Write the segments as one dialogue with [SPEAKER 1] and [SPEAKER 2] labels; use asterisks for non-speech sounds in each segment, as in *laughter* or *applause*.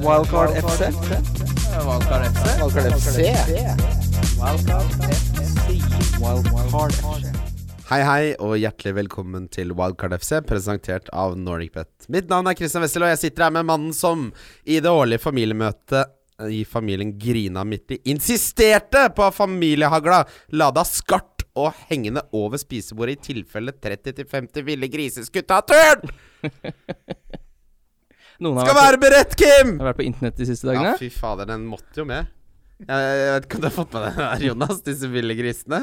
[SPEAKER 1] Wildcard FC.
[SPEAKER 2] Valkar FC.
[SPEAKER 1] Wildcard FC. Wildcard FC.
[SPEAKER 3] Hei, hei, og hjertelig velkommen til Wildcard FC, presentert av NordicBet. Mitt navn er Christian Wessel, og jeg sitter her med mannen som i det årlige familiemøtet i familien Grina Midtli insisterte på at familiehagla lada skarpt og hengende over spisebordet i tilfelle 30-50 ville griser skulle ta turen!
[SPEAKER 2] Noen har
[SPEAKER 3] Skal
[SPEAKER 2] vært,
[SPEAKER 3] være beredt, Kim!
[SPEAKER 2] på, har vært på internett de siste
[SPEAKER 3] Ja,
[SPEAKER 2] dagene.
[SPEAKER 3] fy fader, den måtte jo med. Jeg, jeg vet ikke om du har fått med deg det her, Jonas, disse ville grisene.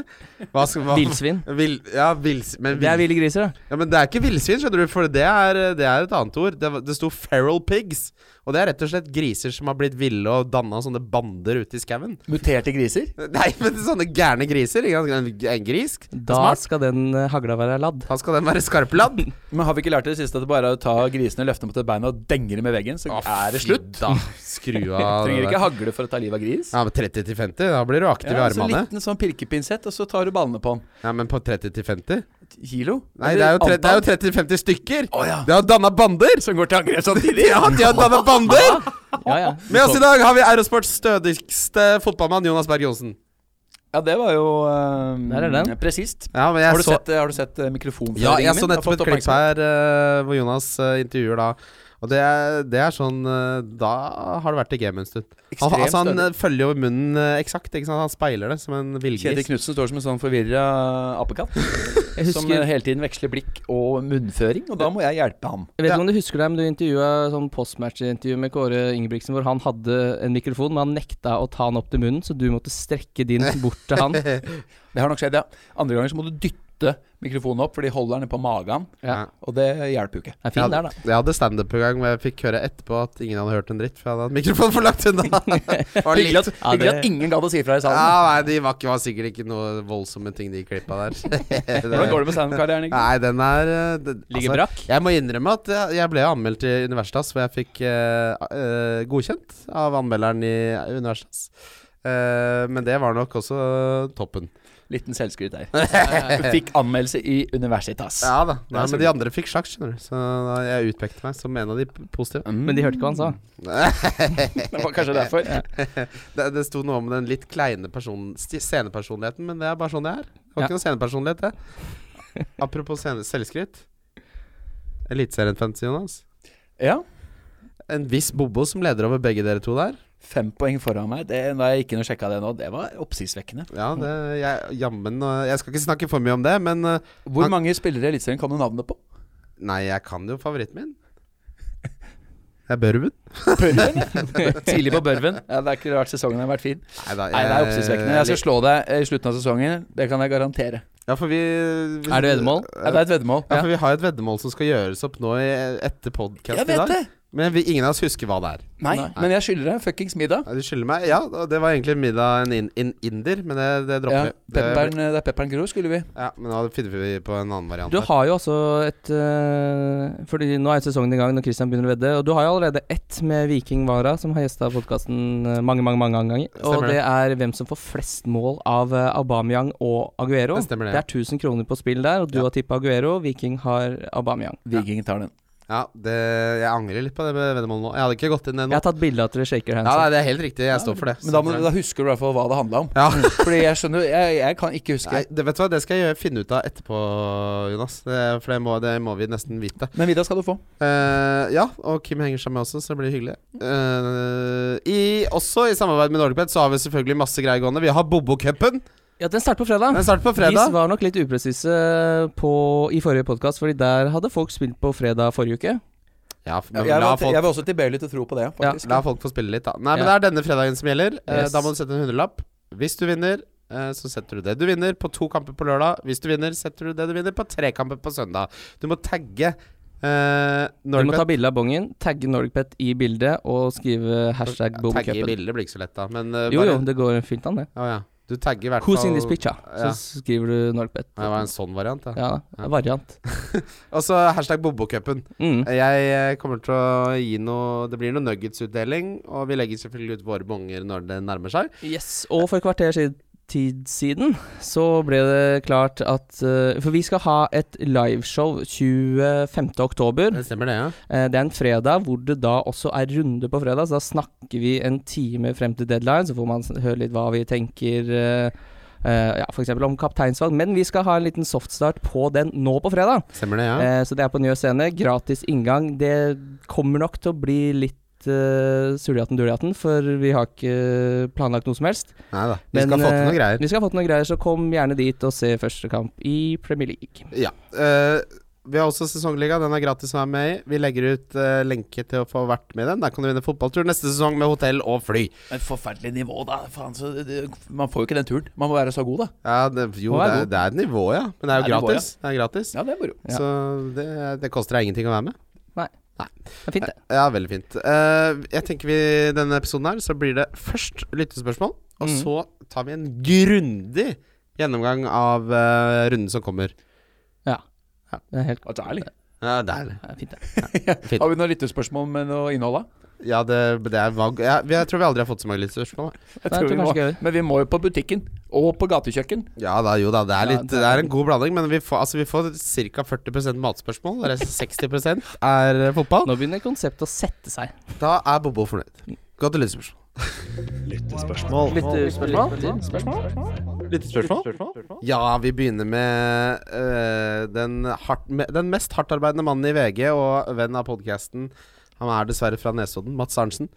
[SPEAKER 3] Hva skal- hva-
[SPEAKER 2] Villsvin.
[SPEAKER 3] Vil, ja, vils, men
[SPEAKER 2] Det er ville griser, da.
[SPEAKER 3] Ja, men det er ikke villsvin, skjønner du, for det er, det er et annet ord. Det, var- det sto 'feral pigs', og det er rett og slett griser som har blitt ville og danna sånne bander ute i skauen.
[SPEAKER 1] Muterte griser?
[SPEAKER 3] Nei, *laughs* men sånne gærne griser. ikke sant? En, en gris.
[SPEAKER 2] Da skal den eh, hagla være ladd.
[SPEAKER 3] Da skal den være skarpladd.
[SPEAKER 1] Men har vi ikke lært det siste at det bare er å ta grisene, løfte dem på til beina og denge dem i veggen, så
[SPEAKER 3] Å,
[SPEAKER 1] er det
[SPEAKER 3] fy
[SPEAKER 1] slutt?
[SPEAKER 3] Da. Skru av. det
[SPEAKER 1] *laughs* Trenger
[SPEAKER 3] der.
[SPEAKER 1] ikke hagle for å ta livet av gris.
[SPEAKER 3] Ja, men 30 til 50, da blir du aktiv i
[SPEAKER 1] Ja, så
[SPEAKER 3] armene.
[SPEAKER 1] liten sånn pirkepinsett, og så tar du ballene på den.
[SPEAKER 3] Ja, men på 30 til 50?
[SPEAKER 1] Kilo?
[SPEAKER 3] Nei, det er jo, tre- det er jo 30 til 50 stykker! Det har danna bander!
[SPEAKER 1] Som går til angrep samtidig?
[SPEAKER 3] *laughs* Ja,
[SPEAKER 1] *laughs*
[SPEAKER 3] de har danna bander! *laughs*
[SPEAKER 2] Ja, ja.
[SPEAKER 3] Med oss i dag har vi Eurosports stødigste fotballmann, Jonas Berg Johnsen.
[SPEAKER 1] Ja, det var jo uh,
[SPEAKER 2] Der er den.
[SPEAKER 1] presist.
[SPEAKER 3] Ja, men jeg
[SPEAKER 1] Har du,
[SPEAKER 3] så-
[SPEAKER 1] sett, har du sett eh, mikrofonføringen
[SPEAKER 3] Ja, jeg
[SPEAKER 1] min?
[SPEAKER 3] så
[SPEAKER 1] Har
[SPEAKER 3] nettopp
[SPEAKER 1] fått
[SPEAKER 3] et klipp
[SPEAKER 1] oppmerksomhet.
[SPEAKER 3] her eh, hvor Jonas eh, intervjuer da. Og det er, det er sånn eh, Da har det vært i gamet en stund. Han,
[SPEAKER 1] Ekstremt
[SPEAKER 3] altså, han
[SPEAKER 1] stødig.
[SPEAKER 3] eh, følger jo munnen eh, eksakt. Ikke sant? Han speiler det som en
[SPEAKER 1] Kjetil
[SPEAKER 3] villgris.
[SPEAKER 1] Knutsen står som en sånn forvirra apekatt.
[SPEAKER 2] Jeg
[SPEAKER 1] Som
[SPEAKER 2] husker
[SPEAKER 1] eh, hele tiden veksler blikk og munnføring, og da må jeg hjelpe ham.
[SPEAKER 2] Jeg vet ikke om du husker deg, men du intervjua sånn postmatch-intervju med Kåre Ingebrigtsen, hvor han hadde en mikrofon, men han nekta å ta den opp til munnen, så du måtte strekke din bort til
[SPEAKER 3] *laughs*
[SPEAKER 2] han.
[SPEAKER 1] Det har nok skjedd, ja. Andre ganger så må du dytte mikrofonen opp, for de holder den ned på magen,
[SPEAKER 2] Ja.
[SPEAKER 1] og det hjelper jo ikke.
[SPEAKER 2] Det er fin der, da.
[SPEAKER 3] Jeg hadde standup en gang hvor jeg fikk høre etterpå at ingen hadde hørt en dritt, for jeg hadde hatt mikrofonen for
[SPEAKER 1] *laughs*
[SPEAKER 3] langt unna. Var
[SPEAKER 1] Hyggelig
[SPEAKER 3] litt-
[SPEAKER 1] at,
[SPEAKER 2] Ja,
[SPEAKER 1] hyggelig
[SPEAKER 2] det-
[SPEAKER 1] at ingen gadd å si fra i
[SPEAKER 3] ja,
[SPEAKER 1] salen.
[SPEAKER 3] nei, de var, ikke, var sikkert ikke noe voldsomme ting, de klippa der.
[SPEAKER 1] Hvordan
[SPEAKER 3] Det- *laughs*
[SPEAKER 1] går det med standup-karrieren? Ikke?
[SPEAKER 3] Nei, den er eh, det,
[SPEAKER 2] Ligger
[SPEAKER 3] altså,
[SPEAKER 2] brakk.
[SPEAKER 3] Jeg må innrømme at jeg, jeg ble anmeldt i Universitas, hvor jeg fikk eh, eh, godkjent av anmelderen i Universitas. Eh, men det var nok også toppen.
[SPEAKER 1] Liten selvskryt *laughs* der. Fikk anmeldelse i Universitas.
[SPEAKER 3] Ja da.
[SPEAKER 1] er
[SPEAKER 3] Nei,
[SPEAKER 1] så
[SPEAKER 3] men de
[SPEAKER 1] bra.
[SPEAKER 3] andre fikk sjakk, skjønner du. Så da jeg utpekte meg som en av de p-
[SPEAKER 1] *laughs*
[SPEAKER 3] positive.
[SPEAKER 1] Mm.
[SPEAKER 2] Men de hørte ikke hva han sa.
[SPEAKER 1] Det var kanskje derfor.
[SPEAKER 3] Det, det sto noe om den litt kleine personen, sti- scenepersonligheten, men det er bare sånn det er. Det var
[SPEAKER 2] Ja.
[SPEAKER 3] ikke noe scenepersonlighet, det. Apropos scene, selvskryt. Eliteserien-fantasy, Jonas.
[SPEAKER 1] Ja.
[SPEAKER 3] En viss Bobo som leder over begge dere to der.
[SPEAKER 1] Fem poeng foran meg. Det, når jeg gikk inn og sjekka det nå, det var oppsiktsvekkende.
[SPEAKER 3] Ja, det, jeg, jammen og- Jeg skal ikke snakke for mye om det, men eh,
[SPEAKER 1] Hvor
[SPEAKER 3] Han-
[SPEAKER 1] mange spillere i Eliteserien kan du navnet på?
[SPEAKER 3] Nei, jeg kan jo favoritten min. Det er Børven.
[SPEAKER 1] Børven? *laughs* Tidlig på Børven. Ja, det har ikke vært sesongen har vært fin.
[SPEAKER 3] Nei, da,
[SPEAKER 1] Nei, det er oppsiktsvekkende. Jeg skal slå deg eh, i slutten av sesongen. Det kan jeg garantere.
[SPEAKER 3] Ja, for vi vi-
[SPEAKER 2] Er det veddemål?
[SPEAKER 1] Ja, det er et veddemål.
[SPEAKER 3] Ja, for vi har jo et veddemål som skal gjøres opp nå i, etter podkast i
[SPEAKER 1] Jeg vet
[SPEAKER 3] dag.
[SPEAKER 1] det!
[SPEAKER 3] Men vi, ingen av oss husker hva det er.
[SPEAKER 1] Nei, men jeg skylder deg fuckings middag.
[SPEAKER 3] Ja, Du skylder meg Ja, og det var egentlig middag en in, in, inder, men det, det
[SPEAKER 1] Ja,
[SPEAKER 3] dropper vi. Det-
[SPEAKER 1] pepperen, det er Pepperen Gro, skulle vi.
[SPEAKER 3] ja, men da finner vi på en annen variant.
[SPEAKER 2] Du
[SPEAKER 3] der.
[SPEAKER 2] har jo også et øh, Fordi nå er jo sesongen i gang når Christian begynner å vedde. Og du har jo allerede ett med Viking Vara, som har gjesta podkasten mange, mange mange ganger. Og
[SPEAKER 3] Stemmer
[SPEAKER 2] det
[SPEAKER 3] det.
[SPEAKER 2] er hvem som får flest mål av øh, Aubameyang og Aguero.
[SPEAKER 3] Det stemmer
[SPEAKER 2] er
[SPEAKER 3] det,
[SPEAKER 2] 1000 kroner på spill der, og du
[SPEAKER 3] Ja.
[SPEAKER 2] har tippa Aguero. Viking har Aubameyang.
[SPEAKER 1] Viking tar den.
[SPEAKER 3] Ja, det, jeg angrer litt på det med veddemålet nå. Jeg hadde ikke gått inn det
[SPEAKER 2] Jeg
[SPEAKER 3] nå.
[SPEAKER 2] har tatt bilde av at dere shaker hands.
[SPEAKER 3] Ja, nei, det er helt riktig. Jeg står for det.
[SPEAKER 1] Men da, må,
[SPEAKER 3] Står for
[SPEAKER 1] da husker du i hvert fall hva det handla om. Mm.
[SPEAKER 3] det. ja.
[SPEAKER 1] Fordi jeg skjønner Jeg, jeg kan ikke huske.
[SPEAKER 3] Nei, det, vet du hva, det skal jeg gjøre- finne ut av etterpå, Jonas. Det, for det må, det må vi nesten vite.
[SPEAKER 1] Men middag skal du få.
[SPEAKER 3] Eh, ja, og Kim henger sammen med også, så det blir hyggelig. Eh, i, også i samarbeid med Norgepet så har vi selvfølgelig masse greier gående. Vi har Bobokupen.
[SPEAKER 2] Ja, den starter på fredag.
[SPEAKER 3] Den starter på
[SPEAKER 2] Vi
[SPEAKER 3] fredag.
[SPEAKER 2] var nok litt upresise på, i forrige podkast, fordi der hadde folk spilt på fredag forrige uke.
[SPEAKER 3] Ja, men
[SPEAKER 1] Jeg, jeg,
[SPEAKER 3] la,
[SPEAKER 1] var, jeg
[SPEAKER 3] folk,
[SPEAKER 1] var også tilbøyelig til å tro på det, faktisk.
[SPEAKER 3] la folk få spille litt, da. Nei, men
[SPEAKER 2] Ja.
[SPEAKER 3] det er denne fredagen som gjelder. Eh,
[SPEAKER 2] Yes.
[SPEAKER 3] Da må du sette en hundrelapp. Hvis du vinner, eh, så setter du det du vinner på to kamper på lørdag. Hvis du vinner, setter du det du vinner på tre kamper på søndag. Du må tagge uh,
[SPEAKER 2] Du må ta bilde av bongen, tagge Norgpet i bildet og skrive hashtag
[SPEAKER 3] Tagge i
[SPEAKER 2] Bobocupen.
[SPEAKER 3] bilder blir ikke så lett, da. Men eh,
[SPEAKER 2] Jo,
[SPEAKER 3] bare-
[SPEAKER 2] jo, det går fint an, det.
[SPEAKER 3] Å ja. Du tagger i hvert fall
[SPEAKER 2] Who's in this picture?
[SPEAKER 3] Ja.
[SPEAKER 2] Så skriver du Norgpet.
[SPEAKER 3] Ja, Det var en sånn variant, ja.
[SPEAKER 2] Ja, variant.
[SPEAKER 3] Og så hashtag Bobokupen.
[SPEAKER 2] Mm.
[SPEAKER 3] Jeg eh, kommer til å gi noe Det blir noe nuggetsutdeling, og vi legger selvfølgelig ut våre bonger når det nærmer seg.
[SPEAKER 2] Yes, og for et kvarter siden tid siden så ble det klart at eh, For vi skal ha et liveshow 25. oktober.
[SPEAKER 3] Det stemmer det, ja.
[SPEAKER 2] Eh, Det er en fredag hvor det da også er runde på fredag, så da snakker vi en time frem til deadline, så får man s- høre litt hva vi tenker eh, eh, ja, f.eks. om kapteinsvalg. Men vi skal ha en liten softstart på den nå på fredag.
[SPEAKER 3] Stemmer det, ja.
[SPEAKER 2] Eh, Så det er på Njø scene. Gratis inngang. Det kommer nok til å bli litt uh, surdiaten-durdiaten, for vi har ikke planlagt noe som helst.
[SPEAKER 3] Nei da. Vi
[SPEAKER 2] men,
[SPEAKER 3] skal få til noen
[SPEAKER 2] eh,
[SPEAKER 3] greier.
[SPEAKER 2] Vi skal ha fått noen greier, så kom gjerne dit og se første kamp i Premier League.
[SPEAKER 3] Ja. eh, vi har også Sesongliga. Den er gratis å være med i. Vi legger ut eh, lenke til å få vært med i den. Der kan du vinne fotballtur neste sesong med hotell og fly.
[SPEAKER 1] Men forferdelig nivå, da. Faen, så det, det, man får jo ikke den turen. Man må være så god, da.
[SPEAKER 3] Ja, det, jo,
[SPEAKER 2] Å, det er
[SPEAKER 3] det er, det er nivå, ja. Men det er jo
[SPEAKER 1] Det er nivå,
[SPEAKER 3] gratis. Det er gratis.
[SPEAKER 1] Ja, det er moro.
[SPEAKER 2] Ja.
[SPEAKER 3] Så det, det koster deg ingenting å være med.
[SPEAKER 2] Det er fint, det.
[SPEAKER 3] Ja, veldig fint. Eh, jeg tenker vi i denne episoden her så blir det først lyttespørsmål, og
[SPEAKER 2] Mhm.
[SPEAKER 3] så tar vi en grundig gjennomgang av eh, runden som kommer.
[SPEAKER 2] Det er helt
[SPEAKER 1] At det er litt.
[SPEAKER 3] Ja, der.
[SPEAKER 2] det er fint, det.
[SPEAKER 3] Fint.
[SPEAKER 1] Har vi noen lyttespørsmål med noe innhold, da?
[SPEAKER 3] Ja, det, det er vag... Ja, vi- jeg tror vi aldri har fått så mange lyttespørsmål.
[SPEAKER 1] Jeg
[SPEAKER 2] Nei, jeg
[SPEAKER 1] tror vi
[SPEAKER 2] tror kanskje
[SPEAKER 1] må.
[SPEAKER 2] ikke jeg gjør.
[SPEAKER 1] Men vi må jo på butikken. Og på gatekjøkken.
[SPEAKER 3] Ja da, jo da. Det er,
[SPEAKER 2] Ja,
[SPEAKER 3] litt,
[SPEAKER 2] det er-
[SPEAKER 3] det er en god blanding, men vi får, altså, vi får ca. 40 matspørsmål. og
[SPEAKER 2] *laughs*
[SPEAKER 3] Resten 60 er eh, fotball.
[SPEAKER 2] Nå Mm. begynner konseptet å sette seg.
[SPEAKER 3] Da er Bobo fornøyd. Gå til lyttespørsmål.
[SPEAKER 4] Lyttespørsmål.
[SPEAKER 2] Lyttespørsmål?
[SPEAKER 3] Ja, vi begynner med eh, den, hardt, med den mest hardtarbeidende mannen i VG og venn av podkasten. Han er dessverre fra Nesodden. Mats Arntzen.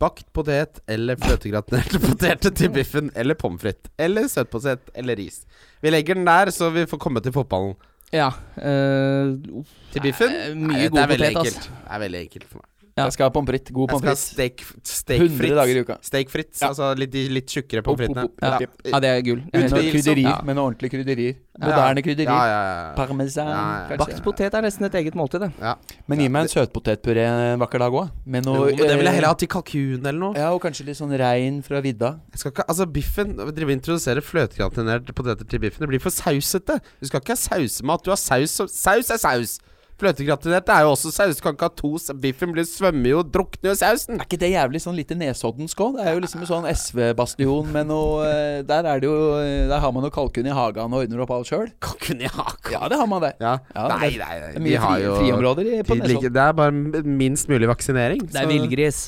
[SPEAKER 3] Bakt potet *laughs* eller fløtegratinerte poteter til biffen eller pommes frites. Eller søtpotet eller ris. Vi legger den der, så vi får komme til fotballen.
[SPEAKER 2] Ja. eh, uff,
[SPEAKER 3] Til biffen?
[SPEAKER 2] eh,
[SPEAKER 3] Nei,
[SPEAKER 2] Mye
[SPEAKER 3] det
[SPEAKER 2] god
[SPEAKER 3] er veldig
[SPEAKER 2] potet, altså.
[SPEAKER 3] enkelt. Det er veldig enkelt for meg.
[SPEAKER 2] Ja.
[SPEAKER 1] Jeg skal ha pommes frites. God
[SPEAKER 3] Jeg skal ha
[SPEAKER 1] pommes frites.
[SPEAKER 3] steak,
[SPEAKER 1] 100 dager i uka.
[SPEAKER 3] Steakfritt,
[SPEAKER 1] Ja.
[SPEAKER 3] altså litt, de litt tjukkere
[SPEAKER 1] Opp,
[SPEAKER 3] pommes fritesene.
[SPEAKER 1] opp, opp,
[SPEAKER 3] Ja.
[SPEAKER 1] opp, opp.
[SPEAKER 2] Ja, det er gull. Jeg er
[SPEAKER 1] Med
[SPEAKER 2] helt
[SPEAKER 1] noen
[SPEAKER 2] enig.
[SPEAKER 1] krydderier.
[SPEAKER 2] Ja.
[SPEAKER 1] Med noen ordentlige krydderier.
[SPEAKER 3] Ja.
[SPEAKER 1] Moderne krydderier.
[SPEAKER 3] Ja, ja, ja.
[SPEAKER 1] Parmesan,
[SPEAKER 3] Ja, ja.
[SPEAKER 1] kanskje.
[SPEAKER 2] Bakt potet er nesten et eget måltid, det.
[SPEAKER 3] ja.
[SPEAKER 1] Men gi meg en søtpotetpuré en vakker dag òg. Med
[SPEAKER 3] Jo,
[SPEAKER 1] noe
[SPEAKER 3] men det ville jeg
[SPEAKER 1] eh,
[SPEAKER 3] heller hatt i kalkun eller noe.
[SPEAKER 1] Ja, og kanskje litt sånn rein fra vidda.
[SPEAKER 3] Jeg skal ikke, altså Biffen driver og introduserer fløtegratinerte poteter til biffen. Det blir for sausete. Du skal ikke ha sausemat. Du har saus som Saus er saus! Fløtegratinerte er jo også saus. Du kan ikke ha to s- Biffen blir svømmer jo, drukner jo i sausen.
[SPEAKER 1] Er ikke det jævlig sånn lite nesoddensk òg? Det er jo liksom en sånn SV-bastion med noe eh, Der er det jo eh, Der har man noe kalkun i hagen og ordner opp alt sjøl.
[SPEAKER 3] Kalkun i haka.
[SPEAKER 1] Ja, det har man det.
[SPEAKER 3] Ja.
[SPEAKER 1] Ja,
[SPEAKER 3] Nei,
[SPEAKER 1] det-
[SPEAKER 3] nei, nei.
[SPEAKER 1] Det er
[SPEAKER 3] de
[SPEAKER 1] mye
[SPEAKER 3] har
[SPEAKER 1] fri,
[SPEAKER 3] jo
[SPEAKER 1] friområder i, på
[SPEAKER 3] de ligger-
[SPEAKER 1] Nesodden.
[SPEAKER 3] Det er bare m- minst mulig vaksinering.
[SPEAKER 2] Det er
[SPEAKER 3] så-
[SPEAKER 2] villgris.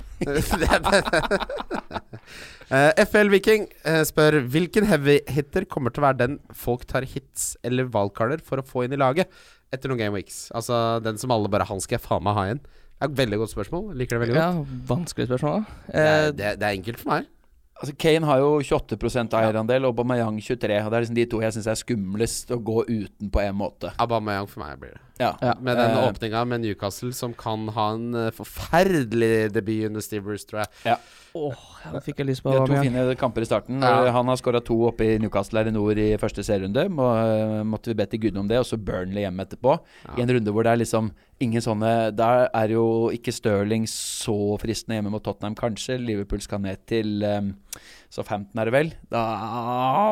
[SPEAKER 3] *laughs* Eh, FL Viking eh, spør hvilken heavy-hitter kommer til å være den folk tar hits eller wildcarder for å få inn i laget etter noen game weeks? Altså den som alle bare Han skal jeg faen meg ha igjen. Det er et veldig godt spørsmål. Liker det veldig godt.
[SPEAKER 2] Ja, vanskelig spørsmål. da.
[SPEAKER 3] Det,
[SPEAKER 2] Eh,
[SPEAKER 3] er- det, er- det er enkelt for meg.
[SPEAKER 1] Altså, Kane har jo 28 eierandel og Aubameyang 23 og Det er liksom de to jeg syns er skumlest å gå uten på en måte.
[SPEAKER 3] Aubameyang for meg blir det.
[SPEAKER 1] Ja.
[SPEAKER 2] Ja.
[SPEAKER 3] Med den
[SPEAKER 1] Eh,
[SPEAKER 3] åpninga med Newcastle som kan ha en eh, forferdelig debut under Steve Bruce, tror jeg.
[SPEAKER 2] Åh, ja, fikk jeg lyst på
[SPEAKER 1] Vi har to
[SPEAKER 2] Aubameyang.
[SPEAKER 1] fine kamper i starten.
[SPEAKER 3] Ja.
[SPEAKER 1] Eh, Han har skåra to oppe i Newcastle her i nord i første serierunde. Må, eh, måtte vi bedt til Gud om det, og så Burnley hjemme etterpå. I en runde hvor det er liksom ingen sånne Der er jo ikke Stirling så fristende hjemme mot Tottenham, kanskje. Liverpool skal ned til um, så 15 er det vel. Da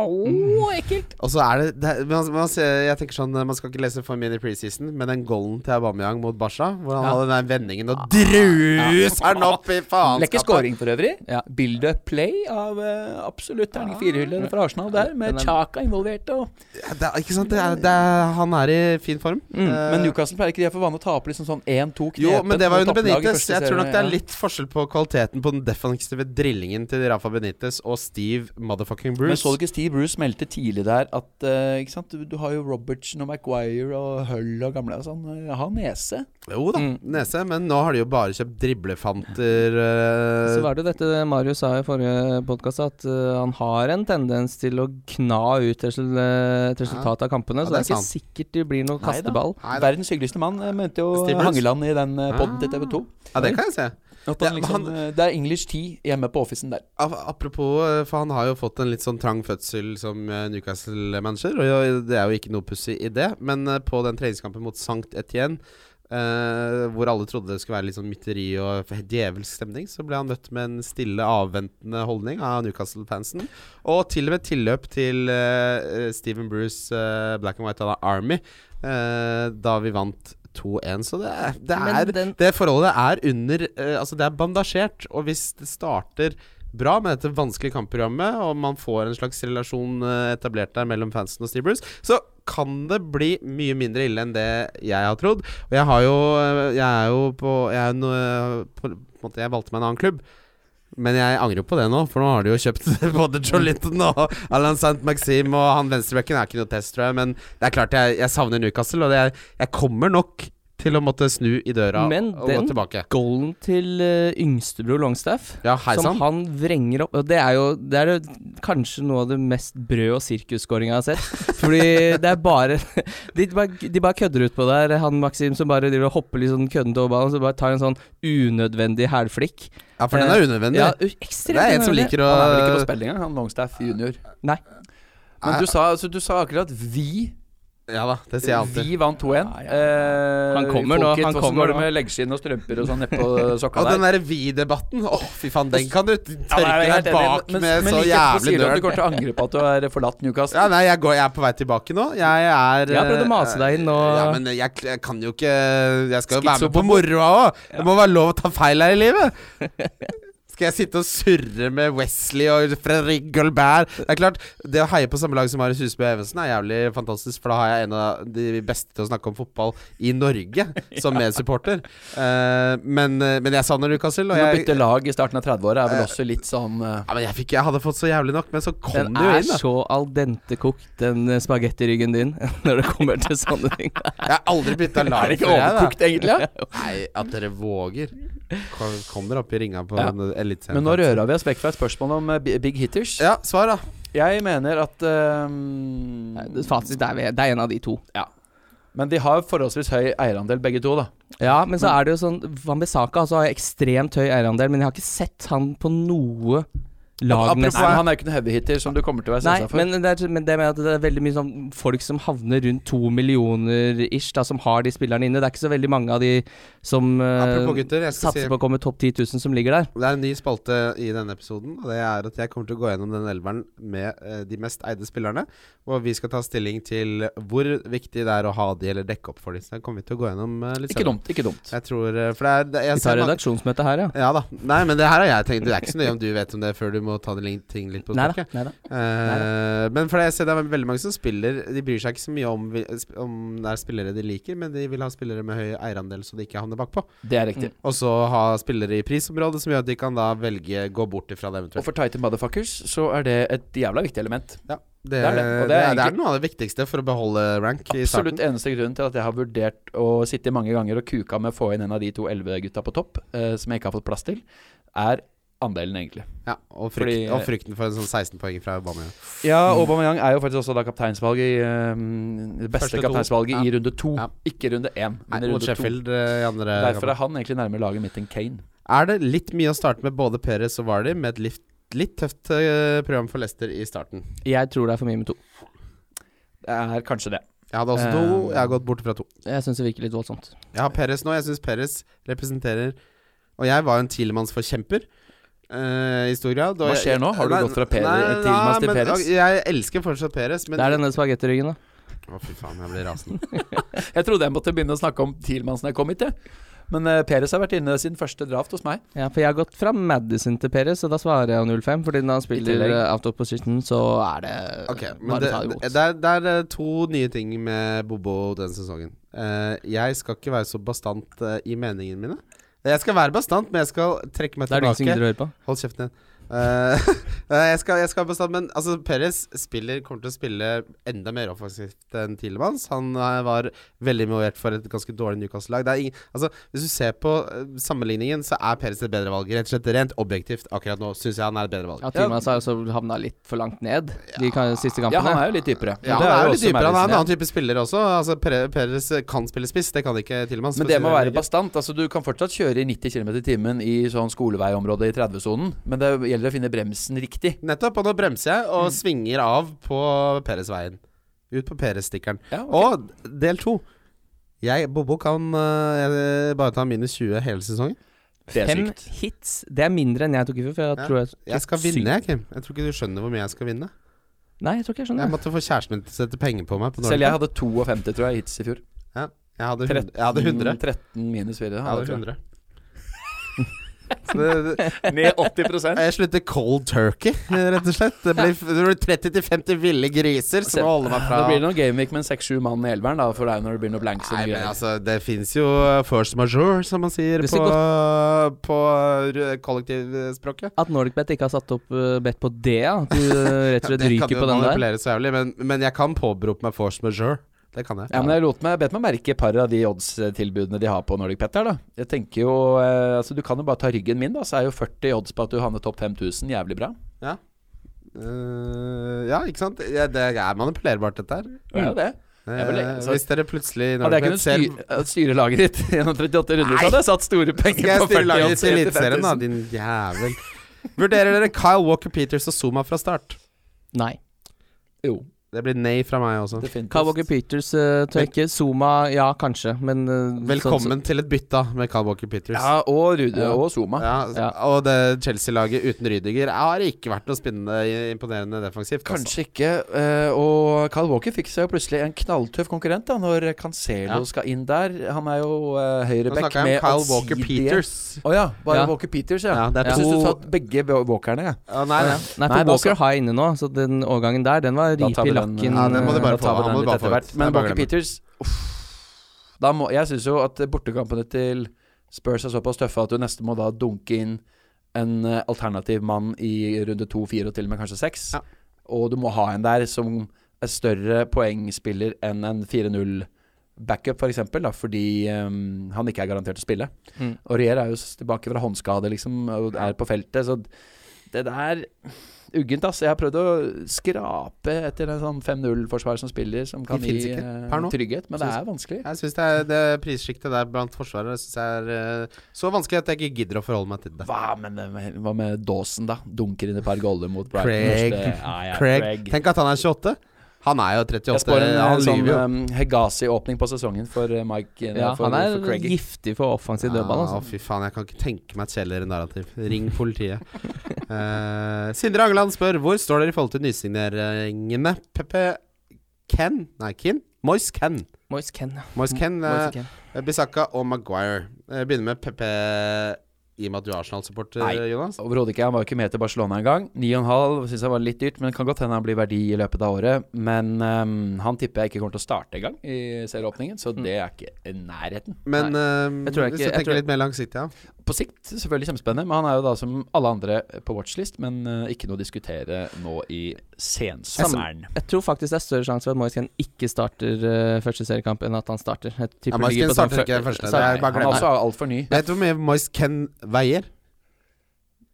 [SPEAKER 3] Mm.
[SPEAKER 1] Åh, ekkelt!
[SPEAKER 3] Og så er det, det er- man, man, ser- Jeg tenker sånn Man skal ikke lese for mye i preseason, men den golden til Aubameyang mot Basha, hvor han hadde den der vendingen og druser han opp i
[SPEAKER 1] Ah. Lekker
[SPEAKER 3] faenskapet!
[SPEAKER 1] scoring for øvrig.
[SPEAKER 2] Ja.
[SPEAKER 1] Build up play av eh, absolutt terning firehylle fra Arsenal der, med
[SPEAKER 2] Den er-
[SPEAKER 1] Chaka involvert og
[SPEAKER 3] Ja, Det er, ikke sant? Det er, det er, han er i fin form.
[SPEAKER 2] Mm.
[SPEAKER 3] Eh,
[SPEAKER 1] Men Newcastle pleier ikke de er for vane å tape liksom sånn 1-2 knepen.
[SPEAKER 3] jo, men det var
[SPEAKER 1] mot
[SPEAKER 3] under
[SPEAKER 1] topplaget i
[SPEAKER 3] Benitez.
[SPEAKER 1] første
[SPEAKER 3] Jeg tror nok
[SPEAKER 1] serien,
[SPEAKER 3] det er
[SPEAKER 1] ja.
[SPEAKER 3] litt forskjell på kvaliteten på den defensive drillingen til Rafa Benitez og Steve motherfucking
[SPEAKER 1] Men så
[SPEAKER 3] Bruce.
[SPEAKER 1] du ikke Steve Bruce meldte tidlig der at eh, ikke sant? Du, du har jo Robertson og Maguire og Hull og gamle og sånn. Jeg har nese.
[SPEAKER 3] Jo da,
[SPEAKER 2] Mm.
[SPEAKER 3] nese, men nå har de jo bare kjøpt driblefanter eh,
[SPEAKER 2] Så var det jo dette Marius sa i forrige podkast, at eh, han har en tendens til å kna ut resul- eh, et resultat av kampene.
[SPEAKER 3] Ja,
[SPEAKER 2] Så
[SPEAKER 3] det
[SPEAKER 2] det
[SPEAKER 3] er
[SPEAKER 2] er ikke sikkert det blir noe
[SPEAKER 1] Nei da.
[SPEAKER 2] kasteball.
[SPEAKER 3] Nei da.
[SPEAKER 1] Verdens hyggeligste mann, eh, mente jo
[SPEAKER 3] Steve Bruce?
[SPEAKER 1] Hangeland i den eh, podden til TV 2.
[SPEAKER 3] Ja, det kan jeg se.
[SPEAKER 1] At han
[SPEAKER 3] Ja,
[SPEAKER 1] liksom, eh, det er English 10 hjemme på officen der.
[SPEAKER 3] Ap- Apropos, eh, for han har jo fått en litt sånn trang fødsel som eh, Newcastle-manager, og jo, det er jo ikke noe pussig i det, men eh, på den treningskampen mot Sankt Etienne, eh, hvor alle trodde det skulle være litt sånn mytteri og f- djevelsk stemning, så ble han møtt med en stille, avventende holdning av Newcastle-fansen, og til og med tilløp til eh, Stephen Bruce, eh, Black and White Army, eh, da vi vant 2-1, så det er, det
[SPEAKER 2] Men
[SPEAKER 3] er
[SPEAKER 2] den
[SPEAKER 3] det forholdet er under eh, Altså, det er bandasjert, og hvis det starter bra med dette vanskelige kampprogrammet, og man får en slags relasjon eh, etablert der mellom fansen og Steve Bruce, så kan det bli mye mindre ille enn det jeg har trodd. Og jeg har jo eh, Jeg er jo på Jeg, er jo noe- på, på en måte, jeg valgte meg en annen klubb. Men jeg angrer jo på det nå, for nå har de jo kjøpt *laughs* både
[SPEAKER 1] Mm.
[SPEAKER 3] John Linton og Alan St. Maxim, og han venstrebacken er ikke noe test, tror jeg. Men det er klart jeg, jeg savner Newcastle, og det er, jeg kommer nok til å måtte snu i døra
[SPEAKER 2] Men
[SPEAKER 3] og
[SPEAKER 2] den-
[SPEAKER 3] gå tilbake.
[SPEAKER 2] Goalen til eh, yngstebror Longstaff,
[SPEAKER 3] Ja, hei
[SPEAKER 2] som
[SPEAKER 3] sann.
[SPEAKER 2] han vrenger opp og Det er jo det er jo kanskje noe av det mest brød- og sirkusskåringa jeg
[SPEAKER 3] *laughs*
[SPEAKER 2] har sett. Fordi det er bare de, bare de bare kødder ut på der. Han Maxim som bare driver og hopper litt sånn køddende over ballen, så bare tar en sånn unødvendig hælflikk.
[SPEAKER 3] Ja, for den er unødvendig.
[SPEAKER 2] Ja,
[SPEAKER 3] Ja,
[SPEAKER 2] u- ekstremt
[SPEAKER 3] det er en som
[SPEAKER 2] unødvendig.
[SPEAKER 3] liker å
[SPEAKER 1] eh, Han er vel ikke på spill engang, han Longstaff junior.
[SPEAKER 2] Nei.
[SPEAKER 1] Men du sa, altså, du sa akkurat at vi
[SPEAKER 3] Ja da, det sier jeg alltid.
[SPEAKER 1] Vi vant 2-1. Eh,
[SPEAKER 2] Han kommer nå,
[SPEAKER 1] folket, hvordan
[SPEAKER 2] han kommer
[SPEAKER 1] går det
[SPEAKER 2] nå.
[SPEAKER 1] med leggskinn og strømper og sånn nedpå sokka
[SPEAKER 3] Og
[SPEAKER 1] der?
[SPEAKER 3] den derre vi-debatten, åh fy faen, den kan du
[SPEAKER 1] Ja, nei, jeg er helt
[SPEAKER 3] tørke deg
[SPEAKER 1] enig,
[SPEAKER 3] bak med så
[SPEAKER 1] like etterpå sier
[SPEAKER 3] jævlig
[SPEAKER 1] du at Du
[SPEAKER 3] nerd.
[SPEAKER 1] kommer til å angre på at du har forlatt Newcastle.
[SPEAKER 3] Ja, nei, jeg, går, jeg er på vei tilbake nå. Jeg er eh,
[SPEAKER 2] Jeg har prøvd å mase deg inn og
[SPEAKER 3] Ja, men jeg, jeg kan jo ikke Jeg skal jo være med
[SPEAKER 1] Skizofren.
[SPEAKER 3] på moroa òg! Det må være lov å ta feil her i livet!
[SPEAKER 2] *laughs*
[SPEAKER 3] Skal jeg sitte og surre med Wesley og Fredrik Gulbert Det er klart, det å heie på samme lag som Marius Husby Evensen er jævlig fantastisk, for da har jeg en av de beste til å snakke om fotball i Norge
[SPEAKER 2] *laughs*
[SPEAKER 3] som medsupporter. Eh, men, men jeg savner Newcastle, og
[SPEAKER 1] Men å
[SPEAKER 3] jeg
[SPEAKER 1] bytte lag i starten av 30-åra er vel også litt sånn eh,
[SPEAKER 3] ja, men jeg, fikk, jeg hadde fått så jævlig nok, men så kom
[SPEAKER 2] Den
[SPEAKER 3] det jo
[SPEAKER 2] er
[SPEAKER 3] inn, da.
[SPEAKER 2] så al dente kokt, den eh, spagettiryggen din, *laughs* når det kommer til sånne ting.
[SPEAKER 3] Jeg har aldri
[SPEAKER 2] *laughs*
[SPEAKER 3] bytta lag
[SPEAKER 1] Er det ikke
[SPEAKER 3] før, jeg, da.
[SPEAKER 1] overkokt, egentlig? ja?
[SPEAKER 3] Nei, at dere våger. Kom, kom dere opp i ringa på
[SPEAKER 1] Ja.
[SPEAKER 3] en eliteserien.
[SPEAKER 1] *laughs* Men nå røra vi oss vekk fra et spørsmål om eh, bi- big hitters.
[SPEAKER 3] Ja, svar, da.
[SPEAKER 1] Jeg mener at ehm,
[SPEAKER 2] Nei, det- Fasit, det er, ved- det er en av de to.
[SPEAKER 1] Men de har forholdsvis høy eierandel, begge to. da
[SPEAKER 2] Ja, men så er det jo sånn Wambisaka altså, har ekstremt høy eierandel, men jeg har ikke sett han på noe lag,
[SPEAKER 3] Apropos-
[SPEAKER 1] Nei,
[SPEAKER 2] nesten.
[SPEAKER 1] men Han er jo ikke noen heavy hitter, som du kommer til å være
[SPEAKER 2] Nei,
[SPEAKER 1] stressa for.
[SPEAKER 2] men det, er, men det med at det er veldig mye sånn folk som havner rundt to millioner ish, da, som har de spillerne inne. Det er ikke så veldig mange av de som eh,
[SPEAKER 3] Apropos gutter, jeg skal si
[SPEAKER 2] satser på å komme topp 10 000 som ligger der.
[SPEAKER 3] det er en ny spalte i denne episoden. Og det er at jeg kommer til å gå gjennom den elveren med eh, de mest eide spillerne. Og vi skal ta stilling til hvor viktig det er å ha de, eller dekke opp for de. Så det kommer vi til å gå gjennom eh, litt
[SPEAKER 1] Ikke dumt. ikke dumt
[SPEAKER 3] Jeg tror eh, For det er det, jeg
[SPEAKER 2] Vi tar
[SPEAKER 3] ser mange-
[SPEAKER 2] redaksjonsmøte her, ja.
[SPEAKER 3] Ja da. Nei, men det her har jeg tenkt. Det er ikke så nøye om du vet om det før du må ta de lin- ting litt på
[SPEAKER 2] Nei
[SPEAKER 3] sparket.
[SPEAKER 2] da. Nei da.
[SPEAKER 3] Eh, men for det jeg ser det er veldig mange som spiller De bryr seg ikke så mye om, vi- sp- om det er spillere de liker, men de vil ha spillere med høy eierandel, så de ikke havner bakpå.
[SPEAKER 1] Det er riktig.
[SPEAKER 3] Og så ha spillere i prisområdet som gjør at de kan da velge gå bort ifra det
[SPEAKER 1] Og
[SPEAKER 3] eventuelt.
[SPEAKER 1] for tighte motherfuckers så er det et jævla viktig element.
[SPEAKER 3] Ja, det,
[SPEAKER 1] er det, og det er
[SPEAKER 3] det, er, det er
[SPEAKER 1] egentlig-
[SPEAKER 3] noe av det viktigste for å beholde rank i
[SPEAKER 1] Absolutt
[SPEAKER 3] starten.
[SPEAKER 1] eneste grunnen til at jeg har vurdert å sitte mange ganger og kuka med å få inn en av de to elleve-gutta på topp, eh, som jeg ikke har fått plass til, er andelen, egentlig.
[SPEAKER 3] Ja, og,
[SPEAKER 1] Fordi-
[SPEAKER 3] frykt, og frykten for en sånn 16 poeng fra Aubameyang.
[SPEAKER 1] Ja, Aubameyang er jo faktisk også da kapteinsvalget i eh, Det beste
[SPEAKER 3] Første to.
[SPEAKER 1] kapteinsvalget i
[SPEAKER 3] Ja.
[SPEAKER 1] runde to.
[SPEAKER 3] Ja.
[SPEAKER 1] Ikke runde én,
[SPEAKER 3] Nei,
[SPEAKER 1] men
[SPEAKER 3] Mot
[SPEAKER 1] runde to.
[SPEAKER 3] Sheffield eh, i andre
[SPEAKER 1] Derfor
[SPEAKER 3] kampen.
[SPEAKER 1] er han egentlig nærmere laget mitt enn Kane.
[SPEAKER 3] Er det litt mye å starte med både Perez og Vardy med et litt, litt tøft eh, program for Leicester i starten?
[SPEAKER 2] Jeg tror det er for mye med to.
[SPEAKER 1] Det er kanskje det.
[SPEAKER 3] Jeg hadde også to.
[SPEAKER 1] Eh,
[SPEAKER 3] Jeg har gått bort fra to.
[SPEAKER 2] Jeg syns det virker litt voldsomt.
[SPEAKER 3] Jeg har Perez nå. Jeg syns Perez representerer Og jeg var jo en Tilemannsforkjemper. eh, I stor grad. og
[SPEAKER 1] Hva skjer
[SPEAKER 3] jeg-
[SPEAKER 1] nå? Har du
[SPEAKER 3] Nei,
[SPEAKER 1] gått fra Perez-
[SPEAKER 3] nei,
[SPEAKER 1] Tielemans til
[SPEAKER 3] nei, men-
[SPEAKER 1] Perez?
[SPEAKER 3] Jeg elsker fortsatt Perez, men
[SPEAKER 2] Det er denne spagettiryggen, da.
[SPEAKER 3] Å, fy faen, jeg blir rasende.
[SPEAKER 1] Jeg trodde jeg måtte begynne å snakke om Thielmann som jeg kom hit til. Men eh, Perez har vært inne siden første draft hos meg.
[SPEAKER 2] Ja, for jeg har gått fra Madison til Perez, og da svarer jeg 05. Fordi når han spiller
[SPEAKER 1] tillegg.
[SPEAKER 2] eh, out of position, så er det
[SPEAKER 3] Ok,
[SPEAKER 2] eh,
[SPEAKER 3] men
[SPEAKER 2] bare
[SPEAKER 3] det,
[SPEAKER 2] ta imot.
[SPEAKER 3] det, er, det er eh, to nye ting med Bobo denne sesongen. Eh, jeg skal ikke være så bastant eh, i meningene mine. Jeg skal være bastant, men jeg skal trekke meg
[SPEAKER 2] det er du som
[SPEAKER 3] tilbake.
[SPEAKER 2] gidder å høre på.
[SPEAKER 3] Hold kjeften din. Eh, *laughs* jeg, skal, jeg skal bestemme Men altså, Perez spiller, kommer til å spille enda mer offensivt enn Tilemans. Han eh, var veldig involvert for et ganske dårlig Newcastle-lag. Det er ingen- Altså, hvis du ser på eh, sammenligningen, så er Perez et bedre valg. Rett og slett rent objektivt akkurat nå syns jeg han er et bedre valg.
[SPEAKER 2] Ja, Timas har også havna litt for langt ned de kan, siste
[SPEAKER 1] Ja, han
[SPEAKER 2] kampene.
[SPEAKER 1] er jo litt dypere.
[SPEAKER 3] Ja,
[SPEAKER 1] Men det
[SPEAKER 3] han er jo
[SPEAKER 1] jo
[SPEAKER 3] litt
[SPEAKER 1] også
[SPEAKER 3] dypere. Han er
[SPEAKER 1] Madison,
[SPEAKER 3] en
[SPEAKER 1] ja.
[SPEAKER 3] annen type spiller også. Altså, Pere- Perez kan spille spiss, det kan ikke Tilemans.
[SPEAKER 1] Men det må være bastant. Altså, du kan fortsatt kjøre i 90 km i timen i sånn skoleveiområdet i 30-sonen, men det gjelder å finne bremsen riktig.
[SPEAKER 3] Nettopp. Og nå bremser jeg
[SPEAKER 1] Mm.
[SPEAKER 3] og svinger av på Perez-veien. Ut på Perez-stikkeren.
[SPEAKER 1] Ja, ok.
[SPEAKER 3] Og del to. Jeg, Bobo kan eh, bare ta minus 20 hele sesongen.
[SPEAKER 1] Det er
[SPEAKER 2] Fem
[SPEAKER 1] sykt.
[SPEAKER 2] hits. Det er mindre enn jeg tok i fjor. For jeg
[SPEAKER 3] Ja.
[SPEAKER 2] tror jeg,
[SPEAKER 3] Jeg skal
[SPEAKER 2] tok
[SPEAKER 3] vinne,
[SPEAKER 2] syv.
[SPEAKER 3] jeg, Kim. Jeg tror ikke du skjønner hvor mye jeg skal vinne.
[SPEAKER 2] Nei, jeg tror ikke jeg
[SPEAKER 3] Jeg
[SPEAKER 2] skjønner.
[SPEAKER 3] måtte få kjæresten min til å sette penger på meg. På
[SPEAKER 1] Selv jeg hadde 52, tror jeg, hits i fjor.
[SPEAKER 3] jeg hadde, hund- jeg hadde 100.
[SPEAKER 1] Mm, 13 minus 4.
[SPEAKER 3] Jeg hadde 100. Så det, det-
[SPEAKER 1] Ned 80
[SPEAKER 3] jeg slutter cold turkey, rett og slett. Det blir, det blir 30-50 ville griser som må holde meg fra
[SPEAKER 1] Da blir det noen gameweek med en seks-sju mann i elveren, da, for det er jo når det blir noe blanks og
[SPEAKER 3] Nei,
[SPEAKER 1] noe
[SPEAKER 3] men
[SPEAKER 1] greier.
[SPEAKER 3] altså, det fins jo first majeure, som man sier
[SPEAKER 2] Hvis det
[SPEAKER 3] på, på ru- kollektivspråket.
[SPEAKER 2] At Nordicbet ikke har satt opp eh, bet på det, ja. At du
[SPEAKER 3] *laughs*
[SPEAKER 2] eh, rett og slett
[SPEAKER 3] Det kan
[SPEAKER 2] ryker
[SPEAKER 3] jo
[SPEAKER 2] på den der.
[SPEAKER 3] manipulere så jævlig, men, men jeg kan påberope meg force majeure. Det kan jeg.
[SPEAKER 1] Ja, men jeg lot meg, bet meg merke et par av de odds-tilbudene de har på Nordic Pet her, da. Jeg tenker jo eh, Altså, du kan jo bare ta ryggen min, da, så er jo 40 odds på at du havner topp 5000 jævlig bra.
[SPEAKER 3] Eh, ja, ikke sant? Ja, det er manipulerbart, dette her.
[SPEAKER 1] Det er jo det. Jeg vil-
[SPEAKER 3] Eh,
[SPEAKER 1] så-
[SPEAKER 3] hvis dere plutselig
[SPEAKER 1] Hadde jeg kunnet
[SPEAKER 3] ser-
[SPEAKER 1] styre, styre laget ditt *laughs* gjennom 38 runder, så hadde jeg satt store penger
[SPEAKER 3] Skal
[SPEAKER 1] *laughs*
[SPEAKER 3] jeg
[SPEAKER 1] på
[SPEAKER 3] styre
[SPEAKER 1] 40
[SPEAKER 3] laget
[SPEAKER 1] odds
[SPEAKER 3] til
[SPEAKER 1] ned
[SPEAKER 3] Eliteserien, da,
[SPEAKER 1] 5000.
[SPEAKER 3] din jævel? Vurderer dere Kyle Walker Peters og Zuma fra start?
[SPEAKER 2] Nei.
[SPEAKER 1] Jo,
[SPEAKER 3] Det blir nei fra meg også.
[SPEAKER 1] definitivt.
[SPEAKER 2] Kyle Walker Peters uh, tør ikke. Zuma, ja, kanskje, men eh, sånn-
[SPEAKER 3] Velkommen til et bytte da, med Kyle Walker Peters.
[SPEAKER 1] Ja, og Rude og Zoma.
[SPEAKER 3] Ja, s-
[SPEAKER 2] Ja.
[SPEAKER 3] Og det Chelsea-laget uten Rydiger har ikke vært noe spinnende imponerende defensivt. altså.
[SPEAKER 1] Kanskje ikke. eh, og Kyle Walker fikk seg jo plutselig en knalltøff konkurrent da når Cancelo
[SPEAKER 3] Ja.
[SPEAKER 1] skal inn der. Han er jo eh,
[SPEAKER 3] Nå
[SPEAKER 1] høyreback
[SPEAKER 3] snakker jeg
[SPEAKER 1] med
[SPEAKER 3] om Kyle Walker
[SPEAKER 1] allsidige-
[SPEAKER 3] Peters.
[SPEAKER 1] Å ja, bare
[SPEAKER 2] Ja.
[SPEAKER 1] Walker Peters, ja.
[SPEAKER 3] Ja, det er
[SPEAKER 1] Jeg syns
[SPEAKER 3] to-
[SPEAKER 1] du satt begge b- walkerne, jeg.
[SPEAKER 3] Å, nei, nei.
[SPEAKER 2] Nei, for
[SPEAKER 1] Nei, da
[SPEAKER 2] Walker
[SPEAKER 1] så-
[SPEAKER 2] har jeg inne nå, så den overgangen der, den var
[SPEAKER 1] Da
[SPEAKER 2] rip
[SPEAKER 1] tar vi
[SPEAKER 2] i
[SPEAKER 1] den,
[SPEAKER 2] lakken.
[SPEAKER 3] Ja, den må
[SPEAKER 2] eh,
[SPEAKER 3] du
[SPEAKER 1] Da
[SPEAKER 3] bare
[SPEAKER 1] tar
[SPEAKER 3] få-
[SPEAKER 1] vi
[SPEAKER 3] han
[SPEAKER 1] den
[SPEAKER 3] må
[SPEAKER 1] litt
[SPEAKER 3] du bare få
[SPEAKER 1] etter
[SPEAKER 3] ut.
[SPEAKER 1] hvert. Men
[SPEAKER 3] Jeg bare
[SPEAKER 1] Walker
[SPEAKER 3] glemmer.
[SPEAKER 1] Peters uff. da må, Jeg syns jo at bortekampene til Spurs er såpass tøffe at du nesten må da dunke inn en eh, alternativ mann i runde to, fire og til og med kanskje seks.
[SPEAKER 3] Ja.
[SPEAKER 1] Og du må ha en der som er større poengspiller enn en 4-0-backup, for eksempel, da, fordi eh, han ikke er garantert å spille.
[SPEAKER 2] Mm.
[SPEAKER 1] Og Rier er jo s- tilbake fra håndskade, liksom, og er på feltet, så det der Uggent, ass. Jeg har prøvd å skrape etter en sånn 5-0-forsvar som spiller, som kan
[SPEAKER 3] De
[SPEAKER 1] gi
[SPEAKER 3] finnes ikke
[SPEAKER 1] eh,
[SPEAKER 3] per nå.
[SPEAKER 1] trygghet, men det
[SPEAKER 3] Synes-
[SPEAKER 1] er vanskelig.
[SPEAKER 3] Jeg syns det, er- det prissjiktet der blant forsvarere synes jeg er eh, så vanskelig at jeg ikke gidder å forholde meg til det.
[SPEAKER 1] Hva med, med- hva med Dawson, da? Dunker inn et par goller mot Brighton.
[SPEAKER 3] Craig.
[SPEAKER 1] Første- Ja, ja,
[SPEAKER 3] Craig,
[SPEAKER 1] Craig.
[SPEAKER 3] Tenk at han er 28. Han er jo 38.
[SPEAKER 1] Jeg spår en eh,
[SPEAKER 3] han
[SPEAKER 1] sånn
[SPEAKER 3] lyver jo.
[SPEAKER 1] um, Hegazi-åpning på sesongen for eh, Mike. eh,
[SPEAKER 2] Ja,
[SPEAKER 1] for,
[SPEAKER 2] han er
[SPEAKER 1] for Craig.
[SPEAKER 2] giftig for offensiv dødball,
[SPEAKER 3] Ja,
[SPEAKER 2] altså.
[SPEAKER 3] fy faen, jeg kan ikke tenke meg et kjeller narrativ. Ring politiet. Eh, Sindre Angeland spør hvor står dere i forhold til nysigneringene? Pepe Ken? Nei, Kin? Moise Ken.
[SPEAKER 2] Moise Ken, ja.
[SPEAKER 3] Moise Ken,
[SPEAKER 2] Moise
[SPEAKER 3] eh,
[SPEAKER 2] Ken.
[SPEAKER 3] Bissaka og Maguire. Jeg begynner med Pepe i og med at du er Arsenal-supporter,
[SPEAKER 1] Nei.
[SPEAKER 3] Jonas.
[SPEAKER 1] Overhodet ikke. Han var jo ikke med til Barcelona engang. 9,5 syns jeg var litt dyrt, men kan godt hende han blir verdi i løpet av året. Men ehm, han tipper jeg ikke kommer til å starte engang i serieåpningen, så
[SPEAKER 3] Mm.
[SPEAKER 1] det er ikke i nærheten.
[SPEAKER 3] Men eh,
[SPEAKER 2] Jeg tror jeg ikke-
[SPEAKER 3] hvis du
[SPEAKER 2] jeg
[SPEAKER 3] tenker
[SPEAKER 2] tror-
[SPEAKER 3] litt mer langsiktig, ja.
[SPEAKER 1] På sikt selvfølgelig kjempespennende, men han er jo da som alle andre på watchlist, men eh, ikke noe å diskutere nå i sensommeren.
[SPEAKER 2] Jeg tror faktisk det er større sjanse for at Moise Ken ikke starter eh, første seriekamp, enn at han starter. Jeg tipper
[SPEAKER 3] Ja,
[SPEAKER 2] det
[SPEAKER 3] Moise
[SPEAKER 2] ligger
[SPEAKER 3] Ken
[SPEAKER 2] på sånn
[SPEAKER 3] starter
[SPEAKER 2] fyr-
[SPEAKER 3] ikke første. Det
[SPEAKER 2] Sorry.
[SPEAKER 3] er bare
[SPEAKER 1] Han er
[SPEAKER 3] glem det.
[SPEAKER 1] også altfor ny.
[SPEAKER 3] Vet du hvor mye Moise Ken veier?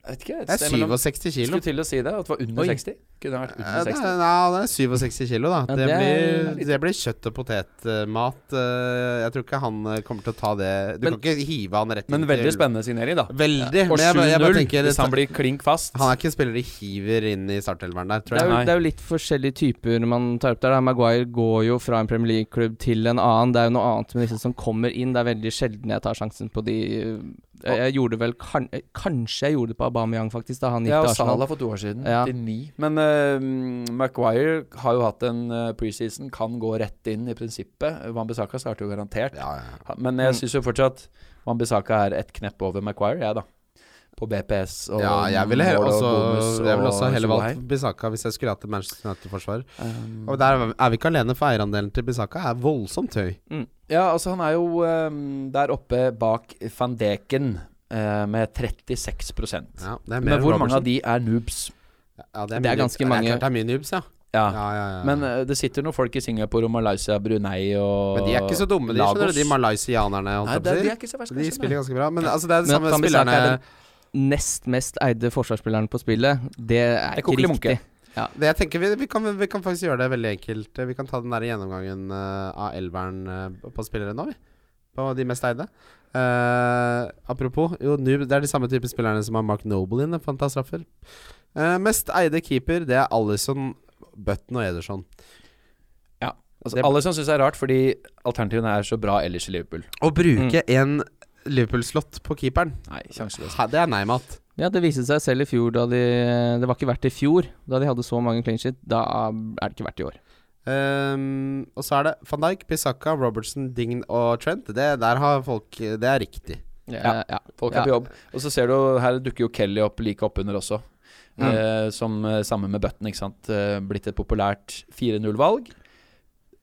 [SPEAKER 1] Jeg vet ikke, et
[SPEAKER 3] Det er
[SPEAKER 1] sted mellom-
[SPEAKER 3] 67 kilo.
[SPEAKER 1] Skulle til å si det, at det var under
[SPEAKER 2] Oi.
[SPEAKER 1] 60. Kunne vært
[SPEAKER 3] Ja,
[SPEAKER 1] under
[SPEAKER 3] det
[SPEAKER 1] 60.
[SPEAKER 3] er, ja, det er 67 kilo, da.
[SPEAKER 2] Ja,
[SPEAKER 3] det,
[SPEAKER 2] det er
[SPEAKER 3] blir, det blir kjøtt- og potetmat. Eh, Jeg tror ikke han eh, kommer til å ta det Du
[SPEAKER 1] Men-
[SPEAKER 3] kan ikke hive han rett
[SPEAKER 1] Men
[SPEAKER 3] inn til-
[SPEAKER 1] veldig spennende signering, da.
[SPEAKER 3] Veldig.
[SPEAKER 1] Og
[SPEAKER 3] Men jeg, bare- jeg bare
[SPEAKER 1] 7-0,
[SPEAKER 3] tenker
[SPEAKER 1] hvis han blir klink fast.
[SPEAKER 3] Han er ikke en spiller de hiver inn i startelveren der, tror
[SPEAKER 2] Det
[SPEAKER 3] jeg.
[SPEAKER 2] er, jo,
[SPEAKER 1] Nei.
[SPEAKER 2] det er jo litt forskjellige typer man tar opp der. Da. Maguire går jo fra en Premier League-klubb til en annen. Det er jo noe annet med disse som kommer inn. Det er veldig sjelden jeg tar sjansen på de eh, Jeg, jeg gjorde vel kan, Kanskje jeg gjorde det på Aubameyang, faktisk, da han gikk
[SPEAKER 1] Ja,
[SPEAKER 2] til
[SPEAKER 1] og
[SPEAKER 2] Arsenal.
[SPEAKER 1] Salah for to år siden.
[SPEAKER 2] Ja.
[SPEAKER 1] Til ni. Men eh, Maguire har jo hatt en eh, preseason, kan gå rett inn i prinsippet. Wanbisaka starter jo garantert.
[SPEAKER 3] Ja, ja.
[SPEAKER 1] Ha- Men
[SPEAKER 2] Mm.
[SPEAKER 1] jeg syns jo fortsatt Wanbisaka er et knepp over Maguire, jeg, da. På BPS og
[SPEAKER 3] ja, jeg ville he-
[SPEAKER 1] mål og
[SPEAKER 3] også,
[SPEAKER 1] bonus
[SPEAKER 3] jeg ville
[SPEAKER 1] og
[SPEAKER 3] også heller
[SPEAKER 1] Solheim.
[SPEAKER 3] valgt Bisaka hvis jeg skulle hatt et Manchester United-forsvar.
[SPEAKER 1] Um,
[SPEAKER 3] Og der er vi ikke alene, for eierandelen til Bisaka er voldsomt høy.
[SPEAKER 1] Ja, altså han er jo ehm, der oppe bak van Deken eh, med 36
[SPEAKER 3] Ja, det er mer
[SPEAKER 1] Men
[SPEAKER 3] enn
[SPEAKER 1] hvor mange av
[SPEAKER 3] Robertson.
[SPEAKER 1] de er noobs?
[SPEAKER 3] ja,
[SPEAKER 2] Det er
[SPEAKER 3] mye
[SPEAKER 2] ganske
[SPEAKER 3] noobs. Ja,
[SPEAKER 2] mange.
[SPEAKER 3] Det er klart det er mye noobs, ja.
[SPEAKER 1] Ja.
[SPEAKER 3] ja, ja, ja.
[SPEAKER 1] Men eh, det sitter noen folk i Singapore og Malaysia, Brunei og
[SPEAKER 3] Men de er ikke så dumme, de, skjønner du. De malaysianerne. holdt
[SPEAKER 1] Nei,
[SPEAKER 3] jeg på
[SPEAKER 1] det,
[SPEAKER 3] å si.
[SPEAKER 1] de er ikke så verst,
[SPEAKER 3] De
[SPEAKER 1] kanskje,
[SPEAKER 3] spiller
[SPEAKER 1] nei.
[SPEAKER 3] ganske bra, men altså, det er
[SPEAKER 2] Men
[SPEAKER 3] de samme
[SPEAKER 2] Van Bissaka
[SPEAKER 3] spillerne
[SPEAKER 2] er Nest mest eide forsvarsspilleren på spillet, det
[SPEAKER 1] Det
[SPEAKER 2] er
[SPEAKER 1] er
[SPEAKER 2] ikke
[SPEAKER 1] Kokeli
[SPEAKER 2] riktig.
[SPEAKER 1] Munke.
[SPEAKER 3] det, jeg tenker vi, vi, kan, vi kan faktisk gjøre det veldig enkelt. Vi kan ta den der gjennomgangen eh, av elveren eh, på spillere nå, vi. På de mest eide. Eh, apropos, jo, Noob det er de samme type spillerne som har Mark Noble inne for han tar straffer. Eh, mest eide keeper, det er Alison, Button og Ederson.
[SPEAKER 1] Altså, alle som syns det er rart, fordi alternativene er så bra ellers i Liverpool.
[SPEAKER 3] Å bruke
[SPEAKER 1] Mm.
[SPEAKER 3] en Liverpool-slott på keeperen,
[SPEAKER 1] Nei, sjanseløst.
[SPEAKER 3] ha, det er nei-mat.
[SPEAKER 2] Ja, det viste seg selv i fjor da de Det var ikke verdt i fjor, da de hadde så mange clean shit. Da er det ikke verdt i år.
[SPEAKER 3] Ehm, og så er det van Dijk, Bissaka, Robertson, Dign og Trent. Det der har folk Det er riktig.
[SPEAKER 2] Ja, ja.
[SPEAKER 1] Folk
[SPEAKER 2] Ja.
[SPEAKER 1] er på jobb. Og så ser du, her dukker jo Kelly opp like oppunder også.
[SPEAKER 3] Mm.
[SPEAKER 1] Eh, som eh, sammen med Button, ikke sant. Eh, blitt et populært 4-0-valg.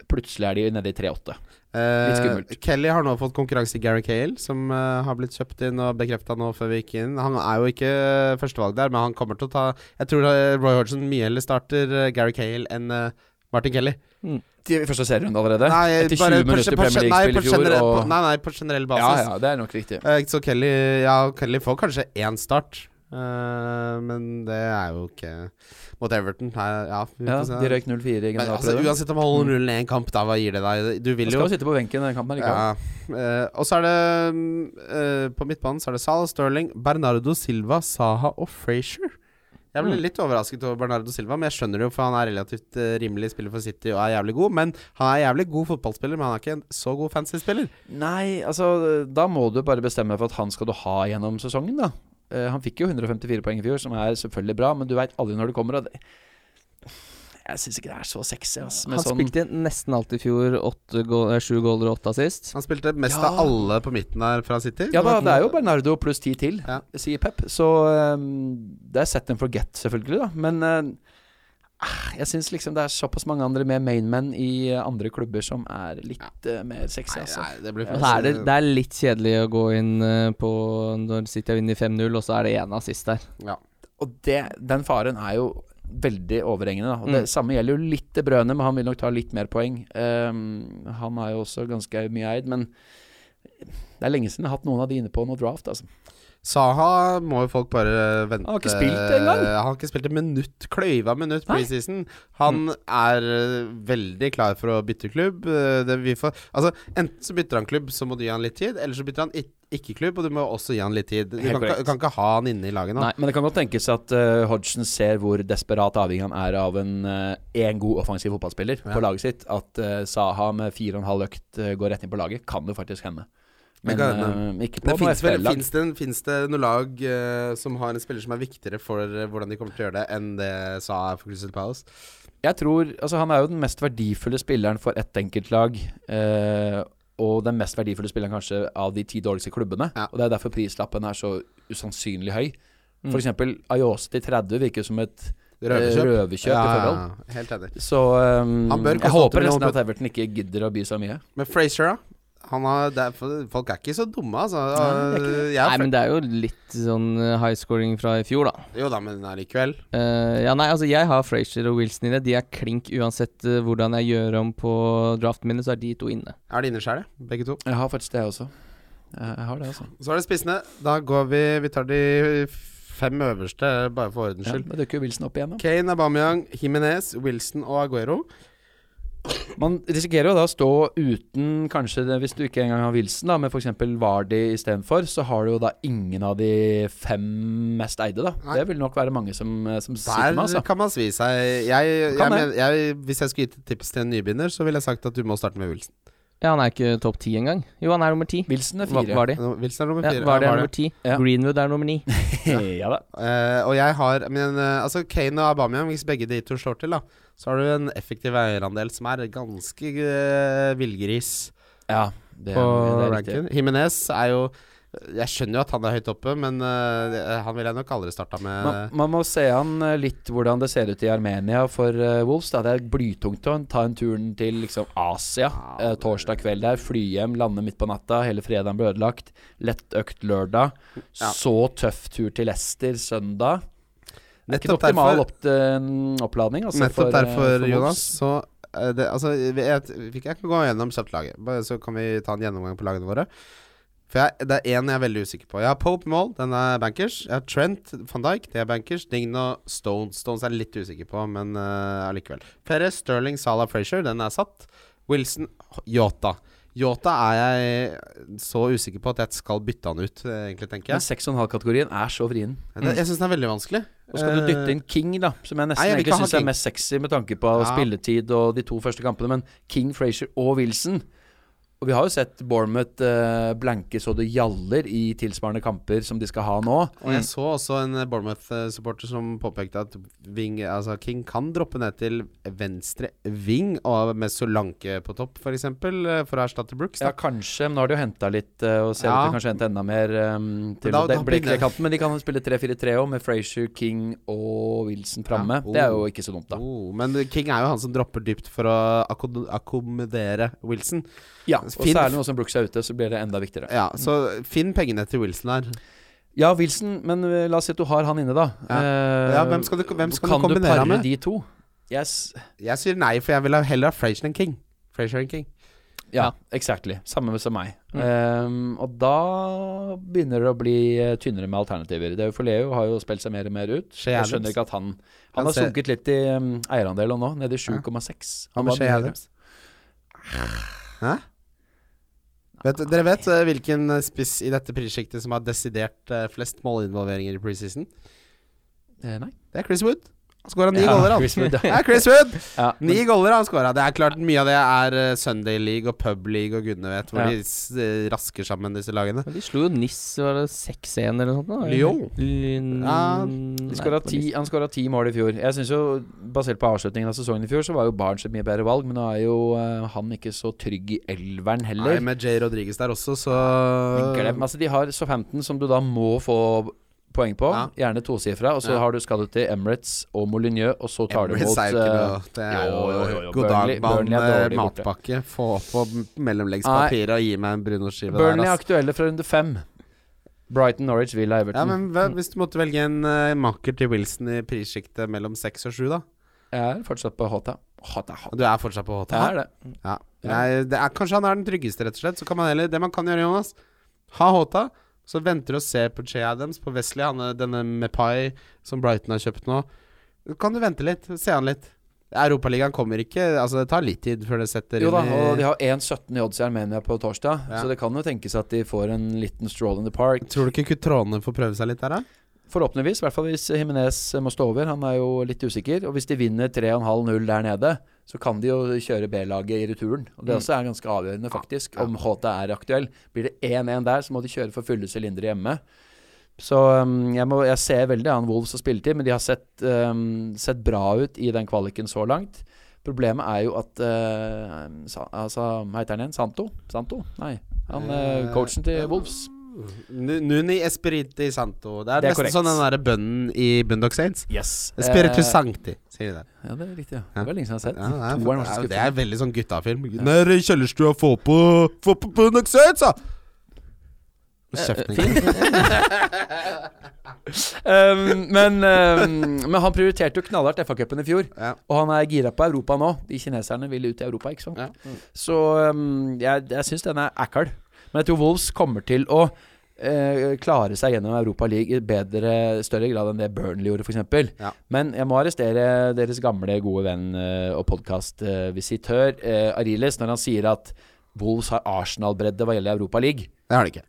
[SPEAKER 1] Plutselig er de nede i 3-8. Litt skummelt.
[SPEAKER 3] Eh, Kelly har nå fått konkurranse i Gary Cale, som eh, har blitt kjøpt inn og bekrefta nå før vi gikk inn. Han er jo ikke eh, førstevalg der, men han kommer til å ta Jeg tror eh, Roy Hodgson mye heller starter eh, Gary Cale enn eh, Martin Kelly.
[SPEAKER 1] De er i første serierunde allerede? Etter 20
[SPEAKER 3] bare på-
[SPEAKER 1] minutter
[SPEAKER 3] på-
[SPEAKER 1] Premier
[SPEAKER 3] nei,
[SPEAKER 1] League-spill
[SPEAKER 3] på
[SPEAKER 1] i fjor?
[SPEAKER 3] generell-
[SPEAKER 1] Og,
[SPEAKER 3] på- Nei, nei, på generell basis.
[SPEAKER 1] ja, ja, det er nok riktig.
[SPEAKER 3] Eh, så Kelly, ja, Kelly får kanskje én start, eh, men det er jo ikke Mot Everton. Nei, ja, vi får
[SPEAKER 1] Ja,
[SPEAKER 3] se.
[SPEAKER 1] de røyk 0-4 i
[SPEAKER 3] men, altså,
[SPEAKER 1] generalprøven.
[SPEAKER 3] uansett om man holder nullen én kamp, da, hva gir det deg?
[SPEAKER 1] Mm.
[SPEAKER 3] Du
[SPEAKER 1] Han
[SPEAKER 3] vil jo
[SPEAKER 1] skal jo sitte på benken i den kampen. Ikke? sant?
[SPEAKER 3] Ja. Eh, og så er det mm, eh, På midtbanen så er det Sal, Sterling, Bernardo Silva, Saha og Frazier. Jeg ble
[SPEAKER 2] Mm.
[SPEAKER 3] litt overrasket over Bernardo Silva, men jeg skjønner det jo, for han er relativt eh, rimelig spiller for City og er jævlig god. Men han er jævlig god fotballspiller, men han er ikke en så god fancy-spiller.
[SPEAKER 1] Nei, altså da må du bare bestemme deg for at han skal du ha gjennom sesongen, da. Eh, han fikk jo 154 poeng i fjor, som er selvfølgelig bra, men du veit aldri når det kommer. Og det jeg syns ikke det er så sexy, ass. Med
[SPEAKER 2] Han
[SPEAKER 1] sånn
[SPEAKER 2] spilte nesten alt i fjor. åtte gå- eh, Sju goaler og åtte assist.
[SPEAKER 3] Han spilte mest
[SPEAKER 1] Ja.
[SPEAKER 3] av alle på midten der fra City.
[SPEAKER 1] Ja da, det er jo Bernardo pluss ti til,
[SPEAKER 3] Ja.
[SPEAKER 1] sier Pep. Så ehm, det er set and forget, selvfølgelig, da. Men eh, jeg syns liksom det er såpass mange andre med mainmen i eh, andre klubber som er litt eh, mer sexy,
[SPEAKER 3] Nei,
[SPEAKER 1] altså.
[SPEAKER 3] nei, det blir
[SPEAKER 2] Og så er det, det er litt kjedelig å gå inn eh, på når City har vunnet 5-0, og så er det én assist der.
[SPEAKER 3] ja.
[SPEAKER 1] Og det, den faren er jo veldig overhengende. Da. Og Det samme gjelder jo litt til Brøne, men han vil nok ta litt mer poeng. Ehm, han er jo også ganske mye eid, men det er lenge siden jeg har hatt noen av de inne på noe draft. Altså.
[SPEAKER 3] Saha må jo folk bare vente
[SPEAKER 1] Han
[SPEAKER 3] Eh,
[SPEAKER 1] har ikke spilt det engang.
[SPEAKER 3] Han har ikke spilt et minutt, kløyva
[SPEAKER 1] Nei.
[SPEAKER 3] minutt
[SPEAKER 1] Mm.
[SPEAKER 3] preseason. Han er eh, veldig klar for å bytte klubb. Eh, Det vi får, altså, enten så bytter han klubb, så må du gi han litt tid. Eller så bytter han ik- ikke klubb, og du må også gi han litt tid. Du
[SPEAKER 1] Helt
[SPEAKER 3] kan, ikke-
[SPEAKER 1] korrekt.
[SPEAKER 3] kan ikke ha han inne i laget nå.
[SPEAKER 1] Nei, men det kan godt tenkes at eh, Hodgson ser hvor desperat avhengig han er av en eh, en god offensiv fotballspiller
[SPEAKER 3] Ja.
[SPEAKER 1] på laget sitt. At eh, Saha med fire og en halv økt eh, går rett inn på laget, kan det faktisk hende.
[SPEAKER 3] Det
[SPEAKER 1] Men
[SPEAKER 3] kan hende.
[SPEAKER 1] eh, ikke på
[SPEAKER 3] Det
[SPEAKER 1] noe
[SPEAKER 3] Fins vel-
[SPEAKER 1] FPL-lag.
[SPEAKER 3] finnes det, en- finnes det noen lag eh, som har en spiller som er viktigere for eh, hvordan de kommer til å gjøre det, enn det Saha er for Crystal Palace?
[SPEAKER 1] Jeg tror, altså Han er jo den mest verdifulle spilleren for ett enkeltlag. Eh, og den mest verdifulle spilleren kanskje av de ti dårligste klubbene.
[SPEAKER 3] Ja.
[SPEAKER 1] Og Det er derfor prislappen er så usannsynlig høy. For eksempel Ayose til 30 virker som et eh,
[SPEAKER 3] Røverkjøp.
[SPEAKER 1] Mm. røverkjøp i forhold.
[SPEAKER 3] helt enig.
[SPEAKER 1] Så ehm,
[SPEAKER 3] Han bør koste
[SPEAKER 1] jeg håper
[SPEAKER 3] 8 millioner
[SPEAKER 1] nesten at Everton ikke gidder å by så mye.
[SPEAKER 3] Men Frazier, da? Han har, det er, for- folk er ikke så dumme, altså.
[SPEAKER 1] Nei, det er ikke
[SPEAKER 3] Jeg er
[SPEAKER 2] Nei,
[SPEAKER 3] fra-
[SPEAKER 2] men det er jo litt sånn eh, high scoring fra i fjor, da.
[SPEAKER 3] Jo da, men allikevel.
[SPEAKER 2] Eh, ja, nei, altså Jeg har Frazier og Wilson inne. De er klink uansett eh, hvordan jeg gjør om på draften min, så er de to inne.
[SPEAKER 3] Er det inneskjæret, begge to?
[SPEAKER 1] Jeg har faktisk det også. Jeg jeg har det, altså.
[SPEAKER 3] Så er det spissene. Da går vi Vi tar de fem øverste, bare for ordens
[SPEAKER 1] Ja,
[SPEAKER 3] skyld.
[SPEAKER 1] da dukker jo Wilson opp igjen, da.
[SPEAKER 3] Kane, Aubameyang, Jimenez, Wilson og Aguero.
[SPEAKER 1] Man risikerer jo da å stå uten, kanskje det, hvis du ikke engang har Wilson, da, men f.eks. Vardi istedenfor, så har du jo da ingen av de fem mest eide, da.
[SPEAKER 3] Nei.
[SPEAKER 1] Det vil nok være mange som, som sitter med,
[SPEAKER 3] Der
[SPEAKER 1] altså.
[SPEAKER 3] kan man svi seg. Jeg, jeg,
[SPEAKER 1] Kan
[SPEAKER 3] men- jeg, hvis jeg skulle gitt et tips til en nybegynner, så ville jeg sagt at du må starte med Wilson.
[SPEAKER 2] Ja, Han er ikke topp ti engang. Jo, han er nummer ti.
[SPEAKER 1] Wilson er
[SPEAKER 2] Hva
[SPEAKER 1] fire.
[SPEAKER 2] var de?
[SPEAKER 3] Nå, Wilson er nummer
[SPEAKER 2] Ja,
[SPEAKER 3] fire.
[SPEAKER 2] var det er
[SPEAKER 3] Ja, var det.
[SPEAKER 2] nummer ti?
[SPEAKER 1] Ja.
[SPEAKER 2] Greenwood er nummer ni.
[SPEAKER 1] *laughs* ja da.
[SPEAKER 3] Eh, og jeg har men, eh, altså Kane og Aubameyang, hvis begge de to slår til, da, så har du en effektiv eierandel som er ganske eh, villgris
[SPEAKER 1] Ja, det, det
[SPEAKER 3] på
[SPEAKER 1] er riktig.
[SPEAKER 3] ranken. Jimenez er jo Jeg skjønner jo at han er høyt oppe, men eh, han ville jeg nok aldri starta med.
[SPEAKER 1] Man, man må se an eh, litt hvordan det ser ut i Armenia for eh, Wolves. Da. Det er blytungt å ta en turen til liksom, Asia
[SPEAKER 3] Ah,
[SPEAKER 1] eh, torsdag kveld der. Fly hjem, lande midt på natta. Hele fredagen ble ødelagt. Lett økt lørdag.
[SPEAKER 3] Ja.
[SPEAKER 1] Så tøff tur til Leicester søndag. Det er ikke en
[SPEAKER 3] Nettopp
[SPEAKER 1] optimal
[SPEAKER 3] derfor-
[SPEAKER 1] opp, en oppladning. Altså,
[SPEAKER 3] Nettopp
[SPEAKER 1] for, eh,
[SPEAKER 3] derfor,
[SPEAKER 1] for Wolves.
[SPEAKER 3] Jonas, så eh, det, altså, vi, jeg, vi kan gå gjennom kjapt laget, bare så kan vi ta en gjennomgang på lagene våre. For jeg, Det er én jeg er veldig usikker på. Jeg har Pope Mall, den er bankers. Jeg har Trent van Dijk, det er bankers. Digno Stones. Stones er jeg litt usikker på, men eh, allikevel. Perez, Sterling, Salah, Frazier, den er satt. Wilson, Yota. Yota er jeg så usikker på at jeg skal bytte han ut, eh, egentlig, tenker
[SPEAKER 1] Men
[SPEAKER 3] jeg.
[SPEAKER 1] 6,5-kategorien er så vrien.
[SPEAKER 3] Det, jeg syns den er veldig vanskelig.
[SPEAKER 1] Mm. Og skal du
[SPEAKER 3] Eh,
[SPEAKER 1] dytte inn King, da, som jeg
[SPEAKER 3] Nei,
[SPEAKER 1] nesten
[SPEAKER 3] jeg vil
[SPEAKER 1] egentlig
[SPEAKER 3] ikke ha
[SPEAKER 1] syns er
[SPEAKER 3] King.
[SPEAKER 1] mest sexy med tanke på
[SPEAKER 3] Ja.
[SPEAKER 1] spilletid og de to første kampene, men King, Frazier og Wilson Og vi har jo sett Bournemouth eh, blanke så det gjaller i tilsvarende kamper som de skal ha nå.
[SPEAKER 3] Og jeg så også en eh, Bournemouth-supporter som påpekte at Wing, altså King kan droppe ned til venstre wing og med Solanke på topp, f.eks., for, eksempel, eh, for å erstatte Brooks.
[SPEAKER 1] Ja,
[SPEAKER 3] Da.
[SPEAKER 1] kanskje, men nå har de jo henta litt eh, og ser
[SPEAKER 3] Ja.
[SPEAKER 1] ut til kanskje hente enda mer um, til
[SPEAKER 3] Men da-
[SPEAKER 1] den
[SPEAKER 3] da begynner-
[SPEAKER 1] Blakely-kanten. Men de kan spille 3-4-3 òg, med Frazier, King og Wilson framme.
[SPEAKER 3] Ja.
[SPEAKER 1] Det er jo
[SPEAKER 3] Oh.
[SPEAKER 1] ikke så dumt, da.
[SPEAKER 3] Oh, men King er jo han som dropper dypt for å akko- akkommodere Wilson.
[SPEAKER 1] Ja, og
[SPEAKER 3] Finn-
[SPEAKER 1] særlig nå som Brooks er ute, så blir det enda viktigere.
[SPEAKER 3] Ja, Så finn pengene til Wilson her.
[SPEAKER 1] Ja, Wilson, men eh, la oss si at du har han inne, da.
[SPEAKER 3] Ja.
[SPEAKER 1] Eh,
[SPEAKER 3] Ja, hvem skal du, hvem skal du
[SPEAKER 1] kan du
[SPEAKER 3] kombinere
[SPEAKER 1] pare
[SPEAKER 3] ham med?
[SPEAKER 1] de to? Yes.
[SPEAKER 3] Jeg sier nei, for jeg vil ha- heller ha Frazier enn King. Frazier enn King.
[SPEAKER 1] Ja, exactly. Samme med som meg. Ehm, og da begynner det å bli eh, tynnere med alternativer. Det er jo for Leo har jo spilt seg mer og mer ut.
[SPEAKER 3] Shea
[SPEAKER 1] Jeg
[SPEAKER 3] Adams.
[SPEAKER 1] skjønner ikke at han
[SPEAKER 3] Han
[SPEAKER 1] Han har
[SPEAKER 3] ser-
[SPEAKER 1] sunket litt i um, eierandelen nå, nede i 7,6.
[SPEAKER 3] Hva
[SPEAKER 1] Han
[SPEAKER 3] med
[SPEAKER 1] var
[SPEAKER 3] Shea
[SPEAKER 1] mye
[SPEAKER 3] Adams? Hæ? Vet, dere vet eh, hvilken eh, spiss i dette prissjiktet som har desidert eh, flest målinvolveringer i preseason?
[SPEAKER 1] høyere. Eh, nei.
[SPEAKER 3] Det er Chris Wood. Han skåra ni
[SPEAKER 1] Ja,
[SPEAKER 3] goller, han.
[SPEAKER 1] Chris
[SPEAKER 3] *laughs*
[SPEAKER 1] Wood,
[SPEAKER 3] Det
[SPEAKER 1] ja.
[SPEAKER 3] er
[SPEAKER 1] *laughs*
[SPEAKER 3] Chris Wood!
[SPEAKER 1] Ja,
[SPEAKER 3] Ni goller har han skåra. Det er klart mye av det er eh, Sunday League og Pub League og gudene vet, hvor
[SPEAKER 1] Ja.
[SPEAKER 3] de s- eh, rasker sammen disse lagene.
[SPEAKER 2] Men De slo jo Niss, var det 6-1 eller noe sånt? da?
[SPEAKER 3] Lyon.
[SPEAKER 2] Lyn-
[SPEAKER 3] Ja,
[SPEAKER 1] De
[SPEAKER 2] Nei,
[SPEAKER 1] skåra
[SPEAKER 2] det var
[SPEAKER 1] ti-
[SPEAKER 2] Nice.
[SPEAKER 1] han skåra ti mål i fjor. Jeg synes jo, Basert på avslutningen av sesongen i fjor, så var jo Barents et mye bedre valg, men nå er jo eh, han ikke så trygg i elveren
[SPEAKER 3] Nei,
[SPEAKER 1] heller.
[SPEAKER 3] med Jay Rodriguez der også, så
[SPEAKER 1] Men
[SPEAKER 3] Øh.
[SPEAKER 1] Glem, altså De har Southampton, som du da må få poeng på.
[SPEAKER 3] Ja.
[SPEAKER 1] Gjerne tosifra. Og så
[SPEAKER 3] Ja.
[SPEAKER 1] har du skal du til Emirates og Molyneux, og så tar du
[SPEAKER 3] Emirates
[SPEAKER 1] mot øh,
[SPEAKER 3] er jo ikke noe Det er
[SPEAKER 1] jo, jo, jo,
[SPEAKER 3] jo
[SPEAKER 1] jo.
[SPEAKER 3] God dag,
[SPEAKER 1] Burnley-
[SPEAKER 3] mann.
[SPEAKER 1] Burnley er
[SPEAKER 3] eh,
[SPEAKER 1] dårlig borte.
[SPEAKER 3] Matpakke. Få på m- mellomleggspapiret og gi meg en
[SPEAKER 1] eh,
[SPEAKER 3] Bruno-skive der,
[SPEAKER 1] Burnley er
[SPEAKER 3] ass.
[SPEAKER 1] aktuelle fra runde fem. Brighton, Norwich, Villa, Everton.
[SPEAKER 3] Ja, men hva,
[SPEAKER 1] Mm.
[SPEAKER 3] Hvis du måtte velge en eh, maker til Wilson i prissjiktet mellom seks og sju, da?
[SPEAKER 1] Jeg er fortsatt på Hota. Hota, Hota.
[SPEAKER 3] Du er fortsatt på HT?
[SPEAKER 1] Jeg er det.
[SPEAKER 3] Ja. Nei, det er, kanskje han er den tryggeste, rett og slett. Så kan man heller, det man kan gjøre, Jonas Ha Håta, så venter du og ser på Che Adams, på Wesley, han, er- denne Mepai som Brighton har kjøpt nå. Kan du vente litt? Se han litt. Europaligaen kommer ikke. Altså, det tar litt tid før det setter
[SPEAKER 1] Jo da,
[SPEAKER 3] inn
[SPEAKER 1] og de har 1-17 i odds i Armenia på torsdag,
[SPEAKER 3] Ja.
[SPEAKER 1] så det kan jo tenkes at de får en liten stroll in the park.
[SPEAKER 3] Tror du ikke Kutrone får prøve seg litt der, da?
[SPEAKER 1] Forhåpentligvis, i hvert fall hvis Jimenez må stå over. Han er jo litt usikker. Og hvis de vinner 3,5-0 der nede, så kan de jo kjøre B-laget i returen. Og
[SPEAKER 3] Mm.
[SPEAKER 1] Det også er ganske avgjørende, faktisk, om HT er aktuell. Blir det 1-1 der, så må de kjøre for fulle sylindere hjemme. Så um, jeg, må, jeg ser veldig an Wolves og spilletid, men de har sett, um, sett bra ut i den kvaliken så langt. Problemet er jo at uh, sa, altså, Hva heter han igjen? Santo? Santo? Nei. Han, uh,
[SPEAKER 3] Eh,
[SPEAKER 1] coachen til
[SPEAKER 3] ja.
[SPEAKER 1] Wolves.
[SPEAKER 3] Nu- Nuni Espiriti Santo. Det er,
[SPEAKER 1] Det er
[SPEAKER 3] nesten
[SPEAKER 1] korrekt.
[SPEAKER 3] sånn den derre bønnen i Bundock Saints.
[SPEAKER 1] Yes.
[SPEAKER 3] Espiritu
[SPEAKER 1] Eh,
[SPEAKER 3] Sankti, sier de der.
[SPEAKER 1] Ja, det er riktig. Ja.
[SPEAKER 3] Ja.
[SPEAKER 1] Det var lenge siden jeg har sett.
[SPEAKER 3] Ja, det, er,
[SPEAKER 1] Toeren var så
[SPEAKER 3] ja, det
[SPEAKER 1] skuffende.
[SPEAKER 3] er veldig sånn guttafilm. Ned i kjellerstua, få på Få på Bundock Saints, da! Kjeften din.
[SPEAKER 1] Um, men, um, men han prioriterte jo knallhardt FA-cupen i fjor.
[SPEAKER 3] Ja.
[SPEAKER 1] Og han er gira på Europa nå. De kineserne vil ut i Europa, ikke sant.
[SPEAKER 3] Ja.
[SPEAKER 1] Så um, jeg, jeg syns den er ækkel. Men jeg tror Wolves kommer til å eh, klare seg gjennom Europa League i bedre, større grad enn det Burnley gjorde, f.eks.
[SPEAKER 3] Ja.
[SPEAKER 1] Men jeg må arrestere deres gamle, gode venn eh, og podkastvisitør uh, Ariles når han sier at Wolves har Arsenal-bredde hva gjelder Europa League.
[SPEAKER 3] Det har de ikke.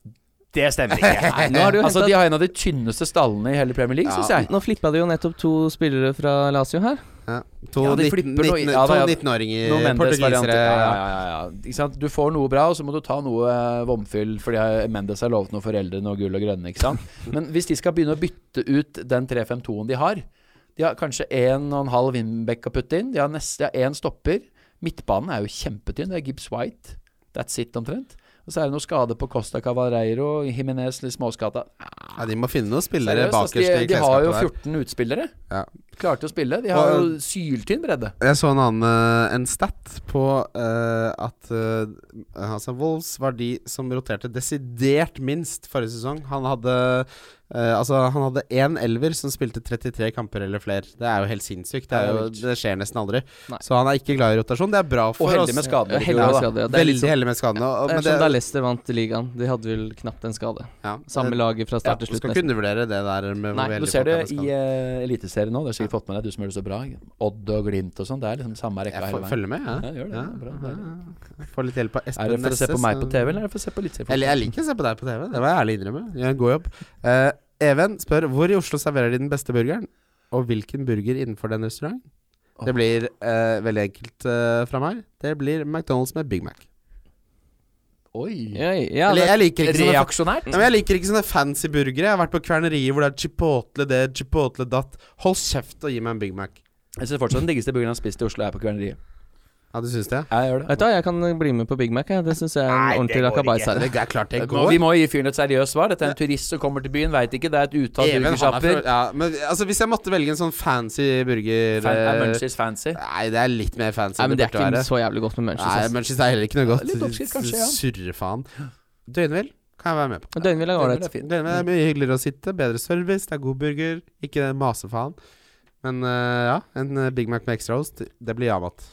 [SPEAKER 1] Det stemmer ikke.
[SPEAKER 2] Nå har du
[SPEAKER 1] altså,
[SPEAKER 2] hentet-
[SPEAKER 1] de har en av de tynneste stallene i hele Premier League,
[SPEAKER 3] Ja.
[SPEAKER 1] syns jeg.
[SPEAKER 2] Nå flippa de jo nettopp to spillere fra Lazio her.
[SPEAKER 3] Ja. To
[SPEAKER 1] Ja, de
[SPEAKER 3] 19
[SPEAKER 1] flipper noe-
[SPEAKER 3] 19
[SPEAKER 1] ja, da,
[SPEAKER 3] to
[SPEAKER 1] ja.
[SPEAKER 3] 19-åringer,
[SPEAKER 1] Noen Mendes-varianter.
[SPEAKER 3] Eh, portugisere.
[SPEAKER 1] Ja, ja, ja, ja. Ikke sant? Du får noe bra, og så må du ta noe eh, vomfyll fordi eh, Mendes har lovet noen foreldre noe gull og grønne. Ikke
[SPEAKER 3] *laughs*
[SPEAKER 1] sant? Men hvis de skal begynne å bytte ut den 3-5-2-en de har De har kanskje en og en halv Wimbek å putte inn. De har neste én stopper. Midtbanen er jo kjempetynn. Det er Gibbs White. That's it, omtrent. Og så er det noe skade på Costa Cavareiro, Jimenez, litt småskada.
[SPEAKER 3] Ja, de må finne noen spillere
[SPEAKER 1] Seriøst, ass,
[SPEAKER 3] bakerst i
[SPEAKER 1] de, de har jo
[SPEAKER 3] klesskapet der.
[SPEAKER 1] 14 utspillere.
[SPEAKER 3] Ja.
[SPEAKER 1] Klarte å spille. De har
[SPEAKER 3] Og- eh,
[SPEAKER 1] jo syltynn bredde.
[SPEAKER 3] Jeg så en annen eh, en stat på eh, at eh, altså Wolves var de som roterte desidert minst forrige sesong. Han hadde eh, Altså han hadde én elver som spilte 33 kamper eller flere. Det er jo helt sinnssykt.
[SPEAKER 1] Ja,
[SPEAKER 3] Det,
[SPEAKER 1] det
[SPEAKER 3] er
[SPEAKER 1] er
[SPEAKER 3] jo,
[SPEAKER 1] vilt.
[SPEAKER 3] det skjer nesten aldri.
[SPEAKER 2] Nei.
[SPEAKER 3] Så han er ikke glad i rotasjon. Det er bra
[SPEAKER 1] Og
[SPEAKER 3] for
[SPEAKER 1] heldig
[SPEAKER 3] oss.
[SPEAKER 1] med skadene.
[SPEAKER 2] heldig
[SPEAKER 1] Ja,
[SPEAKER 2] med
[SPEAKER 1] da.
[SPEAKER 2] skader, ja. Det er litt
[SPEAKER 3] Veldig
[SPEAKER 1] liksom-
[SPEAKER 2] sånn-
[SPEAKER 3] heldig med skadene. og-
[SPEAKER 2] det er
[SPEAKER 3] men
[SPEAKER 2] som da
[SPEAKER 3] det-
[SPEAKER 2] Leicester vant ligaen. De hadde vel knapt en skade.
[SPEAKER 3] ja,
[SPEAKER 2] Samme
[SPEAKER 3] det-
[SPEAKER 2] laget fra
[SPEAKER 3] ja,
[SPEAKER 2] start til
[SPEAKER 3] Du
[SPEAKER 2] slutt.
[SPEAKER 3] skal ikke
[SPEAKER 2] nesten.
[SPEAKER 3] undervurdere det der. Med hvor
[SPEAKER 2] Nei,
[SPEAKER 1] Du
[SPEAKER 3] heldig
[SPEAKER 1] ser
[SPEAKER 3] folk
[SPEAKER 1] det
[SPEAKER 3] er med
[SPEAKER 1] i
[SPEAKER 3] skader.
[SPEAKER 1] eh, Eliteserien nå. Det har sikkert fått med deg, du som gjør det så bra. Odd og Glimt og sånn. Det er liksom samme rekka
[SPEAKER 3] Jeg
[SPEAKER 1] hele
[SPEAKER 3] får,
[SPEAKER 1] veien.
[SPEAKER 3] følger med,
[SPEAKER 1] Ja, gjør det.
[SPEAKER 3] Ja,
[SPEAKER 1] Det er bra,
[SPEAKER 3] ja,
[SPEAKER 1] det er
[SPEAKER 3] ja, ja. Får litt hjelp av Espen
[SPEAKER 1] Er det for å se
[SPEAKER 3] Nesse,
[SPEAKER 1] på meg på
[SPEAKER 3] så-
[SPEAKER 1] TV, eller er det for å se på Eliteserien?
[SPEAKER 3] Eller jeg liker å se på deg på TV, det må jeg ærlig innrømme. Gjør en god jobb. Eh, Even spør hvor i Oslo serverer de den beste burgeren, og hvilken burger innenfor den restauranten? Det blir eh, veldig enkelt eh, fra meg. Det blir McDonald's med Big Mac.
[SPEAKER 1] Oi.
[SPEAKER 2] Oi, ja,
[SPEAKER 3] Eller
[SPEAKER 2] det,
[SPEAKER 3] jeg liker ikke sånne
[SPEAKER 1] Reaksjonært?
[SPEAKER 3] Nei, men Jeg liker ikke sånne fancy burgere. Jeg har vært på kvernerier hvor det er chipotle det, chipotle datt. Hold kjeft og gi meg en Big Mac.
[SPEAKER 1] Jeg syns fortsatt den diggeste burgeren jeg har spist i Oslo, er på Kverneriet.
[SPEAKER 3] Ja, du syns det?
[SPEAKER 1] Jeg gjør det.
[SPEAKER 2] vet du hva, jeg kan bli med på Big Mac. Jeg. Det syns jeg er en
[SPEAKER 3] Nei, det
[SPEAKER 2] ordentlig
[SPEAKER 3] går
[SPEAKER 2] rakabais her.
[SPEAKER 3] Det er klart det
[SPEAKER 1] Må, vi
[SPEAKER 3] går.
[SPEAKER 1] må gi fyren et seriøst svar. Dette er en turist som kommer til byen, veit ikke. Det er et utall
[SPEAKER 3] Even, han er fra,
[SPEAKER 1] burgersjapper.
[SPEAKER 3] ja, men altså, hvis jeg måtte velge en sånn fancy burger
[SPEAKER 1] Fan, er
[SPEAKER 3] eh,
[SPEAKER 1] Munchies fancy?
[SPEAKER 3] Nei, det er litt mer fancy. eh.
[SPEAKER 2] Nei,
[SPEAKER 3] enn
[SPEAKER 2] men Det er
[SPEAKER 3] burde være.
[SPEAKER 2] ikke så jævlig godt med Munchies.
[SPEAKER 3] Nei,
[SPEAKER 2] ass.
[SPEAKER 3] Munchies er heller ikke noe godt.
[SPEAKER 1] litt oppskritt kanskje, ja.
[SPEAKER 3] Surrefaen. Døgnvill kan jeg være med på.
[SPEAKER 2] Men Døgnhvil er
[SPEAKER 1] Det
[SPEAKER 2] ålreit.
[SPEAKER 1] er fint.
[SPEAKER 3] Døgnvill er mye hyggeligere å sitte, bedre service, det er god burger, ikke den masefaen. Men eh, ja, en eh, Big Mac med ekstra ost, det blir ja-mat.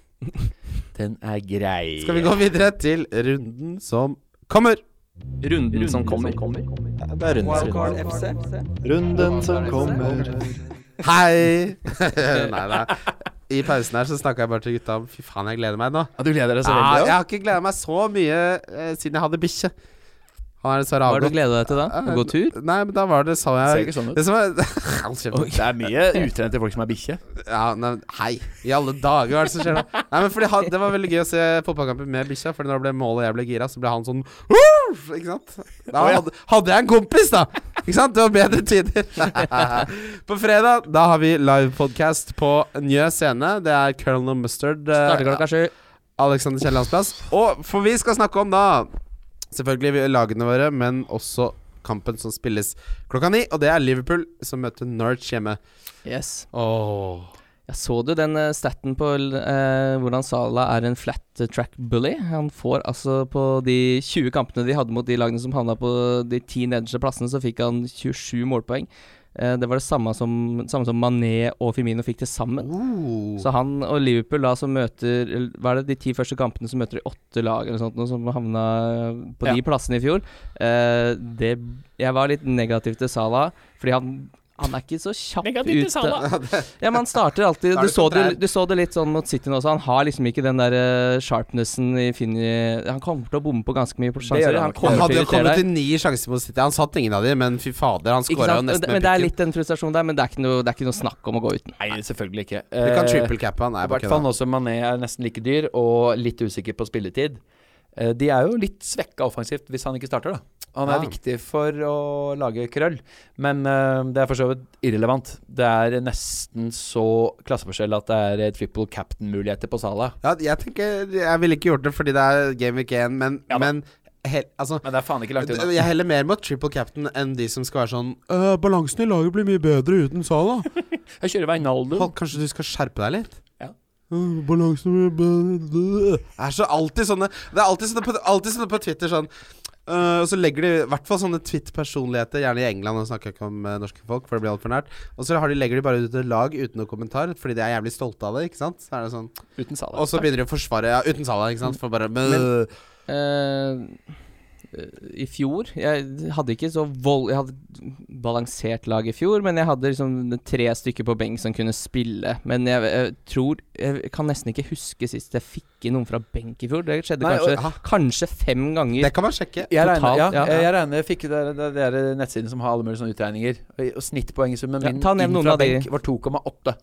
[SPEAKER 1] Den er grei.
[SPEAKER 3] Skal vi gå videre til runden som kommer?
[SPEAKER 2] Runden som kommer.
[SPEAKER 4] Det er runden som kommer. Runden som kommer.
[SPEAKER 1] *laughs*
[SPEAKER 3] Hei! nei, nei. I pausen her så snakka jeg bare til gutta om Fy faen, jeg gleder meg nå.
[SPEAKER 1] Ja, du gleder deg så
[SPEAKER 3] Ah,
[SPEAKER 1] veldig?
[SPEAKER 3] jeg
[SPEAKER 1] Ja.
[SPEAKER 3] har ikke gleda meg så mye eh, siden jeg hadde bikkje. Han er dessverre
[SPEAKER 2] Hva har du
[SPEAKER 3] avgått.
[SPEAKER 2] gleda deg til da? Å gå tur?
[SPEAKER 3] Nei, men da var det så
[SPEAKER 1] Ser
[SPEAKER 3] jeg
[SPEAKER 1] ikke sånn ut.
[SPEAKER 3] Det som er *laughs* Hold kjeft.
[SPEAKER 1] Det er mye utrente folk som er bikkje.
[SPEAKER 3] Ja, nei, men hei. I alle dager, hva er det som skjer nå? Nei, men fordi han, Det var veldig gøy å se fotballkampen med bikkja, Fordi når det ble mål og jeg ble gira, så ble han sånn «Uff!» Ikke sant? Da hadde, hadde jeg en kompis, da! Ikke sant? Det var bedre tider. *laughs* på fredag da har vi livepodkast på Njø scene. Det er Colonel Mustard. eh,
[SPEAKER 2] Starter klokka sju.
[SPEAKER 3] Alexander Kiellands plass. Og for vi skal snakke om da selvfølgelig lagene våre, men også kampen som spilles klokka ni. Og det er Liverpool som møter Norwich hjemme.
[SPEAKER 2] Yes.
[SPEAKER 3] Oh.
[SPEAKER 2] Jeg så du den eh, staten på eh, hvordan Sala er en flat track bully. Han får altså på de 20 kampene de hadde mot de lagene som havna på de ti nederste plassene, så fikk han 27 målpoeng. Eh, det var det samme som, samme som Mané og Firmino fikk til sammen.
[SPEAKER 3] Oh.
[SPEAKER 2] Så han og Liverpool da som møter eller Hva er det de ti første kampene som møter de åtte lag eller sånt noe som havna på
[SPEAKER 1] Ja.
[SPEAKER 2] de plassene i fjor? Eh, det Jeg var litt negativ til Salah, fordi han han er ikke så kjapp
[SPEAKER 1] Negativ til
[SPEAKER 2] ut Ja, men han starter alltid
[SPEAKER 3] Da er
[SPEAKER 2] du
[SPEAKER 3] det
[SPEAKER 2] så, det,
[SPEAKER 3] kontrær.
[SPEAKER 2] du så det litt sånn mot City nå også. Han har liksom ikke den der eh, sharpnessen i Finny Han kommer til å bomme på ganske mye
[SPEAKER 1] gjør han
[SPEAKER 2] sjanser. Han
[SPEAKER 1] nok.
[SPEAKER 3] Han
[SPEAKER 2] kommer
[SPEAKER 3] hadde
[SPEAKER 2] til å
[SPEAKER 3] jo kommet
[SPEAKER 2] irritere deg.
[SPEAKER 3] til ni sjanser mot City. Han satt ingen av de, men fy fader, han
[SPEAKER 2] Ikke
[SPEAKER 3] skåra jo
[SPEAKER 2] sant?
[SPEAKER 3] nesten
[SPEAKER 2] Men
[SPEAKER 3] med
[SPEAKER 2] det er
[SPEAKER 3] pikken.
[SPEAKER 2] litt den frustrasjonen der, men det er ikke noe, det er ikke noe snakk om å gå uten.
[SPEAKER 1] Nei, selvfølgelig ikke.
[SPEAKER 3] Du kan
[SPEAKER 1] Eh,
[SPEAKER 3] triple cappe han. Nei,
[SPEAKER 1] I
[SPEAKER 3] bare
[SPEAKER 1] hvert fall
[SPEAKER 3] kødda.
[SPEAKER 1] nå som Mané er nesten like dyr og litt usikker på spilletid. Eh, De er jo litt svekka offensivt hvis han ikke starter, da. Han er
[SPEAKER 3] Ja.
[SPEAKER 1] viktig for å lage krøll, men eh, det er for så vidt irrelevant. Det er nesten så klasseforskjell at det er eh, triple captain-muligheter på Salah.
[SPEAKER 3] Ja, jeg tenker Jeg ville ikke gjort det fordi det er Game Week 1, men,
[SPEAKER 1] Ja da.
[SPEAKER 3] men he, Altså
[SPEAKER 1] Men det er faen ikke langt unna.
[SPEAKER 3] jeg heller mer mot triple captain enn de som skal være sånn «Øh, Balansen i laget blir mye bedre uten Sala.
[SPEAKER 1] Jeg kjører Veinaldum.
[SPEAKER 3] Kanskje du skal skjerpe deg litt?
[SPEAKER 1] Ja.
[SPEAKER 3] «Øh, Balansen blir bedre Det er så alltid sånne Det er alltid sånne på, alltid sånne på Twitter sånn «Øh, og så legger de i hvert fall sånne Twitt-personligheter, gjerne i England. Nå snakker jeg ikke om eh, norske folk, for det blir altfor nært. Og så har de, legger de bare ut et lag uten noe kommentar, fordi de er jævlig stolte av det. ikke sant? Så er det sånn
[SPEAKER 1] Uten Salah.
[SPEAKER 3] Og så begynner de å forsvare ja, uten Salah, ikke sant? For bare
[SPEAKER 1] Men-
[SPEAKER 2] Eh, I fjor Jeg hadde ikke så vold... Jeg hadde balansert lag i fjor, men jeg hadde liksom tre stykker på benk som kunne spille. Men jeg, jeg tror Jeg kan nesten ikke huske sist jeg fikk inn noen fra benk i fjor. Det skjedde
[SPEAKER 1] Nei,
[SPEAKER 2] kanskje,
[SPEAKER 3] og-
[SPEAKER 2] kanskje fem ganger.
[SPEAKER 3] Det kan man sjekke.
[SPEAKER 1] Jeg regner,
[SPEAKER 2] Totalt,
[SPEAKER 1] ja,
[SPEAKER 2] ja.
[SPEAKER 1] jeg- jeg regner jeg fikk det, det, det er nettsiden som har alle mulige sånne utregninger. Og snittpoengsummen
[SPEAKER 2] Ja,
[SPEAKER 1] min
[SPEAKER 2] ta ned
[SPEAKER 1] inn
[SPEAKER 2] noen
[SPEAKER 1] fra
[SPEAKER 2] av de.
[SPEAKER 1] benk var 2,8.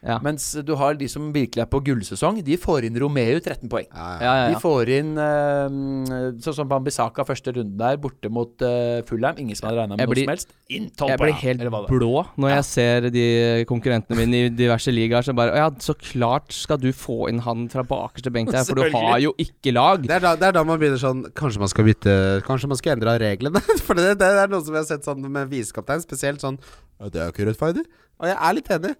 [SPEAKER 2] Ja.
[SPEAKER 1] Mens du har de som virkelig er på gullsesong, de får inn Romeu 13 poeng.
[SPEAKER 3] Ja, ja.
[SPEAKER 2] ja, ja,
[SPEAKER 1] De
[SPEAKER 2] ja.
[SPEAKER 1] får inn eh, sånn som Bambisaka første runde der, borte mot eh, Fulham. Ingen som hadde regna med
[SPEAKER 2] Jeg
[SPEAKER 1] noe
[SPEAKER 2] blir-
[SPEAKER 1] som helst. Inn 12
[SPEAKER 2] Jeg blir
[SPEAKER 1] poeng,
[SPEAKER 2] helt
[SPEAKER 1] eller hva det er.
[SPEAKER 2] blå når
[SPEAKER 1] Ja.
[SPEAKER 2] jeg ser de konkurrentene mine i diverse ligaer som bare «Å Ja, så klart skal du få inn han fra bakerste benk der, for du har jo ikke lag.
[SPEAKER 3] Det er, da, det er da man begynner sånn Kanskje man skal bytte Kanskje man skal endre reglene? *laughs* For det, det er noe som jeg har sett sånn med visekaptein, spesielt sånn «Ja, Det er jo ikke rettferdig. Og jeg er litt enig.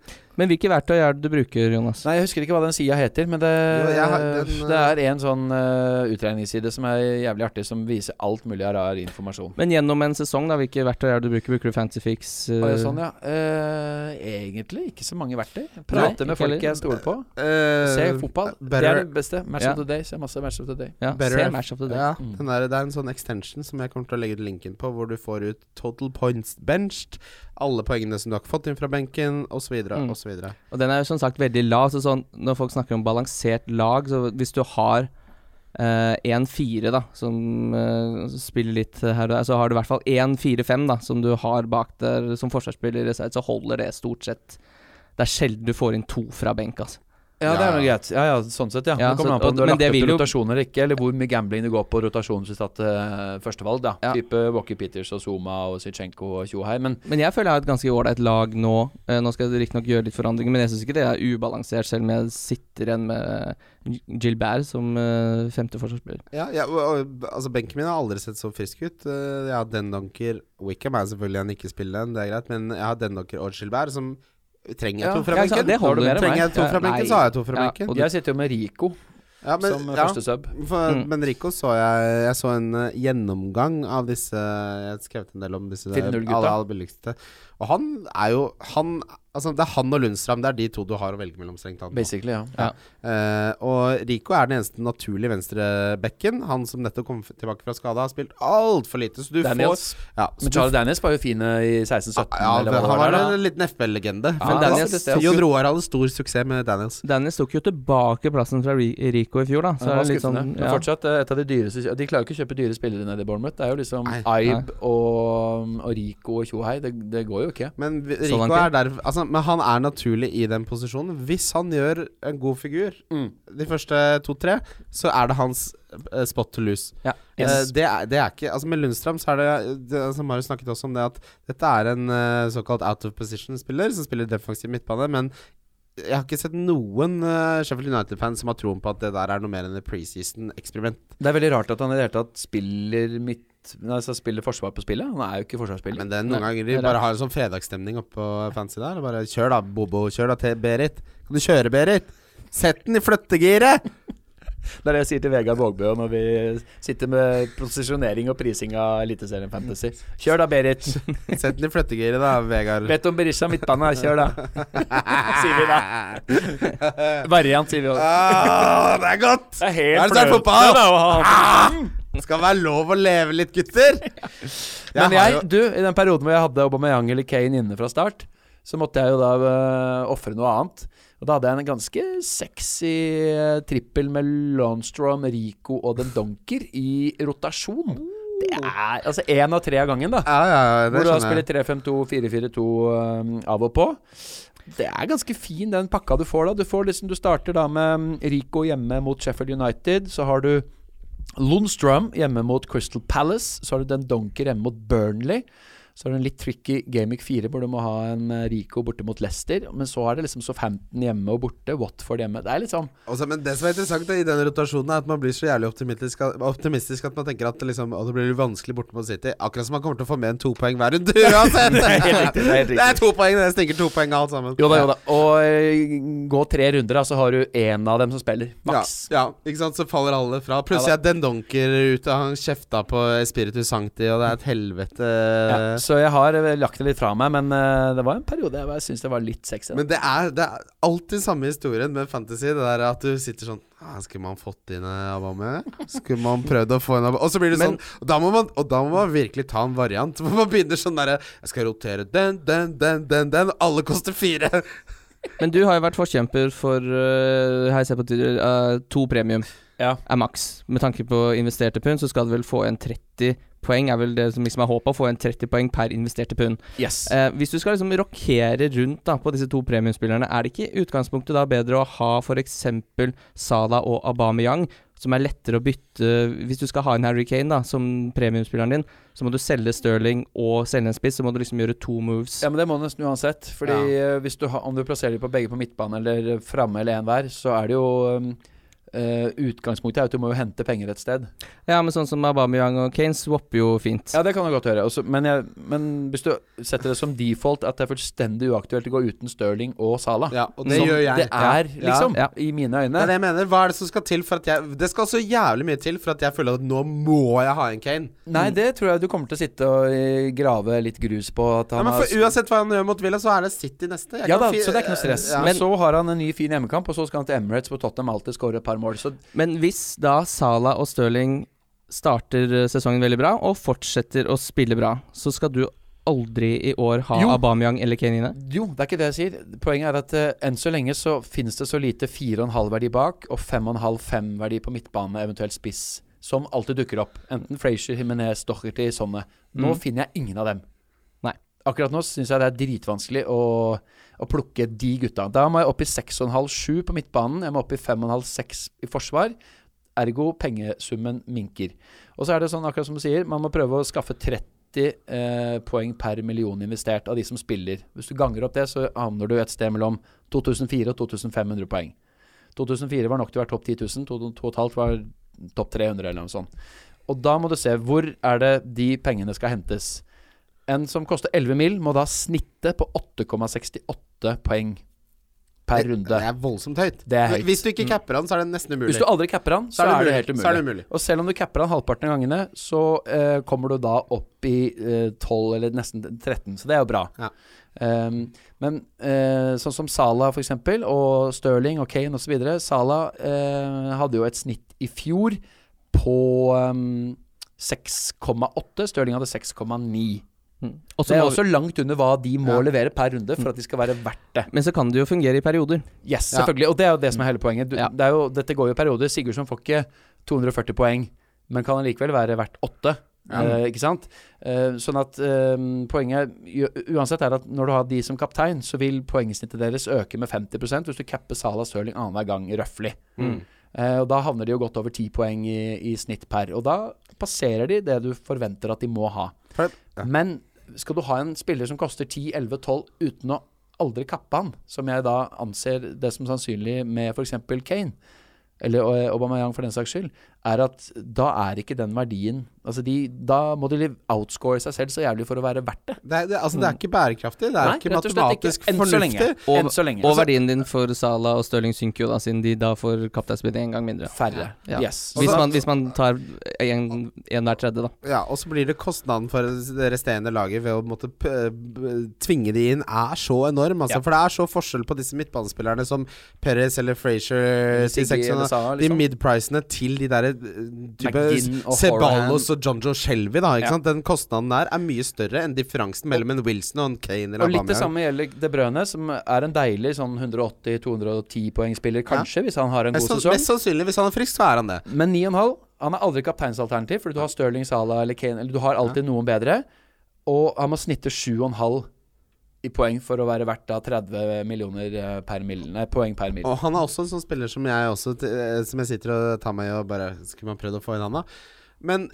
[SPEAKER 2] Men hvilke verktøy er det du bruker, Jonas?
[SPEAKER 1] Nei, Jeg husker ikke hva den sida heter, men det,
[SPEAKER 3] Jo, jeg har den, eh,
[SPEAKER 1] det er en sånn eh, utregningsside som er jævlig artig, som viser alt mulig av rar informasjon.
[SPEAKER 2] Men gjennom en sesong, da, hvilke verktøy er det du bruker? Bruker du Fancyfix?
[SPEAKER 1] Og
[SPEAKER 2] eh,
[SPEAKER 1] jeg er sånn, ja. eh, egentlig ikke så mange verktøy. Prate
[SPEAKER 2] ikke
[SPEAKER 1] med folk
[SPEAKER 2] heller.
[SPEAKER 1] jeg stoler på.
[SPEAKER 3] Eh,
[SPEAKER 1] Se fotball. Det
[SPEAKER 3] better-
[SPEAKER 1] er det beste. Match
[SPEAKER 2] Ja.
[SPEAKER 1] of the day. Se masse match of the day.
[SPEAKER 2] ja,
[SPEAKER 3] Better-
[SPEAKER 2] se match of the day.
[SPEAKER 3] Ja,
[SPEAKER 1] Mm.
[SPEAKER 3] den der, det er en sånn extension som jeg kommer til å legge ut linken på, hvor du får ut total points benched, alle poengene som du har fått inn fra benken, osv.,
[SPEAKER 2] Mm.
[SPEAKER 3] osv.
[SPEAKER 2] Og den er jo som sagt veldig lav, så sånn når folk snakker om balansert lag, så hvis du har eh, 1-4, da, som eh, spiller litt her og der, så har du i hvert fall 1-4-5, da, som du har bak der som forsvarsspiller i reserve, så holder det stort sett. Det er sjelden du får inn to fra benk, altså.
[SPEAKER 1] Ja, det er
[SPEAKER 3] Ja.
[SPEAKER 1] vel greit. Ja, ja, sånn sett, ja.
[SPEAKER 2] Ja,
[SPEAKER 1] det kommer an
[SPEAKER 2] så-
[SPEAKER 1] på
[SPEAKER 2] og-
[SPEAKER 1] om du har lagt
[SPEAKER 2] men det
[SPEAKER 1] opp
[SPEAKER 2] vil
[SPEAKER 1] til
[SPEAKER 2] jo-
[SPEAKER 1] rotasjon eller ikke, eller hvor mye gambling du går på rotasjon hvis du har tatt førstevalg, da.
[SPEAKER 2] Ja.
[SPEAKER 1] Type Walker Peters og Zuma og Zichenko og Tjohei. Men
[SPEAKER 2] Men jeg føler jeg har et ganske ålreit lag nå. Eh, nå skal jeg riktignok gjøre litt forandringer, men jeg syns ikke det er ubalansert, selv om jeg sitter igjen med eh, Gilbert som eh, femte forsvarsspiller.
[SPEAKER 3] Ja, ja og, og, altså Benken min har aldri sett så frisk ut. Eh, Jeg har Dendonker Wickham er selvfølgelig en ikke-spiller, det er greit, men jeg har Dendonker og Gilbert, som trenger jeg
[SPEAKER 1] Ja,
[SPEAKER 3] to fra
[SPEAKER 2] ja, ikke sant,
[SPEAKER 3] benken.
[SPEAKER 2] det holder mer enn
[SPEAKER 3] trenger
[SPEAKER 2] meg.
[SPEAKER 3] jeg to fra
[SPEAKER 2] Ja,
[SPEAKER 3] benken,
[SPEAKER 2] nei.
[SPEAKER 3] så har jeg to fra
[SPEAKER 2] Ja,
[SPEAKER 3] benken.
[SPEAKER 2] og
[SPEAKER 1] jeg sitter jo med Rico
[SPEAKER 3] Ja, men,
[SPEAKER 1] som eh,
[SPEAKER 3] ja.
[SPEAKER 1] første sub.
[SPEAKER 3] For,
[SPEAKER 2] Mm.
[SPEAKER 3] Men Rico så jeg Jeg så en eh, gjennomgang av disse Jeg har skrevet en del om disse
[SPEAKER 1] 4-0-gutta.
[SPEAKER 3] aller, aller billigste. Og han er jo han, altså, Det er han og Lundstrand. Det er de to du har å velge mellom, strengt tatt. nå.
[SPEAKER 1] Basically, ja.
[SPEAKER 3] Eh, og Rico er den eneste naturlige venstrebekken. Han som nettopp kom f- tilbake fra skade, har spilt altfor lite. Så du
[SPEAKER 1] Daniels.
[SPEAKER 3] får ja, så
[SPEAKER 1] Men
[SPEAKER 3] du
[SPEAKER 1] Charlie Daniels var jo fine i 16-17,
[SPEAKER 3] ja,
[SPEAKER 1] eller hva det
[SPEAKER 3] han
[SPEAKER 1] var.
[SPEAKER 3] var
[SPEAKER 1] der, da.
[SPEAKER 3] en liten FBL-legende.
[SPEAKER 1] Ja, det
[SPEAKER 3] Men
[SPEAKER 1] var
[SPEAKER 3] Daniels-
[SPEAKER 1] faktisk det. altså.
[SPEAKER 3] Jon Roar hadde stor suksess med Daniels.
[SPEAKER 2] Dennis tok jo tilbake plassen fra Ri- Rico i fjor, da.
[SPEAKER 1] det
[SPEAKER 2] Så er
[SPEAKER 1] var
[SPEAKER 2] det litt
[SPEAKER 1] skuffende.
[SPEAKER 2] sånn
[SPEAKER 1] Men
[SPEAKER 2] ja.
[SPEAKER 1] fortsatt eh, et av de dyreste De klarer jo ikke å kjøpe dyre spillere nede i Bournemouth. Det er jo liksom
[SPEAKER 3] Nei.
[SPEAKER 1] Aib og, mm, og Rico og Tjohei. Det, det går jo ikke.
[SPEAKER 3] Men vi-
[SPEAKER 2] Så
[SPEAKER 3] Rico
[SPEAKER 2] langt, ja.
[SPEAKER 3] er der altså, Men han er naturlig i den posisjonen. Hvis han gjør en god figur
[SPEAKER 1] Mm.
[SPEAKER 3] de første to-tre, så er det hans eh, spot to lose.
[SPEAKER 2] Ja.
[SPEAKER 3] Eh,
[SPEAKER 1] Yes.
[SPEAKER 3] det, er, det er ikke Altså Med Lundstrøm så er det, det altså, Marius snakket også om det at dette er en eh, såkalt out of position-spiller som spiller defensiv midtbane, men jeg har ikke sett noen eh, Sheffield United-fans som har troen på at det der er noe mer enn et preseason-eksperiment.
[SPEAKER 1] Det er veldig rart at han i det hele tatt spiller midt nei, altså spiller forsvar på spillet. Han er jo ikke forsvarsspiller.
[SPEAKER 3] Men det er noen ganger de
[SPEAKER 2] det er
[SPEAKER 3] bare har en sånn fredagsstemning oppå fancy der. og Bare kjør da, Bobo. Kjør da til Berit. Kan du kjøre, Berit? Sett den i flyttegiret!
[SPEAKER 1] Det er det jeg sier til Vegard Vågbø når vi sitter med posisjonering og prising av Eliteserien Fantasy. Kjør da, Berit.
[SPEAKER 3] Sett den i flyttegiret, da, Vegard.
[SPEAKER 1] Vet om Berisha midtbane, kjør da. sier vi da. Variant, sier vi også.
[SPEAKER 3] Ah, det er godt!
[SPEAKER 1] Det er
[SPEAKER 3] Er det
[SPEAKER 1] helt
[SPEAKER 3] så er det fotball?
[SPEAKER 1] da, å ha-
[SPEAKER 3] *laughs* Det skal være lov å leve litt, gutter!
[SPEAKER 1] *laughs*
[SPEAKER 3] Jeg
[SPEAKER 1] Men
[SPEAKER 3] har
[SPEAKER 1] jeg,
[SPEAKER 3] jo-
[SPEAKER 1] du, i den perioden hvor jeg hadde Aubameyang eller Kane inne fra start, så måtte jeg jo da uh, ofre noe annet. Og da hadde jeg en ganske sexy eh, trippel med Lonstrom, Rico og Den Donker i rotasjon. Det er altså én av tre av gangen, da.
[SPEAKER 3] Ja, ja, ja, det
[SPEAKER 1] Hvor du da
[SPEAKER 3] skjønner
[SPEAKER 1] spiller
[SPEAKER 3] jeg.
[SPEAKER 1] 3-5-2-4-4-2 um, av og på. Det er ganske fin, den pakka du får da. Du, får liksom, du starter da med um, Rico hjemme mot Sheffield United. Så har du Lundstrøm hjemme mot Crystal Palace. Så har du Den Donker hjemme mot Burnley. Så har du en litt tricky Gamic 4, hvor du må ha en eh, Rico borte mot Leicester. Men så er det liksom Southampton hjemme og borte, Watford hjemme. Det er litt sånn
[SPEAKER 3] Også, men det som er interessant i den rotasjonen, er at man blir så jævlig optimistisk, optimistisk at man tenker at det, liksom, å, det blir vanskelig borte mot City. Akkurat som man kommer til å få med en to poeng hver
[SPEAKER 1] *laughs*
[SPEAKER 3] runde uansett!
[SPEAKER 1] riktig, det er helt riktig.
[SPEAKER 3] *laughs* det er to poeng, det stinker to poeng av alt sammen.
[SPEAKER 1] Jo da, jo da. Og eh, gå tre runder, da, så har du én av dem som spiller.
[SPEAKER 3] Ja,
[SPEAKER 1] Maks.
[SPEAKER 3] ja, ikke sant, så faller alle fra. Plutselig
[SPEAKER 1] Ja
[SPEAKER 3] er Den Donker ute, han kjefta på Spiritu Sancti, og det er et helvete.
[SPEAKER 1] Ja, så jeg har eh, lagt det litt fra meg, men eh, det var en periode jeg, var- jeg syntes det var litt sexy. da.
[SPEAKER 3] Men det er, det er alltid samme historien med fantasy. Det der at du sitter sånn ah, Skulle man fått inn eh, Aubameyang? Skulle man prøvd å få inn Aubameyang? Og så blir det
[SPEAKER 2] Men-
[SPEAKER 3] sånn og da, må man, og da må man virkelig ta en variant. For man begynner sånn derre Jeg skal rotere den, den, den, den, den. Alle koster fire.
[SPEAKER 2] Eh, Men du har jo vært forkjemper for eh, Her ser jeg på Twitter eh, to premium
[SPEAKER 1] Ja.
[SPEAKER 2] er maks. Med tanke på investerte pund, så skal du vel få en 30 poeng, er vel det som liksom er håpet, å få en 30 poeng per investerte pund.
[SPEAKER 1] Yes.
[SPEAKER 2] Eh, hvis du skal liksom rokere rundt da på disse to premiumspillerne, er det ikke i utgangspunktet da bedre å ha f.eks. Salah og Aubameyang, som er lettere å bytte Hvis du skal ha en Harry Kane da som premiumspilleren din, så må du selge Sterling og selge en spiss, så må du liksom gjøre to moves.
[SPEAKER 1] Ja, men det må du nesten uansett. Fordi eh, hvis du har- om du plasserer dem på begge på midtbane eller framme eller en hver, så er det jo um, eh, Utgangspunktet er at du må jo hente penger et sted.
[SPEAKER 2] Ja, men sånn som Aubameyang og Kane swapper jo fint.
[SPEAKER 1] Ja, det kan du godt gjøre. Også, men, jeg, men hvis du setter det som default at det er fullstendig uaktuelt å gå uten Stirling og Salah
[SPEAKER 3] Ja, og Sånn. det
[SPEAKER 1] Som
[SPEAKER 3] gjør jeg.
[SPEAKER 1] Det er,
[SPEAKER 3] Ja, ja,
[SPEAKER 1] liksom,
[SPEAKER 2] ja.
[SPEAKER 1] i mine
[SPEAKER 3] Det
[SPEAKER 1] øyne.
[SPEAKER 3] er det jeg mener. Hva er det som skal til for at jeg Det skal så jævlig mye til for at jeg føler at nå må jeg ha en Kane.
[SPEAKER 1] Nei, det tror jeg du kommer til å sitte og eh, grave litt grus på. At
[SPEAKER 3] Ja,
[SPEAKER 1] han
[SPEAKER 3] men
[SPEAKER 1] har
[SPEAKER 3] for Uansett hva han gjør mot Villa, så er det City neste. Jeg
[SPEAKER 1] ja
[SPEAKER 3] kan
[SPEAKER 1] da,
[SPEAKER 3] fi-
[SPEAKER 1] så det er ikke noe stress.
[SPEAKER 3] Ja.
[SPEAKER 1] Men så har han en ny fin hjemmekamp, og så skal han til Emirates hvor Tottenham alltid skårer et par mål. Så
[SPEAKER 2] Men hvis da Salah og Sterling starter eh, sesongen veldig bra og fortsetter å spille bra, så skal du aldri i år ha
[SPEAKER 1] Jo.
[SPEAKER 2] Aubameyang eller Kane inne?
[SPEAKER 1] jo, det er ikke det jeg sier. Poenget er at eh, enn så lenge så finnes det så lite 4,5-verdi bak, og 5,5-5-verdi på midtbane, eventuelt spiss, som alltid dukker opp. Enten Frazier, Himinez, Docherty, sånne. Nå
[SPEAKER 2] Mm.
[SPEAKER 1] finner jeg ingen av dem.
[SPEAKER 2] Nei.
[SPEAKER 1] Akkurat nå syns jeg det er dritvanskelig å, å plukke de gutta. Da må jeg opp i 6,5-7 på midtbanen. Jeg må opp i 5,5-6 i forsvar. Ergo pengesummen minker. Og så er det sånn, akkurat som du sier, man må prøve å skaffe 30 eh, poeng per million investert av de som spiller. Hvis du ganger opp det, så havner du et sted mellom 2004 og 2500 poeng. 2004 var nok til å være topp 10 000, 2 2,5 var topp 300 eller noe sånt. Og da må du se hvor er det de pengene skal hentes. En som koster 11 mil, må da snitte på 8,68 poeng per runde.
[SPEAKER 3] Det er voldsomt høyt.
[SPEAKER 1] Det er høyt. Mm.
[SPEAKER 3] Hvis du ikke capper han, så er det nesten umulig.
[SPEAKER 1] Hvis du aldri capper han, så,
[SPEAKER 3] Så er det
[SPEAKER 1] er det
[SPEAKER 3] umulig.
[SPEAKER 1] helt umulig.
[SPEAKER 3] Så er det umulig.
[SPEAKER 1] Og selv om du capper han halvparten av gangene, så eh, kommer du da opp i eh, 12 eller nesten 13, så det er jo bra.
[SPEAKER 3] Ja.
[SPEAKER 1] Ehm, men eh, sånn som Salah for eksempel, og Sterling og Kane osv. Salah eh, hadde jo et snitt i fjor på ehm, 6,8. Sterling hadde 6,9.
[SPEAKER 2] Mm. Og så
[SPEAKER 1] Det er
[SPEAKER 2] må vi-
[SPEAKER 1] også langt under hva de må levere per runde for at de skal være verdt det.
[SPEAKER 2] Men så kan det jo fungere i perioder.
[SPEAKER 1] Yes, selvfølgelig. Og det er jo det som er hele poenget. Du,
[SPEAKER 2] Ja.
[SPEAKER 1] det er jo, dette går jo i perioder. Sigurdsson får ikke 240 poeng, men kan allikevel være verdt åtte. Eh, ikke sant? Eh, sånn at eh, poenget u- uansett er at når du har de som kaptein, så vil poengsnittet deres øke med 50 hvis du capper Salah Stirling annenhver gang, røftlig. Eh, og da havner de jo godt over ti poeng i, i snitt per. Og da passerer de det du forventer at de må ha.
[SPEAKER 3] For- ja.
[SPEAKER 1] Men skal du ha en spiller som koster 10-11-12 uten å aldri kappe han, som jeg da anser det som sannsynlig med f.eks. Kane, eller eh, Aubameyang for den saks skyld, er at da er ikke den verdien altså de, Da må de liv- outscore seg selv så jævlig for å være verdt det.
[SPEAKER 3] Det er, det, altså, det er ikke bærekraftig. Det er
[SPEAKER 1] Nei,
[SPEAKER 3] ikke
[SPEAKER 1] rett og slett ikke.
[SPEAKER 3] matematisk
[SPEAKER 1] Enn så lenge.
[SPEAKER 3] fornuftig.
[SPEAKER 2] Og,
[SPEAKER 1] Enn så lenge.
[SPEAKER 2] og
[SPEAKER 1] Altså-
[SPEAKER 2] verdien din for Salah og Stirling synker jo da, siden de da får kapteinsbindet en gang mindre.
[SPEAKER 3] Altså-
[SPEAKER 1] Færre.
[SPEAKER 2] Ja.
[SPEAKER 1] Yes.
[SPEAKER 2] Hvis, man, hvis man tar en, en hver tredje, da.
[SPEAKER 3] Ja, Og så blir det kostnaden for det resterende laget ved å måtte p b- tvinge de inn, er så enorm. Altså,
[SPEAKER 1] Ja.
[SPEAKER 3] For det er så forskjell på disse midtbanespillerne som Perez eller Frazier
[SPEAKER 1] Siggy eller Salah,
[SPEAKER 3] De
[SPEAKER 1] liksom.
[SPEAKER 3] mid-pricene til de derre
[SPEAKER 1] McGinn og
[SPEAKER 3] Ceballos
[SPEAKER 1] Horan.
[SPEAKER 3] og Jonjo Shelby, da.
[SPEAKER 1] Ja.
[SPEAKER 3] Ikke sant? Den kostnaden der er mye større enn differansen mellom en Wilson og en Kane eller
[SPEAKER 1] Og litt det
[SPEAKER 3] Aubameyang.
[SPEAKER 1] samme gjelder De Brøne, som er en deilig sånn 180-210 poengspiller, kanskje, hvis han har en
[SPEAKER 3] Mest,
[SPEAKER 1] god
[SPEAKER 3] sann-
[SPEAKER 1] sesong.
[SPEAKER 3] mest sannsynlig, hvis han er frisk, så er han det.
[SPEAKER 1] Men 9,5 Han er aldri kapteinsalternativ, fordi du har Stirling, Salah eller Kane Eller du har alltid noen bedre. Og han må snitte 7,5 i poeng for å være verdt da 30 millioner eh, per mil, nei, poeng per mil.
[SPEAKER 3] Og han er også en sånn spiller som jeg også t- eh, Som jeg sitter og tar meg i og bare Skulle man prøvd å få inn han da? Men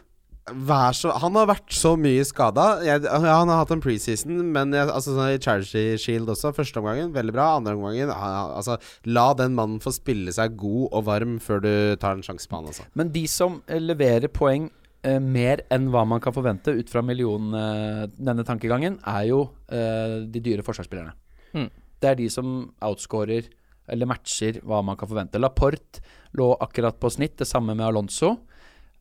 [SPEAKER 3] vær så Han har vært så mye skada. Jeg, ja, han har hatt en preseason, men jeg, altså, sånn i Charity Shield også. Første omgangen, veldig bra. Andre omgangen han- Altså, la den mannen få spille seg god og varm før du tar en sjanse på han, altså.
[SPEAKER 1] Men de som eh, leverer poeng eh, mer enn hva man kan forvente ut fra million, eh, denne tankegangen, er jo eh, de dyre forsvarsspillerne.
[SPEAKER 2] Mm.
[SPEAKER 1] Det er de som outscorer eller matcher hva man kan forvente. Laporte lå akkurat på snitt, det samme med Alonso.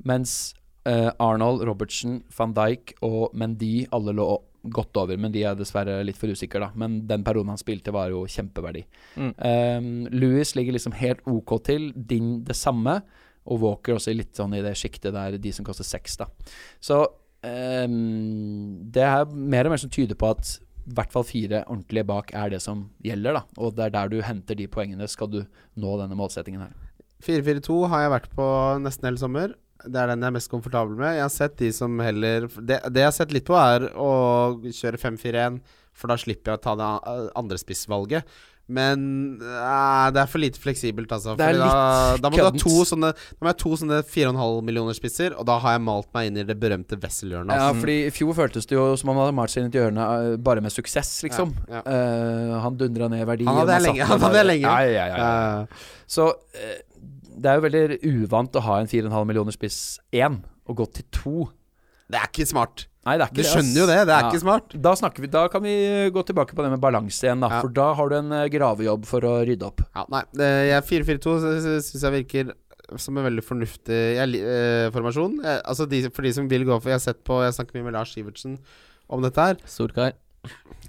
[SPEAKER 1] Mens eh, Arnold, Robertsen, van Dijk og Mendy alle lå godt over. Men de er dessverre litt for usikre, da. Men den perioden han spilte, var jo kjempeverdi.
[SPEAKER 2] Mm.
[SPEAKER 1] Eh, Lewis ligger liksom helt OK til. Din det samme. Og Walker også i litt sånn i det sjiktet der, de som koster seks, da. Så ehm, det er mer og mer som tyder på at i hvert fall fire ordentlige bak er det som gjelder, da. Og det er der du henter de poengene, skal du nå denne målsettingen her.
[SPEAKER 3] 4-4-2 har jeg vært på nesten hele sommer. Det er den jeg er mest komfortabel med. Jeg har sett de som heller Det, det jeg har sett litt på, er å kjøre 5-4-1, for da slipper jeg å ta det a- andre spissvalget. Men eh, det er for lite fleksibelt, altså.
[SPEAKER 1] Det er
[SPEAKER 3] Fordi da,
[SPEAKER 1] litt
[SPEAKER 3] da må du ha
[SPEAKER 1] køddent.
[SPEAKER 3] to sånne Da må jeg ha to sånne 4,5 millioner spisser, og da har jeg malt meg inn i det berømte Wessel-hjørnet.
[SPEAKER 1] Ja,
[SPEAKER 3] altså.
[SPEAKER 1] fordi i fjor føltes det jo som om han hadde malt seg inn i et hjørne eh, bare med suksess, liksom.
[SPEAKER 3] Ja, ja.
[SPEAKER 1] Eh, han dundra ned verdi.
[SPEAKER 3] Han hadde
[SPEAKER 1] og
[SPEAKER 3] jeg
[SPEAKER 1] man
[SPEAKER 3] lenge.
[SPEAKER 1] satt
[SPEAKER 3] Han
[SPEAKER 1] der
[SPEAKER 3] hadde jeg
[SPEAKER 1] bare-
[SPEAKER 3] lenge.
[SPEAKER 1] Ja, ja, ja, ja.
[SPEAKER 3] Eh,
[SPEAKER 1] Så eh, det er jo veldig uvant å ha en 4,5 millioner spiss én, og gå til to.
[SPEAKER 3] det er ikke smart.
[SPEAKER 1] Nei, det er ikke
[SPEAKER 3] Du
[SPEAKER 1] det, ass.
[SPEAKER 3] skjønner jo det. Det er
[SPEAKER 1] Ja.
[SPEAKER 3] ikke smart.
[SPEAKER 1] Da, snakker vi, da kan vi eh, gå tilbake på det med balanse igjen, da.
[SPEAKER 3] Ja.
[SPEAKER 1] For da har du en eh, gravejobb for å rydde opp.
[SPEAKER 3] Ja, nei, det, jeg 4-4-2 syns jeg virker som en veldig fornuftig jeg, li- eh, formasjon. Jeg, altså de, for de som vil gå for Jeg har sett på Jeg snakker mye med Lars Sivertsen om dette her.
[SPEAKER 2] Storkar.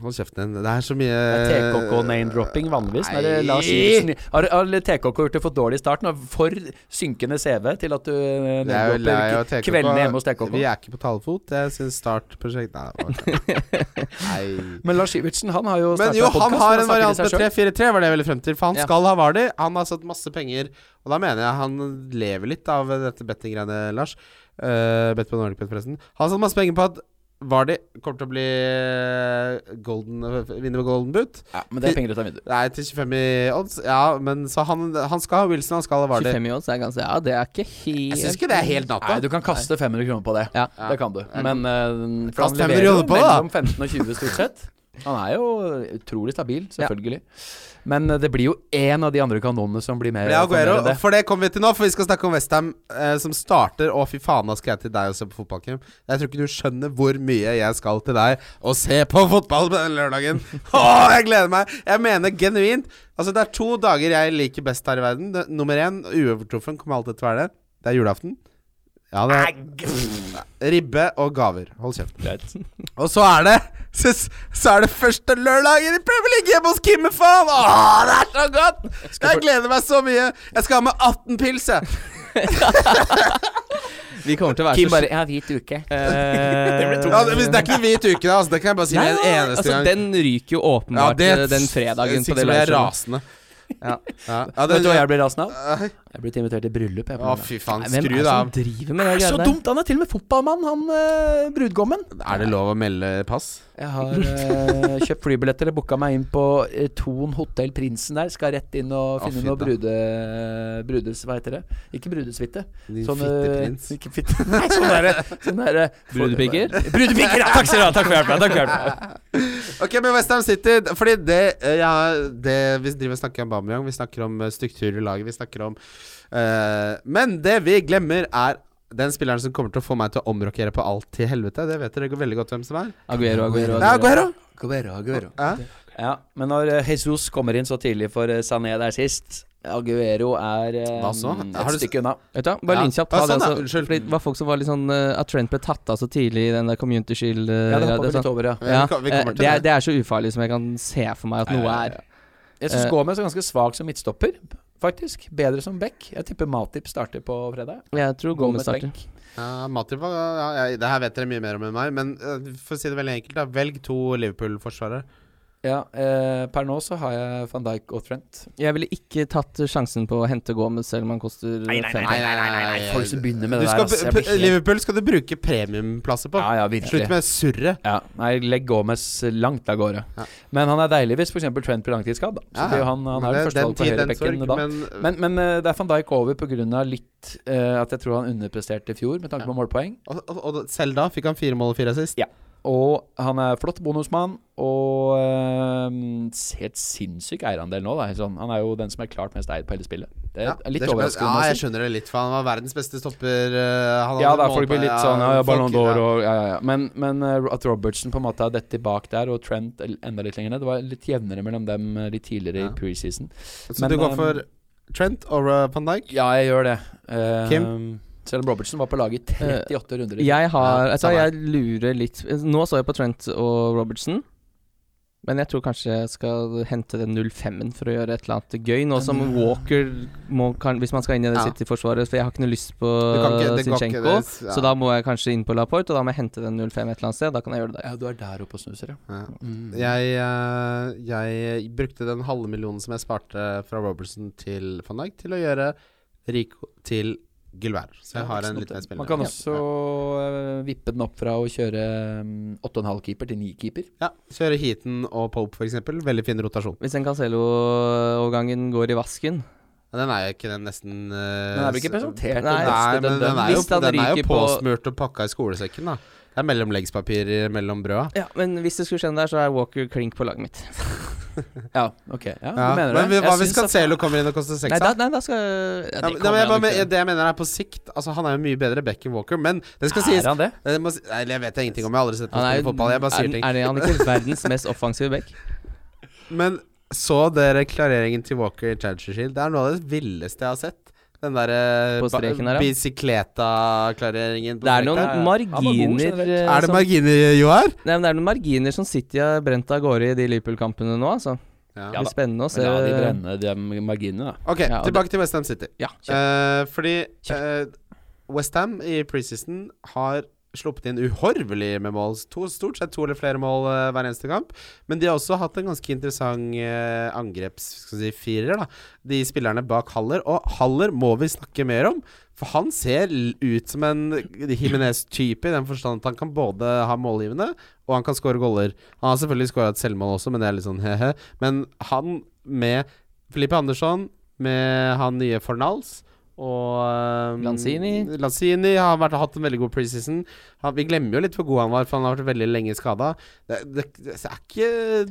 [SPEAKER 3] Hold kjeften din. Det er så mye
[SPEAKER 1] Det er TKK name-dropping vanligvis. Når det
[SPEAKER 3] Eh, Nei.
[SPEAKER 1] Lars Iversen, har, har TKK gjort det for dårlig i starten? Og for synkende CV til at du eh,
[SPEAKER 3] Jeg er jo lei av
[SPEAKER 1] name-dropper
[SPEAKER 3] TKK.
[SPEAKER 1] kveldene hjemme hos TKK?
[SPEAKER 3] Vi er ikke på talefot. Jeg syns Start-prosjekt Nei.
[SPEAKER 1] *laughs*
[SPEAKER 3] ok. nei.
[SPEAKER 1] Men Lars Iversen, han har jo
[SPEAKER 3] Men
[SPEAKER 1] startet
[SPEAKER 3] jo,
[SPEAKER 1] podcast,
[SPEAKER 3] han har
[SPEAKER 1] snakker
[SPEAKER 3] en
[SPEAKER 1] til
[SPEAKER 3] variant
[SPEAKER 1] seg
[SPEAKER 3] med
[SPEAKER 1] selv.
[SPEAKER 3] 3-4-3, var det jeg ville frem til. For han
[SPEAKER 1] Ja.
[SPEAKER 3] skal ha Vardi. Han har satt masse penger, og da mener jeg han Eh, lever litt av dette bettinggreiene, Lars. Uh, bet på Nordic Bet, forresten. Han har satt masse penger på at Vardy kommer til å bli eh, golden, vinner med golden boot.
[SPEAKER 1] Ja, men det er penger ut av vinduet.
[SPEAKER 3] Nei, til 25 i odds. Ja, men så han, han skal ha Wilson, han skal ha Vardy.
[SPEAKER 2] 25 i odds er ganske Ja, det er ikke helt
[SPEAKER 3] Jeg syns ikke det er helt
[SPEAKER 1] Nei,
[SPEAKER 3] natta.
[SPEAKER 1] du kan kaste 500 kroner på det.
[SPEAKER 2] Ja.
[SPEAKER 1] Det kan du. Men eh, for
[SPEAKER 3] Kast
[SPEAKER 1] han
[SPEAKER 3] 500
[SPEAKER 1] leverer jo
[SPEAKER 3] kroner på det, da.
[SPEAKER 1] mellom 15 og 20 stort sett. Han er jo utrolig stabil, selvfølgelig. Men eh, det blir jo én av de andre kanonene som blir mer
[SPEAKER 3] Ja, Aguero,
[SPEAKER 1] mer enn det.
[SPEAKER 3] for det kommer vi til nå, for vi skal snakke om Westham eh, som starter. Å, fy faen, da skal jeg til deg og se på fotballkamp. Jeg tror ikke du skjønner hvor mye jeg skal til deg og se på fotball på den
[SPEAKER 1] *laughs*
[SPEAKER 3] lørdagen. Å, jeg gleder meg! Jeg mener genuint. Altså, det er to dager jeg liker best her i verden. Det, nummer én, uovertruffen, kommer alltid til å være det. Det er julaften. Ja, det er Ribbe og gaver. Hold kjeft.
[SPEAKER 1] Greit.
[SPEAKER 3] *laughs* Og så er det så, så er det første lørdagen i Premier League hjemme hos Kimme, faen! Åh, det er så godt! Jeg gleder meg så mye! Jeg skal ha med 18 pils, jeg.
[SPEAKER 2] *laughs* Vi kommer til å være
[SPEAKER 1] Kim
[SPEAKER 2] så
[SPEAKER 1] bare Ja, hvit
[SPEAKER 3] *laughs*
[SPEAKER 1] uke.
[SPEAKER 2] Eh, det blir
[SPEAKER 3] Ja, det, det er ikke hvit uke, da. Altså, det kan jeg bare si med en eneste
[SPEAKER 2] altså,
[SPEAKER 3] gang.
[SPEAKER 2] Den ryker jo åpenbart eh, den fredagen. på det
[SPEAKER 3] Sikkert blir jeg
[SPEAKER 2] liveshowet.
[SPEAKER 3] rasende.
[SPEAKER 2] Ja.
[SPEAKER 3] Ja, ja,
[SPEAKER 1] Vet du hva
[SPEAKER 3] det,
[SPEAKER 1] jeg blir rasende av? Jeg blir invitert til bryllup. Jeg, på
[SPEAKER 3] å,
[SPEAKER 1] lørdag.
[SPEAKER 3] fy faen.
[SPEAKER 2] Nei, Hvem
[SPEAKER 3] Skru
[SPEAKER 2] er det
[SPEAKER 3] deg
[SPEAKER 2] som
[SPEAKER 3] av.
[SPEAKER 2] driver med det
[SPEAKER 1] Det er så
[SPEAKER 2] greiene der?
[SPEAKER 1] dumt! Han er til og med fotballmann, han eh, brudgommen.
[SPEAKER 3] Er det lov å melde pass?
[SPEAKER 1] Jeg har *laughs* eh, kjøpt flybilletter og booka meg inn på eh, Thon hotell Prinsen der. Skal rett inn og
[SPEAKER 3] Å,
[SPEAKER 1] finne
[SPEAKER 3] fy
[SPEAKER 1] noe
[SPEAKER 3] da.
[SPEAKER 1] brude... brudes... Hva heter det? Ikke brudesuite.
[SPEAKER 3] Din
[SPEAKER 1] Sånn, eh,
[SPEAKER 3] fitteprins.
[SPEAKER 1] Ikke fitte... *laughs* Nei, sånn derre sånn *laughs* der,
[SPEAKER 2] Brudepiker?
[SPEAKER 1] Brudepiker, ja! Takk skal dere ha. Takk for hjelpen. Takk for hjelpen.
[SPEAKER 3] Ok, men Westham City Fordi det, eh, ja, det Vi driver og snakker om Bamiyang, vi snakker om eh, struktur i laget, vi snakker om eh, Men det vi glemmer, er den spilleren som kommer til å få meg til å omrokere på alt til helvete. Det vet dere går veldig godt hvem som er.
[SPEAKER 2] Aguero, Aguero,
[SPEAKER 3] Ja,
[SPEAKER 2] Aguero.
[SPEAKER 3] Aguero.
[SPEAKER 1] Aguero, Aguero.
[SPEAKER 3] Ja.
[SPEAKER 1] Ja, men når eh, Jesus kommer inn så tidlig for eh, Sané der sist Aguero er eh,
[SPEAKER 3] Hva så? Har
[SPEAKER 1] et
[SPEAKER 3] du s-
[SPEAKER 1] stykke unna.
[SPEAKER 2] Vet du, hva? bare
[SPEAKER 3] Ja.
[SPEAKER 2] lynkjapt ta
[SPEAKER 3] Ja,
[SPEAKER 2] det
[SPEAKER 3] sånn, ja.
[SPEAKER 2] altså,
[SPEAKER 3] Unnskyld.
[SPEAKER 2] fordi det var folk som var litt sånn eh, At Trent ble tatt av så tidlig i den der Community Shield eh,
[SPEAKER 1] Ja, det
[SPEAKER 2] radio,
[SPEAKER 1] hoppa vi
[SPEAKER 2] sånn.
[SPEAKER 1] litt over, ja.
[SPEAKER 2] Ja,
[SPEAKER 3] Vi kom- vi
[SPEAKER 2] eh,
[SPEAKER 3] kommer til
[SPEAKER 2] det, er,
[SPEAKER 3] det.
[SPEAKER 2] det er så ufarlig som jeg kan se for meg at noe
[SPEAKER 3] Ja, ja,
[SPEAKER 2] er.
[SPEAKER 1] Jeg syns
[SPEAKER 2] Eh.
[SPEAKER 1] Gomez er ganske svak som midtstopper, faktisk. Bedre som back. Jeg tipper Matip starter på fredag.
[SPEAKER 2] Jeg tror Gomez
[SPEAKER 1] Gomez
[SPEAKER 2] starter.
[SPEAKER 1] back.
[SPEAKER 3] Ja, Matip var- ja, jeg- det her vet dere mye mer om enn meg, men eh, for å si det veldig enkelt, da. Velg to Liverpool-forsvarere.
[SPEAKER 1] Ja, eh, per nå så har jeg van Dijk og Trent.
[SPEAKER 2] Jeg ville ikke tatt sjansen på å hente Gomez selv om han koster eh, fem.
[SPEAKER 1] folk som begynner med
[SPEAKER 3] Du
[SPEAKER 1] det der,
[SPEAKER 3] skal
[SPEAKER 1] ass, jeg
[SPEAKER 3] bu-
[SPEAKER 1] blir helt-
[SPEAKER 3] Liverpool skal du bruke premiumplasser på.
[SPEAKER 1] Ja, ja, virkelig.
[SPEAKER 3] Slutt med surret.
[SPEAKER 1] Ja, nei, legg Gomez langt av gårde.
[SPEAKER 3] Ja.
[SPEAKER 1] Men han er deilig hvis f.eks. Trent blir langtidsskadd. da. Så
[SPEAKER 3] Ja,
[SPEAKER 1] blir jo
[SPEAKER 3] ja.
[SPEAKER 1] han, han er jo
[SPEAKER 3] Men det- den
[SPEAKER 1] førstevalg på
[SPEAKER 3] tid, den
[SPEAKER 1] høyrebekken
[SPEAKER 3] sorg,
[SPEAKER 1] da.
[SPEAKER 3] men-
[SPEAKER 1] Men, men eh, det er van Dijk over pga. litt eh, at jeg tror han underpresterte i fjor med tanke på målpoeng.
[SPEAKER 3] Og, og, og selv da fikk han fire mål og fire assist.
[SPEAKER 1] Og han er flott bonusmann, og eh, helt sinnssyk eierandel nå. Da. Sånn, han er jo den som er klart mest eid på hele spillet. Det
[SPEAKER 3] Ja,
[SPEAKER 1] er litt
[SPEAKER 3] det skjønner-
[SPEAKER 1] overraskende. å
[SPEAKER 3] Ja,
[SPEAKER 1] si.
[SPEAKER 3] jeg skjønner det litt, for han var verdens beste stopper. eh, han
[SPEAKER 1] Ja,
[SPEAKER 3] hadde
[SPEAKER 1] da,
[SPEAKER 3] mål
[SPEAKER 1] folk
[SPEAKER 3] på-
[SPEAKER 1] blir litt sånn ja, ja, Ballon
[SPEAKER 3] folk-
[SPEAKER 1] d'Or og ja, ja, ja. Men, men eh, at Robertson på en måte har dette tilbake der, og Trent el- enda litt lenger ned Det var litt jevnere mellom dem eh, litt tidligere
[SPEAKER 3] Ja.
[SPEAKER 1] i preseason.
[SPEAKER 3] Så
[SPEAKER 1] Men,
[SPEAKER 3] du går
[SPEAKER 1] eh,
[SPEAKER 3] for Trent og eh, van Dijk?
[SPEAKER 1] Ja, jeg gjør det. Eh,
[SPEAKER 3] Kim? Eh,
[SPEAKER 1] Selv om Robertson var på laget i 38 runder. i-
[SPEAKER 2] Jeg har
[SPEAKER 3] Ja,
[SPEAKER 2] altså,
[SPEAKER 3] samme her.
[SPEAKER 2] Jeg lurer litt Nå så jeg på Trent og Robertson. Men jeg tror kanskje jeg skal hente den 05-en for å gjøre et eller annet gøy. Nå som Walker må, kan, Hvis man skal inn i det
[SPEAKER 3] Ja.
[SPEAKER 2] City-forsvaret For jeg har ikke noe lyst på
[SPEAKER 3] Du kan ikke- det går ikke,
[SPEAKER 2] Zinchenko.
[SPEAKER 3] det- ja.
[SPEAKER 2] Så da må jeg kanskje inn på Laporte, og da må jeg hente den 05 et eller annet sted. Da kan jeg gjøre det der.
[SPEAKER 1] Ja, du er der oppe og snuser, ja.
[SPEAKER 3] Ja.
[SPEAKER 1] Mm.
[SPEAKER 3] Jeg, eh, jeg brukte den halve millionen som jeg sparte fra Robertson til van Dijk, til å gjøre Rico til Gilbert. Så jeg
[SPEAKER 1] Ja,
[SPEAKER 3] har
[SPEAKER 1] ikke
[SPEAKER 3] en
[SPEAKER 1] sant,
[SPEAKER 3] litt mer
[SPEAKER 1] det.
[SPEAKER 3] spillende.
[SPEAKER 1] Man kan
[SPEAKER 3] Ja.
[SPEAKER 1] også eh, vippe den opp fra å kjøre mm, 8,5-keeper til 9-keeper.
[SPEAKER 3] ja. Kjøre Heaton og Pope, f.eks. Veldig fin rotasjon.
[SPEAKER 2] Hvis en Cancelo-overgangen går i vasken
[SPEAKER 3] Ja, den er jo ikke den nesten eh,
[SPEAKER 1] Den er vel ikke
[SPEAKER 3] s-
[SPEAKER 1] presentert?
[SPEAKER 2] Nei,
[SPEAKER 1] den
[SPEAKER 3] Nei,
[SPEAKER 1] neste
[SPEAKER 3] men den
[SPEAKER 1] dødden.
[SPEAKER 3] er jo,
[SPEAKER 2] Hvis han
[SPEAKER 3] den er jo
[SPEAKER 2] ryker på-
[SPEAKER 3] påsmurt og pakka i skolesekken, da. Det er mellomleggspapir mellom brøda.
[SPEAKER 2] Ja, Men hvis det skulle skje noe der, så er Walker klink på laget mitt.
[SPEAKER 1] Ja, ok. Ja,
[SPEAKER 3] Ja,
[SPEAKER 1] du mener
[SPEAKER 3] men
[SPEAKER 1] det?
[SPEAKER 3] hva
[SPEAKER 1] Jeg
[SPEAKER 3] hvis
[SPEAKER 1] syns at-
[SPEAKER 3] Cancelo kommer inn og koster seks?
[SPEAKER 2] Nei, da,
[SPEAKER 3] da?
[SPEAKER 2] nei, da skal ja,
[SPEAKER 3] Ja,
[SPEAKER 2] det
[SPEAKER 3] men- nei,
[SPEAKER 2] kommer
[SPEAKER 3] men jeg
[SPEAKER 2] han
[SPEAKER 3] bare,
[SPEAKER 2] jo ikke.
[SPEAKER 3] mener- det jeg mener er på sikt Altså Han er jo mye bedre back enn Walker, men det skal sies Eh,
[SPEAKER 1] Er han det?
[SPEAKER 3] jeg, må, si- nei, jeg vet ingenting om, jeg har aldri sett ham
[SPEAKER 2] Han er,
[SPEAKER 3] spille fotball. Jeg bare sier
[SPEAKER 2] er,
[SPEAKER 3] ting.
[SPEAKER 2] er det han
[SPEAKER 3] *laughs*
[SPEAKER 2] ikke verdens mest offensive back?
[SPEAKER 3] Men så dere klareringen til Walker i Chancershield? Det er noe av det villeste jeg har sett. Den derre
[SPEAKER 2] På streken her, ja.
[SPEAKER 3] bicicleta-klareringen. på
[SPEAKER 2] Det er
[SPEAKER 3] streken.
[SPEAKER 2] noen
[SPEAKER 1] ja. Han var god
[SPEAKER 2] marginer
[SPEAKER 1] generelt.
[SPEAKER 2] eh,
[SPEAKER 3] Er det
[SPEAKER 2] som,
[SPEAKER 3] marginer, Joar?
[SPEAKER 2] nei, men Det er noen marginer som City har brent av gårde i de Liverpool-kampene nå, altså.
[SPEAKER 1] Ja
[SPEAKER 2] Det blir
[SPEAKER 1] da.
[SPEAKER 2] spennende å se.
[SPEAKER 1] Men La de brenne de marginene, da.
[SPEAKER 3] Ok,
[SPEAKER 2] Ja, og
[SPEAKER 3] tilbake til Westham City.
[SPEAKER 2] Ja,
[SPEAKER 3] Eh, fordi Westham i preseason har sluppet inn uhorvelig med mål. To, stort sett to eller flere mål eh, hver eneste kamp. Men de har også hatt en ganske interessant eh, angreps-firer, da. De spillerne bak Haller. Og Haller må vi snakke mer om. For han ser l- ut som en Himinez-type, i den forstand at han kan både ha målgivende, og han kan score goller. Han har selvfølgelig skåra et selvmål også, men det er litt sånn he-he. Men han med Filippe Andersson, med han nye Fornals og eh,
[SPEAKER 1] Lanzini.
[SPEAKER 3] Lanzini har vært, hatt en veldig god preseason. Han, vi glemmer jo litt hvor god han var, for han har vært veldig lenge skada. Det, det, det er ikke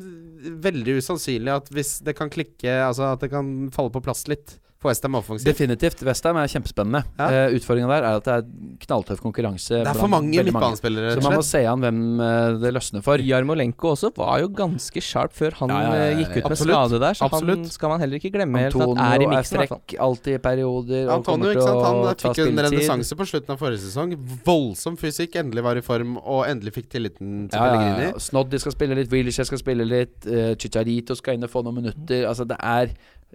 [SPEAKER 3] veldig usannsynlig at hvis det kan klikke Altså at det kan falle på plass litt for Westham offensivt.
[SPEAKER 1] Definitivt. Westham er kjempespennende.
[SPEAKER 3] Ja.
[SPEAKER 1] Eh, Utfordringa der er at det er knalltøff konkurranse.
[SPEAKER 3] Det er
[SPEAKER 1] blant
[SPEAKER 3] for mange
[SPEAKER 1] veldig
[SPEAKER 3] midtbanespillere,
[SPEAKER 1] Så
[SPEAKER 3] rett
[SPEAKER 1] man
[SPEAKER 3] og
[SPEAKER 1] må
[SPEAKER 3] slett.
[SPEAKER 1] se an hvem eh, det løsner for.
[SPEAKER 2] Jarmolenko også var jo ganske sharp før han
[SPEAKER 1] Ja, ja, ja,
[SPEAKER 2] eh,
[SPEAKER 1] ja,
[SPEAKER 2] gikk ut med
[SPEAKER 3] absolutt,
[SPEAKER 2] skade der, så han
[SPEAKER 3] absolutt.
[SPEAKER 2] skal man heller ikke glemme helt at
[SPEAKER 1] Antonio
[SPEAKER 2] er i
[SPEAKER 1] er,
[SPEAKER 2] miksen. i hvert fall.
[SPEAKER 1] frekk alltid i perioder. og
[SPEAKER 3] Antonio
[SPEAKER 1] kommer til
[SPEAKER 3] ikke sant?
[SPEAKER 1] å
[SPEAKER 3] Han eh,
[SPEAKER 1] ta
[SPEAKER 3] fikk jo en
[SPEAKER 1] spilletid.
[SPEAKER 3] renessanse på slutten av forrige sesong. Voldsom fysikk, endelig var i form, og endelig fikk tilliten til
[SPEAKER 1] Ja, ja,
[SPEAKER 3] Pellegrini.
[SPEAKER 1] ja. Snoddy skal spille litt, Wilshere skal spille litt, uh, Chicharito skal inn og få noen minutter. Altså, det er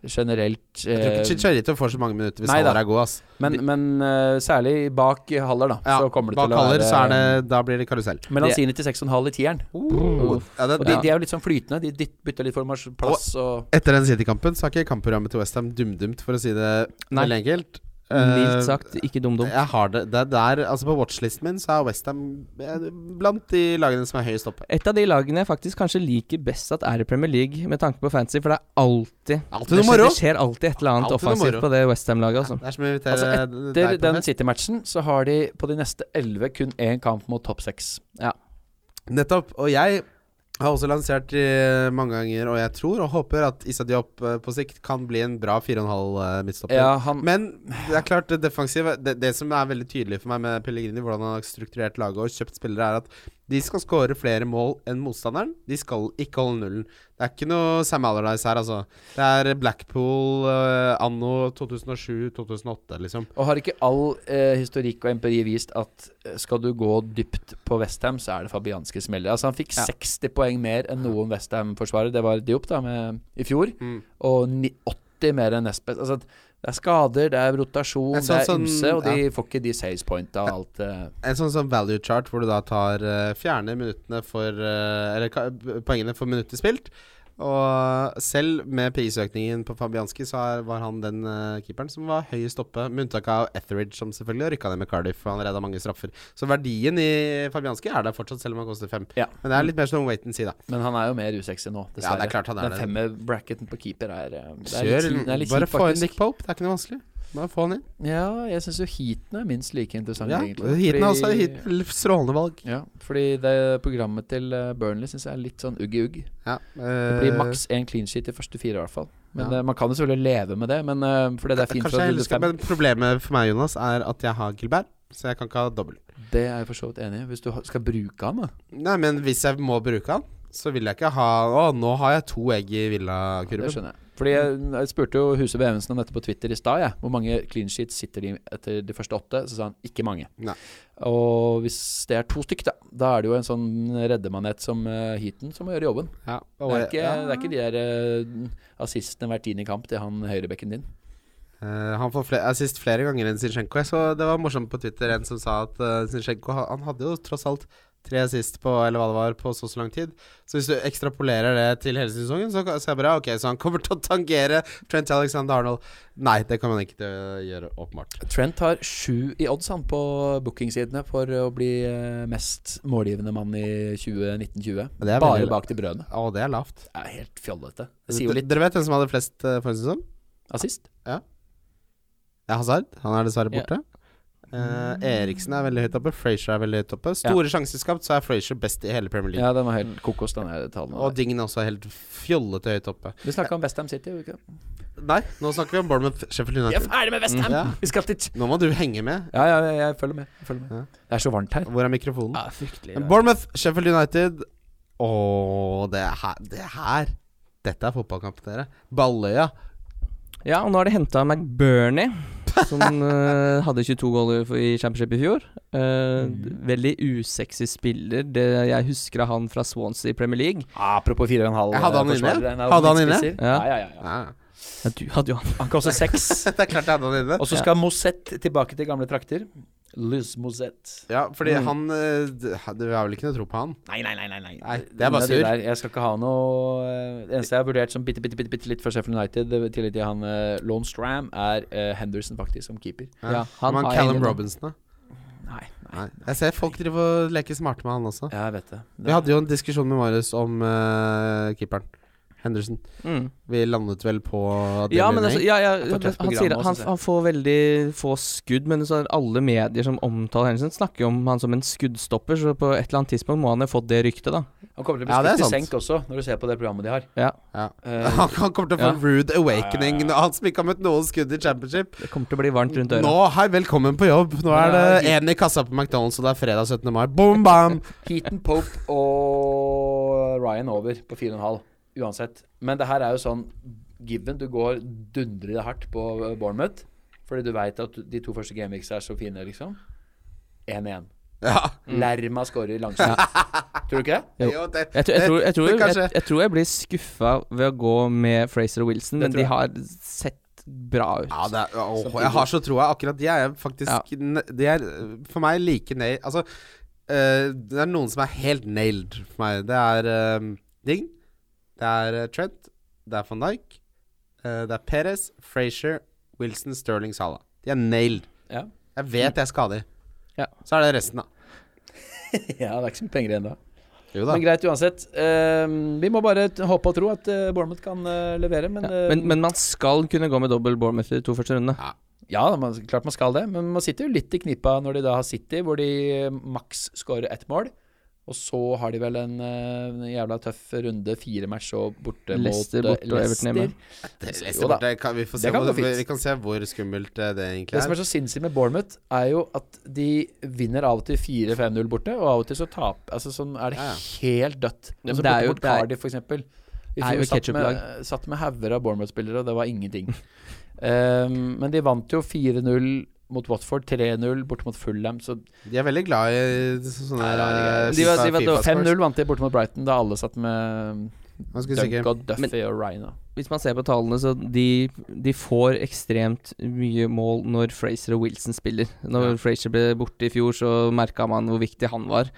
[SPEAKER 1] generelt
[SPEAKER 3] Jeg tror
[SPEAKER 1] eh,
[SPEAKER 3] ikke Chicharito får så mange minutter hvis
[SPEAKER 1] nei da.
[SPEAKER 3] Haller er god, ass.
[SPEAKER 1] Men, men eh, særlig bak Haller, da.
[SPEAKER 3] Ja,
[SPEAKER 1] så kommer det
[SPEAKER 3] bak
[SPEAKER 1] til å
[SPEAKER 3] Haller
[SPEAKER 1] være
[SPEAKER 3] så er det Da blir det karusell.
[SPEAKER 1] Melanzini til 6,5 i tieren.
[SPEAKER 3] Oh, ja, det,
[SPEAKER 1] Og de, de er jo litt sånn flytende. De dytt- bytter litt formasjon, plass og
[SPEAKER 3] Etter den City-kampen så har ikke kampprogrammet til Westham dumdumt, for å si det
[SPEAKER 2] Nei.
[SPEAKER 3] veldig enkelt.
[SPEAKER 2] Mildt
[SPEAKER 3] Eh,
[SPEAKER 2] sagt, ikke dum-dum.
[SPEAKER 3] Jeg har det. det er der, altså På watchlisten min så er Westham blant de lagene som er høyest oppe.
[SPEAKER 2] Et av de lagene jeg faktisk kanskje liker best at er i Premier League, med tanke på fantasy, for det er alltid
[SPEAKER 3] Alltid
[SPEAKER 2] Det
[SPEAKER 3] noe
[SPEAKER 2] skjer,
[SPEAKER 3] moro!
[SPEAKER 2] det skjer alltid et eller annet
[SPEAKER 3] Alltid noe
[SPEAKER 2] offensivt
[SPEAKER 3] moro.
[SPEAKER 2] på det Westham-laget, altså.
[SPEAKER 3] Det er som å invitere
[SPEAKER 1] Altså,
[SPEAKER 3] deg
[SPEAKER 1] Etter
[SPEAKER 3] på
[SPEAKER 1] den
[SPEAKER 3] fest.
[SPEAKER 1] City-matchen så har de på de neste 11 kun én kamp mot topp 6. Ja.
[SPEAKER 3] Nettopp. Og jeg har også lansert eh, mange ganger, og jeg tror og håper at Issa Diop eh, på sikt kan bli en bra 4,5 eh, midtstopper.
[SPEAKER 1] ja, han
[SPEAKER 3] Men det er klart, det defensive det, det som er veldig tydelig for meg med Pellegrini, hvordan han har strukturert laget og kjøpt spillere, er at de skal skåre flere mål enn motstanderen. De skal ikke holde nullen. Det er ikke noe Sam Allardyce her, altså. Det er Blackpool eh, anno 2007-2008, liksom.
[SPEAKER 1] Og har ikke all eh, historikk og empiri vist at eh, skal du gå dypt på Westham, så er det Fabianski som gjelder. Altså, han fikk
[SPEAKER 3] Ja.
[SPEAKER 1] 60 poeng mer enn noen Westham-forsvarer. Det var Diop da med, i fjor.
[SPEAKER 3] Mm.
[SPEAKER 1] Og ni- 80 mer enn Nesbeth. Altså, det er skader, det er rotasjon,
[SPEAKER 3] Jeg så
[SPEAKER 1] det er
[SPEAKER 3] sånn-
[SPEAKER 1] ymse, og de får ikke de saves pointa og alt. eh.
[SPEAKER 3] En sånn, sånn value chart hvor du da tar eh, fjerner minuttene for eh, Eller ka- poengene for minutter spilt. Og selv med prisøkningen på Fabianski, så er, var han den eh, keeperen som var høyest oppe. Med unntak av Etheridge, som selvfølgelig rykka ned med Cardiff. For han redda mange straffer. Så verdien i Fabianski er der fortsatt, selv om han koster fem.
[SPEAKER 1] Ja.
[SPEAKER 3] Men det er litt mer sånn wait and see, da.
[SPEAKER 1] Men han er jo mer usexy nå,
[SPEAKER 3] Ja, det er klart han er
[SPEAKER 1] Den
[SPEAKER 3] det.
[SPEAKER 1] femmer-bracketen på keeper er, eh, det er
[SPEAKER 3] Kjør,
[SPEAKER 1] litt, den er litt
[SPEAKER 3] bare
[SPEAKER 1] kjip,
[SPEAKER 3] få inn
[SPEAKER 1] faktisk.
[SPEAKER 3] Nick Pope, det er ikke noe vanskelig. Bare få han inn.
[SPEAKER 1] Ja, jeg syns jo heaten er minst like interessant,
[SPEAKER 3] Ja,
[SPEAKER 1] egentlig.
[SPEAKER 3] Heaten er
[SPEAKER 1] Fordi-
[SPEAKER 3] også heaten, strålende valg.
[SPEAKER 1] Ja, fordi det programmet til eh, Burnley syns jeg er litt sånn ugg-ugg.
[SPEAKER 3] Ja,
[SPEAKER 1] Det
[SPEAKER 3] eh,
[SPEAKER 1] blir maks én clean sheet i første fire, i hvert fall. Men
[SPEAKER 3] Ja.
[SPEAKER 1] eh, Man kan jo selvfølgelig leve med det, men eh, fordi det er fint
[SPEAKER 3] Kanskje
[SPEAKER 1] fra
[SPEAKER 3] jeg
[SPEAKER 1] runde
[SPEAKER 3] heller skal,
[SPEAKER 1] fem.
[SPEAKER 3] men Problemet for meg Jonas er at jeg har Gilbert, så jeg kan ikke ha dobbel.
[SPEAKER 1] Det er jeg for så vidt enig i. Hvis du ha- skal bruke han, da.
[SPEAKER 3] Nei, men hvis jeg må bruke han, så vil jeg ikke ha Å, nå har jeg to egg i
[SPEAKER 1] Det
[SPEAKER 3] Villa-kurven.
[SPEAKER 1] skjønner jeg. Fordi jeg, jeg spurte jo Huse Bevensen om dette på Twitter i stad. jeg. Hvor mange clean sheets sitter de etter de første åtte? Så sa han ikke mange.
[SPEAKER 3] Nei.
[SPEAKER 1] Og hvis det er to stykk, da, da er det jo en sånn reddemanet som uh, Heaton som må gjøre jobben.
[SPEAKER 3] Ja,
[SPEAKER 1] Det
[SPEAKER 3] og
[SPEAKER 1] er
[SPEAKER 3] jeg-
[SPEAKER 1] ikke,
[SPEAKER 3] ja.
[SPEAKER 1] det er ikke de der uh, assistene hvert tiende kamp til han høyrebekken din.
[SPEAKER 3] Eh, han får fle- assist flere ganger enn Zinchenko. Jeg så det var morsomt på Twitter en som sa at eh, Zinchenko ha- han hadde jo tross alt tre assist på eller hva det var, på så så lang tid. Så hvis du ekstrapolerer det til hele sesongen, så kan- ser jeg bare ok, så han kommer til å tangere Trent Alexander Arnold. Nei, det kan man ikke eh, gjøre, åpenbart.
[SPEAKER 1] Trent har sju i odds han på bookingsidene for å bli eh, mest målgivende mann i 2019-20.
[SPEAKER 3] Men det er
[SPEAKER 1] Bare
[SPEAKER 3] veldig-
[SPEAKER 1] bak til brødene.
[SPEAKER 3] Å, det er lavt.
[SPEAKER 1] Det er helt fjollete. Det sier jo
[SPEAKER 3] D-
[SPEAKER 1] litt
[SPEAKER 3] Dere vet hvem som hadde flest eh, forrige sesong?
[SPEAKER 1] assist.
[SPEAKER 3] Det er Hazard. Han er dessverre
[SPEAKER 2] Ja.
[SPEAKER 3] borte.
[SPEAKER 1] Mm.
[SPEAKER 3] Eh, Eriksen er veldig høyt oppe. Frazier er veldig høyt oppe. Store sjanser skapt, så er Frazier best i hele Premier League.
[SPEAKER 1] Ja, den var helt kokos, den her talen.
[SPEAKER 3] Og Dingen er også helt fjollete høyt oppe.
[SPEAKER 1] Vi snakka om Westham City, gjorde vi ikke?
[SPEAKER 3] Nei, nå snakker vi om Bournemouth Sheffield
[SPEAKER 1] Vi er
[SPEAKER 3] United.
[SPEAKER 1] ferdig med Westham!
[SPEAKER 3] Ja.
[SPEAKER 1] Vi skal til
[SPEAKER 3] Nå må du henge med.
[SPEAKER 1] Ja, ja, jeg, jeg følger med. Jeg følger med.
[SPEAKER 3] Ja.
[SPEAKER 1] Det er så varmt her.
[SPEAKER 3] Hvor er mikrofonen?
[SPEAKER 2] Ja, fryktelig.
[SPEAKER 3] Men Bournemouth Sheffield United. Å, det her, det her Dette er fotballkamp, dere. Balløya.
[SPEAKER 2] Ja, og nå har de henta McBurney,
[SPEAKER 3] *laughs*
[SPEAKER 2] som eh, hadde 22 goller for- i Championship i fjor. Eh, Veldig usexy spiller. Det, jeg husker av han fra Swansea i Premier League.
[SPEAKER 1] Ah, Apropos 4,5
[SPEAKER 3] Jeg hadde han inne.
[SPEAKER 1] eh, forsvarer, en av
[SPEAKER 3] Hadde han inne?
[SPEAKER 1] spisser.
[SPEAKER 2] Ja.
[SPEAKER 1] Ja, ja, ja, ja.
[SPEAKER 3] Ja.
[SPEAKER 2] Ja, du hadde jo han.
[SPEAKER 1] Han koster seks. *laughs*
[SPEAKER 3] Det er klart jeg hadde den inne.
[SPEAKER 1] Og så skal Mosett tilbake til gamle trakter. Luz Mozet.
[SPEAKER 3] Ja, fordi
[SPEAKER 1] Mm.
[SPEAKER 3] han eh, d- ha- Du har vel ikke noe tro på han?
[SPEAKER 1] Nei, nei, nei, nei, nei.
[SPEAKER 3] Nei, det er bare
[SPEAKER 1] det
[SPEAKER 3] sur.
[SPEAKER 1] der. Jeg skal ikke ha noe eh, Det eneste jeg har vurdert som bitte, bitte, bitte, bitte litt for Sheffield United, eh, i tillegg til han eh, Lone Stram, er eh, Henderson faktisk som keeper.
[SPEAKER 2] Ja, han
[SPEAKER 3] han Men
[SPEAKER 2] har
[SPEAKER 3] Callum
[SPEAKER 2] ingen-
[SPEAKER 3] Robinson, da?
[SPEAKER 1] Nei, nei.
[SPEAKER 3] Nei. Jeg ser folk driver og leker smarte med han også.
[SPEAKER 1] Jeg vet det.
[SPEAKER 3] Vi hadde jo en diskusjon med Marius om eh, keeperen. Henderson.
[SPEAKER 2] Mm.
[SPEAKER 3] Vi landet vel på
[SPEAKER 2] Ja, men altså,
[SPEAKER 3] Delaney.
[SPEAKER 2] ja, ja,
[SPEAKER 1] Det er et tøft
[SPEAKER 2] han,
[SPEAKER 1] program
[SPEAKER 2] sier,
[SPEAKER 1] også,
[SPEAKER 2] han,
[SPEAKER 1] synes jeg.
[SPEAKER 2] han får veldig få skudd, men så er alle medier som omtaler Henderson, snakker jo om han som en skuddstopper, så på et eller annet tidspunkt må han ha fått det ryktet, da.
[SPEAKER 1] Han kommer til å bli
[SPEAKER 3] Ja, det
[SPEAKER 1] skutt
[SPEAKER 3] er
[SPEAKER 1] i
[SPEAKER 3] sant.
[SPEAKER 1] senk også, når du ser på det programmet de har.
[SPEAKER 2] Ja,
[SPEAKER 3] Ja.
[SPEAKER 1] Eh,
[SPEAKER 3] Han, *laughs* han kommer til å få en rude awakening når han som ikke har møtt noen skudd i championship.
[SPEAKER 2] det kommer til å bli varmt rundt
[SPEAKER 3] Nå,
[SPEAKER 2] øret.
[SPEAKER 3] hei, velkommen på jobb. Nå er det én i kassa på McDonald's, og det er fredag 17. mai. Boom, bam!
[SPEAKER 2] *laughs*
[SPEAKER 3] *laughs*
[SPEAKER 1] Heaton, Pope og Ryan over på 4,5 uansett. Men det her er jo sånn given. Du går dundrende hardt på eh, Bournemouth fordi du veit at de to første gameweeksa er så fine, liksom. 1-1.
[SPEAKER 3] Ja.
[SPEAKER 1] Lerma scorer
[SPEAKER 3] *laughs*
[SPEAKER 1] langsomt. Tror du ikke det?
[SPEAKER 2] Jo.
[SPEAKER 3] Jo, det,
[SPEAKER 2] Jeg tror jeg, tror, jeg, tror,
[SPEAKER 3] det- det
[SPEAKER 2] jeg,
[SPEAKER 3] kanskje-
[SPEAKER 2] jeg, tror jeg blir skuffa ved å gå med Fraser og Wilson, men
[SPEAKER 1] tror
[SPEAKER 2] de
[SPEAKER 1] jeg.
[SPEAKER 2] har sett bra ut.
[SPEAKER 3] Ja, det er, åh, jeg har så troa. Akkurat de er faktisk
[SPEAKER 2] Ja.
[SPEAKER 3] ne- De er øh, for meg like nailed Altså, øh, det er noen som er helt nailed for meg. Det er øh, Ding. Det er øh, Trent. Det er van Dijk. øh, det er Perez, Frazier, Wilson, Sterling, Salah De er nailed.
[SPEAKER 1] Ja.
[SPEAKER 3] Jeg vet jeg skal ha de.
[SPEAKER 2] Ja.
[SPEAKER 3] Så er det resten, da.
[SPEAKER 1] *laughs* ja, det er ikke så mye penger igjen da.
[SPEAKER 3] Jo
[SPEAKER 1] Men greit uansett. Eh, vi må bare t- håpe og tro at eh, Bournemouth kan eh, levere, men,
[SPEAKER 2] Ja,
[SPEAKER 1] eh,
[SPEAKER 2] men, men man skal kunne gå med dobbel Bournemouth i de to første rundene.
[SPEAKER 1] Ja, man, klart man skal det, men man sitter jo litt i knipa når de da har City, hvor de eh, maks skårer ett mål. Og så har de vel en, eh, en jævla tøff runde, fire matcher og borte
[SPEAKER 2] Leicester
[SPEAKER 1] mot eh,
[SPEAKER 2] borte og Everton hjemme.
[SPEAKER 1] Leicester.
[SPEAKER 3] det,
[SPEAKER 1] Jo da.
[SPEAKER 3] det kan, vi, får se
[SPEAKER 1] Det kan
[SPEAKER 3] hvor,
[SPEAKER 1] gå fint.
[SPEAKER 3] vi kan se hvor skummelt øh, det
[SPEAKER 1] Det
[SPEAKER 3] egentlig
[SPEAKER 1] som
[SPEAKER 3] er.
[SPEAKER 1] er så sinnssykt med Bournemouth, er jo at de vinner av og til 4-5-0 borte, og av og til så tap, altså sånn er det
[SPEAKER 3] Ja, ja.
[SPEAKER 1] helt dødt.
[SPEAKER 2] Ja, men
[SPEAKER 1] Altså,
[SPEAKER 2] det er
[SPEAKER 1] borte
[SPEAKER 2] jo-
[SPEAKER 1] mot
[SPEAKER 2] det er-
[SPEAKER 1] Cardiff, for eksempel. Vi
[SPEAKER 2] er
[SPEAKER 1] fjor
[SPEAKER 2] jo et
[SPEAKER 1] satt med,
[SPEAKER 2] ketchup-lag.
[SPEAKER 1] satt med hauger av Bournemouth-spillere, og det var ingenting. *laughs* Ehm, men de vant jo 4-0 mot Watford, 3-0 borte mot Fulham, så
[SPEAKER 3] De er veldig glad i sånne
[SPEAKER 1] Nei, nei,
[SPEAKER 3] øh,
[SPEAKER 2] de var- de
[SPEAKER 3] FIFA-
[SPEAKER 2] var-
[SPEAKER 3] FIFA-scores.
[SPEAKER 1] 5-0 vant de borte mot Brighton da alle satt med
[SPEAKER 3] Ganske sikker.
[SPEAKER 1] Dunk og Duffy
[SPEAKER 2] Men-
[SPEAKER 1] og Ryan. da.
[SPEAKER 2] Hvis man ser på tallene, så de, de får ekstremt mye mål når Fraser og Wilson spiller. Når Fraser ble borte i fjor, så merka man hvor viktig han var.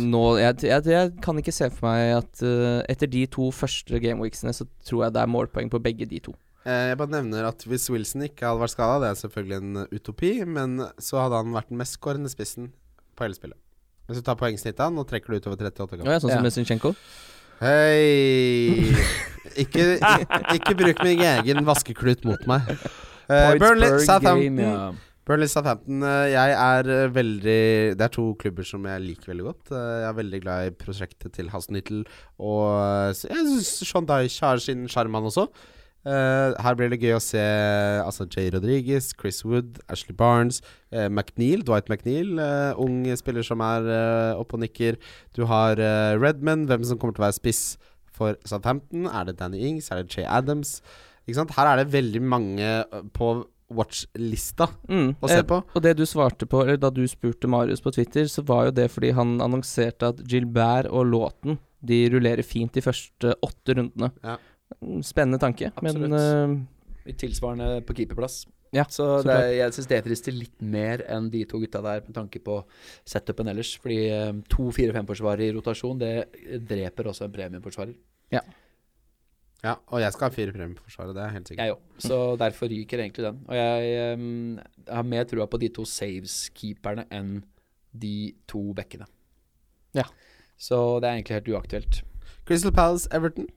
[SPEAKER 2] Og nå jeg, jeg, jeg kan ikke se for meg at eh, etter de to første gameweeksene, så tror jeg det er målpoeng på begge de to.
[SPEAKER 3] Eh, Jeg bare nevner at hvis Wilson ikke hadde vært skada, det er selvfølgelig en eh, utopi, men så hadde han vært den mest skårende spissen på hele spillet. Hvis du tar poengsnittet av han, nå trekker du utover 38
[SPEAKER 2] Ja,
[SPEAKER 3] kamper.
[SPEAKER 2] sånn som med Zinchenko.
[SPEAKER 3] Hei! Ikke, ik- ikke bruk min egen vaskeklut mot meg. Eh, Burnley,
[SPEAKER 1] Pittsburgh
[SPEAKER 3] Southampton.
[SPEAKER 1] game, ja.
[SPEAKER 3] Burnley, Southampton. eh, Jeg er eh, veldig Det er to klubber som jeg liker veldig godt. Eh, Jeg er veldig glad i prosjektet til Hasenhyttel, og eh, s- jeg syns Sean Dyche har sin sjarm, han også. Eh, her blir det gøy å se altså Jay Rodriguez, Chris Wood, Ashley Barnes, eh, McNeil, Dwight McNeil. eh, ung spiller som er eh, oppe og nikker. Du har eh, Redman, hvem som kommer til å være spiss for Southampton. Er det Danny Ings? Er det Jay Adams? Ikke sant? Her er det veldig mange eh, på watch-lista
[SPEAKER 2] Mm.
[SPEAKER 3] å se
[SPEAKER 2] Eh,
[SPEAKER 3] på.
[SPEAKER 2] Og det du svarte på, eller da du spurte Marius på Twitter, så var jo det fordi han annonserte at Gilbert og Lawton de rullerer fint de første åtte rundene.
[SPEAKER 3] Ja.
[SPEAKER 2] Mm, Spennende tanke,
[SPEAKER 1] Absolutt.
[SPEAKER 2] men eh,
[SPEAKER 1] I Tilsvarende på keeperplass.
[SPEAKER 2] Ja,
[SPEAKER 1] så
[SPEAKER 2] så
[SPEAKER 1] det er, jeg syns det frister litt mer enn de to gutta der, med tanke på setupen ellers. Fordi eh, to fire-fem-forsvarere i rotasjon, det dreper også en premieforsvarer.
[SPEAKER 3] Ja, og jeg skal ha fire premier på Forsvaret, det er helt sikkert.
[SPEAKER 1] Jeg òg. Så derfor ryker egentlig den. Og jeg eh, har mer trua på de to saves-keeperne enn de to bekkene.
[SPEAKER 2] Ja.
[SPEAKER 1] Så det er egentlig helt uaktuelt.
[SPEAKER 3] Crystal Palace, Everton.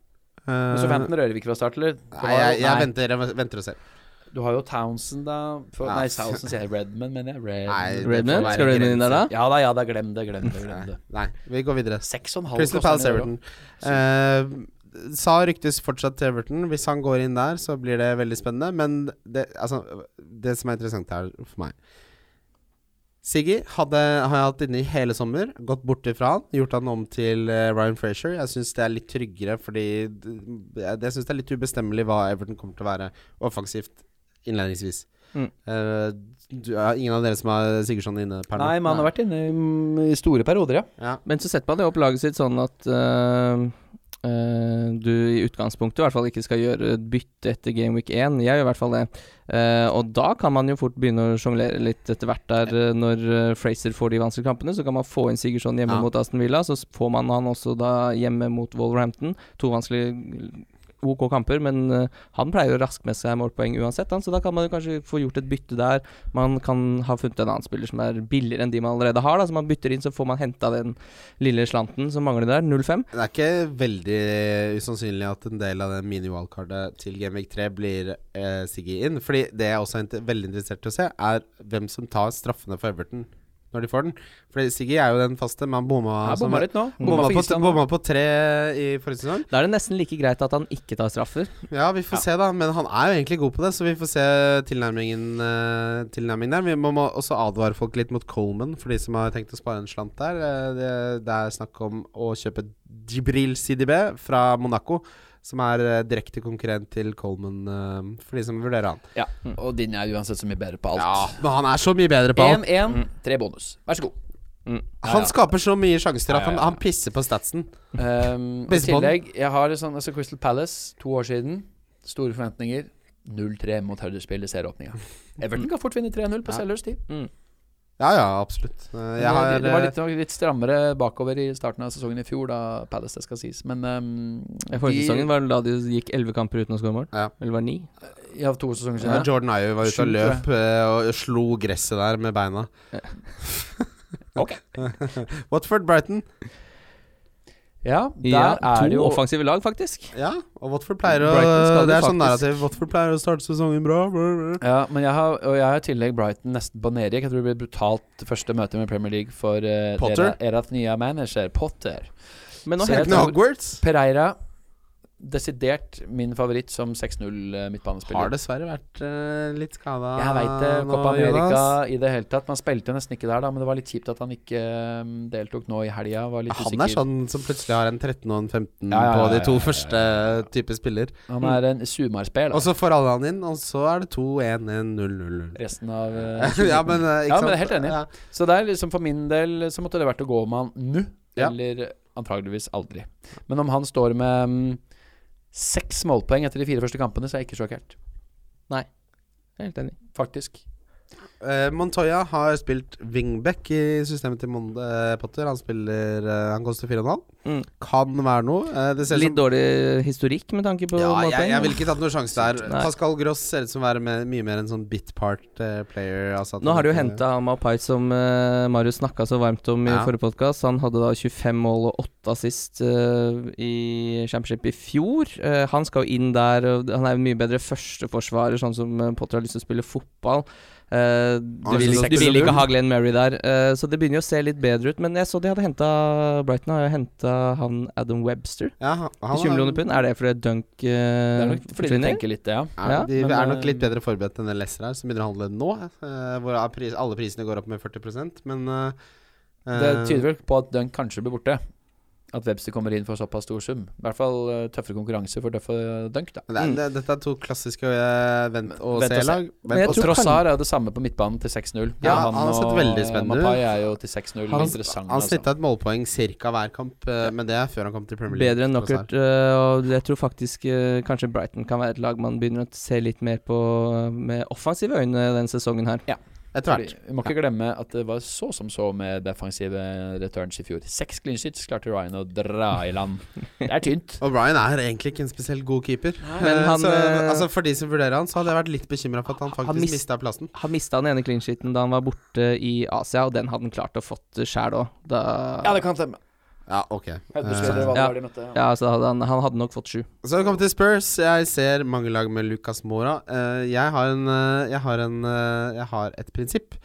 [SPEAKER 3] Eh,
[SPEAKER 1] Men så Southampton rører vi ikke fra start, eller? Det
[SPEAKER 3] Nei,
[SPEAKER 1] var jo-
[SPEAKER 3] jeg,
[SPEAKER 1] Nei.
[SPEAKER 3] jeg venter, jeg venter og ser.
[SPEAKER 1] Du har jo Townsend, da. For,
[SPEAKER 3] Ja.
[SPEAKER 1] nei, Townsend sier jeg Redman, mener jeg. Redman.
[SPEAKER 3] Nei, det får
[SPEAKER 2] Redmond,
[SPEAKER 3] være
[SPEAKER 2] skal du inn
[SPEAKER 3] grenser.
[SPEAKER 2] der da?
[SPEAKER 1] Ja da, ja da, glem det, glem det. glem
[SPEAKER 3] Nei,
[SPEAKER 1] det
[SPEAKER 3] nei, vi går videre.
[SPEAKER 1] Seks og en halv
[SPEAKER 3] Crystal
[SPEAKER 1] koster
[SPEAKER 3] Palace,
[SPEAKER 1] den i år,
[SPEAKER 3] Everton. Eh, sa ryktes fortsatt til Everton. Hvis han går inn der, så blir det veldig spennende. Men det, altså, det som er interessant her for meg Siggy hadde, har jeg hatt inne i hele sommer. Gått bort ifra han. Gjort han om til eh, Ryan Frazier. Jeg syns det er litt tryggere, fordi d- jeg, jeg syns det er litt ubestemmelig hva Everton kommer til å være offensivt innledningsvis.
[SPEAKER 2] Mm.
[SPEAKER 3] Eh, du, er ingen av dere som har Sigurdsson
[SPEAKER 1] da.
[SPEAKER 3] inne per nå?
[SPEAKER 1] Nei, men han har vært inne i, mm, i store perioder, ja.
[SPEAKER 3] Ja.
[SPEAKER 2] Men så setter man jo opp laget sitt sånn at øh, eh, du i utgangspunktet i hvert fall ikke skal gjøre et bytte etter Game Week 1. Jeg gjør i hvert fall det. Eh, og da kan man jo fort begynne å sjonglere litt etter hvert der eh, når eh, Fraser får de vanskelige kampene. Så kan man få inn Sigurdsson hjemme
[SPEAKER 3] Ja.
[SPEAKER 2] mot Aston Villa, så s- får man han også da hjemme mot Wolverhampton. To vanskelige OK kamper, men eh, han pleier jo å raske med seg målpoeng uansett, han, så da kan man jo kanskje få gjort et bytte der. Man kan ha funnet en annen spiller som er billigere enn de man allerede har, da, så man bytter inn, så får man henta den lille slanten som mangler der. 0-5.
[SPEAKER 3] Det er ikke veldig usannsynlig at en del av det mini-wildcardet til Gamevik 3 blir eh, sigget inn. Fordi det jeg også er inte- veldig interessert i å se, er hvem som tar straffene for Everton når de får den. Fordi Siggy er jo den faste. Man bomma,
[SPEAKER 1] Ja,
[SPEAKER 3] som-
[SPEAKER 1] bomma litt nå.
[SPEAKER 3] bomma,
[SPEAKER 1] for
[SPEAKER 3] på,
[SPEAKER 1] Island nå.
[SPEAKER 3] bomma på tre i forrige sesong.
[SPEAKER 2] Da er det nesten like greit at han ikke tar straffer.
[SPEAKER 3] Ja, vi får se, da. Men han er jo egentlig god på det, så vi får se tilnærmingen, eh, tilnærmingen der. Vi må, må også advare folk litt mot Coleman, for de som har tenkt å spare en slant der. Eh, det, det er snakk om å kjøpe Jibril CDB fra Monaco, som er eh, direkte konkurrent til Coleman, eh, for de som vurderer han.
[SPEAKER 1] Ja, og din er uansett så mye bedre på
[SPEAKER 3] Mm. Ja,
[SPEAKER 1] alt.
[SPEAKER 3] men han er så mye bedre på alt.
[SPEAKER 2] Mm.
[SPEAKER 1] 1-1, tre bonus. Vær så god.
[SPEAKER 3] Han skaper så mye sjanser
[SPEAKER 1] Ja,
[SPEAKER 3] at
[SPEAKER 1] ja,
[SPEAKER 3] han,
[SPEAKER 1] ja.
[SPEAKER 3] han pisser på statsen.
[SPEAKER 1] Um, I
[SPEAKER 3] Best på den.
[SPEAKER 1] tillegg, jeg har sånn, altså Crystal Palace, to år siden. Store forventninger. 0-3 mot Huddersfield i
[SPEAKER 3] *laughs*
[SPEAKER 1] serieåpninga. Everton kan fort vinne 3-0 på
[SPEAKER 3] Ja.
[SPEAKER 1] selvløs tid.
[SPEAKER 3] Ja, ja, absolutt. Eh,
[SPEAKER 1] Det
[SPEAKER 3] Jeg
[SPEAKER 1] var-
[SPEAKER 3] har
[SPEAKER 1] det var
[SPEAKER 3] eh,
[SPEAKER 1] litt, det var litt strammere bakover i starten av sesongen i fjor, da Palace, det skal sies. Men um,
[SPEAKER 2] Forrige
[SPEAKER 1] de-
[SPEAKER 2] sesongen var det da de gikk elleve kamper uten å skåre mål.
[SPEAKER 3] Ja.
[SPEAKER 2] Eller var det ni?
[SPEAKER 1] Ja, to sesonger siden.
[SPEAKER 3] ja, Jordan Ayew var ute og
[SPEAKER 1] Sju,
[SPEAKER 3] løp eh, og slo gresset der med beina. *laughs*
[SPEAKER 1] Ok.
[SPEAKER 3] Watford Brighton.
[SPEAKER 1] Ja, der
[SPEAKER 2] Ja,
[SPEAKER 1] er det
[SPEAKER 2] to
[SPEAKER 1] jo
[SPEAKER 2] offensive lag, faktisk.
[SPEAKER 3] Ja, og Watford pleier å
[SPEAKER 2] Brighton skal
[SPEAKER 3] Det
[SPEAKER 2] jo
[SPEAKER 3] er sånn
[SPEAKER 2] faktisk-
[SPEAKER 3] narrativ. Watford pleier å starte sesongen bra. brr, brr.
[SPEAKER 1] Ja, men jeg har, og jeg har i tillegg Brighton nesten på nedrykk. Jeg tror det blir brutalt første møte med Premier League for uh,
[SPEAKER 3] Potter?
[SPEAKER 1] Erat nye manager, Potter.
[SPEAKER 2] Men nå
[SPEAKER 1] Så jeg
[SPEAKER 3] Enten
[SPEAKER 2] henter
[SPEAKER 1] tror-
[SPEAKER 3] Hogwarts
[SPEAKER 1] Pereira, desidert min favoritt som 6-0 midtbanespiller.
[SPEAKER 3] har dessverre vært eh, litt skada
[SPEAKER 1] Jeg veit det. Copa America i det hele tatt. Man spilte jo nesten ikke der, da, men det var litt kjipt at han ikke um, deltok nå i helga. Var litt
[SPEAKER 3] Han er
[SPEAKER 1] usikker.
[SPEAKER 3] sånn som plutselig har en 13 og en 15
[SPEAKER 1] Ja, ja,
[SPEAKER 3] på
[SPEAKER 1] ja, ja,
[SPEAKER 3] de to
[SPEAKER 1] ja, ja.
[SPEAKER 3] første type spiller.
[SPEAKER 1] Han er en sumarspel, altså,
[SPEAKER 3] Og
[SPEAKER 1] da.
[SPEAKER 3] så får alle han inn, og så er det 2-1-1-0-0.
[SPEAKER 1] Resten
[SPEAKER 3] *laughs*
[SPEAKER 1] av uh,
[SPEAKER 3] Altså- ja, men eh, ikke
[SPEAKER 1] Ja,
[SPEAKER 3] sant?
[SPEAKER 1] men jeg er helt enig.
[SPEAKER 3] Ja.
[SPEAKER 1] Så det er liksom for min del så måtte det vært å gå med han nå,
[SPEAKER 3] Ja.
[SPEAKER 1] eller antageligvis aldri. Men om han står med mm, seks målpoeng etter de fire første kampene, så er jeg ikke sjokkert.
[SPEAKER 2] Jeg er Helt enig.
[SPEAKER 1] Faktisk.
[SPEAKER 3] Eh, Montoya har spilt wingback i systemet til Mon eh, Potter. Han spiller eh, Han koster 4,5.
[SPEAKER 2] Mm.
[SPEAKER 3] Kan være noe. Eh, det ser ut som
[SPEAKER 2] Litt dårlig historikk med tanke på
[SPEAKER 3] Ja, jeg,
[SPEAKER 2] målpoeng.
[SPEAKER 3] jeg ville ikke tatt noen sjanse der.
[SPEAKER 2] Nei.
[SPEAKER 3] Pascal Gross ser ut som å være med, mye mer en sånn bitpart eh, player. Altså at
[SPEAKER 2] Nå har
[SPEAKER 3] han
[SPEAKER 2] de jo
[SPEAKER 3] ikke-
[SPEAKER 2] henta Mapai, som eh, Marius snakka så varmt om i
[SPEAKER 3] Ja.
[SPEAKER 2] forrige podkast. Han hadde da 25 mål og 8 assist eh, i Championship i fjor. Eh, han skal jo inn der. og Han er jo mye bedre førsteforsvarer, sånn som eh, Potter har lyst til å spille fotball. Eh, du,
[SPEAKER 3] Han
[SPEAKER 2] vil,
[SPEAKER 3] synes
[SPEAKER 2] du
[SPEAKER 3] seks
[SPEAKER 2] vil
[SPEAKER 3] og null.
[SPEAKER 2] ikke ha Glenn Murray der, eh, så det begynner jo å se litt bedre ut. Men jeg så de hadde henta Brighton har jo henta han Adam Webster.
[SPEAKER 3] ja, han, han,
[SPEAKER 2] 20 millioner pund. Er det fordi Dunk
[SPEAKER 1] Det er
[SPEAKER 2] eh,
[SPEAKER 1] nok fordi de
[SPEAKER 2] forsvinner?
[SPEAKER 1] tenker litt det, ja.
[SPEAKER 3] Er,
[SPEAKER 2] Ja,
[SPEAKER 3] de
[SPEAKER 2] men,
[SPEAKER 3] er nok
[SPEAKER 2] eh,
[SPEAKER 3] litt bedre forberedt enn det Lesser er, som begynner å handle nå. eh, hvor er pris, alle prisene går opp med 40 men eh,
[SPEAKER 1] Det
[SPEAKER 3] eh,
[SPEAKER 1] tyder vel på at Dunk kanskje blir borte. At Webster kommer inn for såpass stor sum. I hvert fall eh, tøffere konkurranse for tøffe Dunk, da.
[SPEAKER 3] men det, er-
[SPEAKER 2] Mm.
[SPEAKER 3] det, Dette er to klassiske eh, vent og
[SPEAKER 1] Vent og se.
[SPEAKER 3] se-lag.
[SPEAKER 2] Men jeg
[SPEAKER 1] Og
[SPEAKER 2] tror
[SPEAKER 1] Trossar er jo det samme på midtbanen til 6-0.
[SPEAKER 3] Ja,
[SPEAKER 1] Men
[SPEAKER 3] han har sett
[SPEAKER 1] og
[SPEAKER 3] veldig spennende ut.
[SPEAKER 1] Mapai er jo til 6-0.
[SPEAKER 3] Han,
[SPEAKER 1] Interessant,
[SPEAKER 3] han
[SPEAKER 1] altså.
[SPEAKER 3] snitta et målpoenn ca. hver kamp, eh, men det er før han kom til Premier League.
[SPEAKER 2] Bedre enn
[SPEAKER 3] tross alt.
[SPEAKER 2] Knockert. øh, Og jeg tror faktisk øh, kanskje Brighton kan være et lag man begynner å se litt mer på øh, med offensive øyne denne sesongen her.
[SPEAKER 3] Etter hvert.
[SPEAKER 1] Fordi, vi må ikke glemme at det var så som så med defensive returns i fjor. Seks clean sheets klarte Ryan å dra i
[SPEAKER 3] *laughs*
[SPEAKER 1] land. Det er tynt.
[SPEAKER 3] Og Ryan er egentlig ikke en spesielt god keeper.
[SPEAKER 2] Men
[SPEAKER 3] Eh,
[SPEAKER 2] han,
[SPEAKER 3] så,
[SPEAKER 2] eh,
[SPEAKER 3] altså For de som vurderer han, så hadde jeg vært litt bekymra for at han
[SPEAKER 2] Han
[SPEAKER 3] faktisk
[SPEAKER 2] mis-
[SPEAKER 3] mista plassen.
[SPEAKER 2] Han mista den ene clean sheeten da han var borte i Asia, og den hadde han klart å fått sjæl òg. Da
[SPEAKER 1] Ja, det kan stemme.
[SPEAKER 3] Ja, ok eh,
[SPEAKER 2] Ja. ja, så hadde han, han hadde nok fått sju.
[SPEAKER 3] Så har vi kommet til Spurs. Jeg ser mange lag med Lucas Mora. Eh, jeg, har en, eh, jeg, har en, eh, jeg har et prinsipp.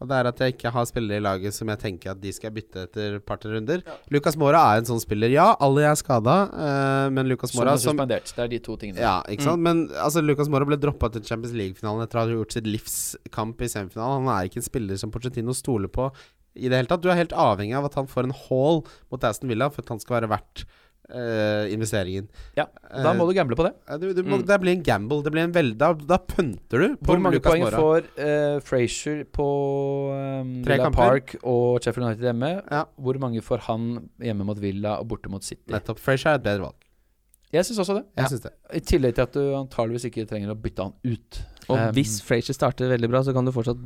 [SPEAKER 3] Og det er at jeg ikke har spillere i laget som jeg tenker at de skal bytte etter par-tre runder. Lucas Mora er en sånn spiller. Ja, alle er skada, eh, men Lucas
[SPEAKER 1] Som
[SPEAKER 3] Mora
[SPEAKER 1] er
[SPEAKER 3] som
[SPEAKER 1] suspendert. Det er de to tingene.
[SPEAKER 3] Ja, ikke sant? Men altså, Lucas Mora ble droppa til Champions League-finalen etter å ha gjort sitt livskamp i semifinalen. Han er ikke en spiller som Pochettino stoler på i det hele tatt. Du er helt avhengig av at han får en haul mot Aston Villa for at han skal være verdt eh, investeringen.
[SPEAKER 1] Ja, Da må du gamble på det.
[SPEAKER 3] Eh, du, du må, Det blir en gamble. Det blir en veld, da, da pønter du på
[SPEAKER 1] Hvor mange
[SPEAKER 3] Lucas
[SPEAKER 1] poeng
[SPEAKER 3] Mora.
[SPEAKER 1] får eh, Frazier på um,
[SPEAKER 3] Tre
[SPEAKER 1] Villa
[SPEAKER 3] kamper.
[SPEAKER 1] Park og Sheffield United hjemme?
[SPEAKER 3] Ja.
[SPEAKER 1] Hvor mange får han hjemme mot Villa og borte mot City?
[SPEAKER 3] Nettopp. Frazier er et bedre valg.
[SPEAKER 1] Jeg syns også det.
[SPEAKER 3] Jeg
[SPEAKER 2] Ja.
[SPEAKER 3] synes det.
[SPEAKER 1] I tillegg til at du antageligvis ikke trenger å bytte han ut.
[SPEAKER 2] Og
[SPEAKER 3] Ehm.
[SPEAKER 1] Um,
[SPEAKER 2] hvis Frazier starter veldig bra, så kan du fortsatt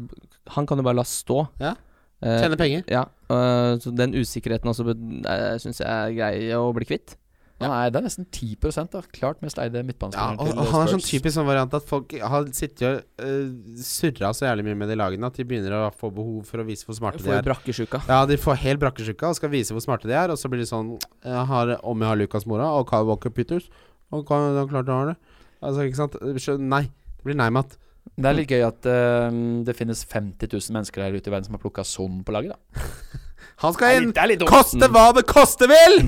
[SPEAKER 2] Han kan du bare la stå.
[SPEAKER 3] Ja.
[SPEAKER 2] Eh,
[SPEAKER 3] Tjene penger.
[SPEAKER 2] ja. eh, så den usikkerheten også uh, syns jeg er grei å bli kvitt.
[SPEAKER 1] Han er, det er nesten 10 da. Klart mest eide
[SPEAKER 3] Ja,
[SPEAKER 1] midtbanespilleren
[SPEAKER 3] og,
[SPEAKER 1] til
[SPEAKER 3] og han er sånn
[SPEAKER 1] Spurs.
[SPEAKER 3] typisk sånn variant at folk har sittet og uh, surra så jævlig mye med de lagene at de begynner å få behov for å vise hvor smarte de
[SPEAKER 2] Får
[SPEAKER 3] er.
[SPEAKER 2] brakkesjuka.
[SPEAKER 3] Ja, de får helt brakkesjuka og skal vise hvor smarte de er, og så blir de sånn jeg har, Om jeg har Lucas Mora og Kyle Walker Peters Og Kyle, da klart jeg har det. Altså, ikke sant? Skjø- Nei. Det blir nei-mat.
[SPEAKER 1] Det er litt gøy at eh, det finnes 50 000 mennesker her ute i verden som har plukka sånn på laget, da.
[SPEAKER 3] Han skal inn!
[SPEAKER 1] det er litt dumt.
[SPEAKER 3] Koste hva det
[SPEAKER 1] *laughs*
[SPEAKER 3] koste vil!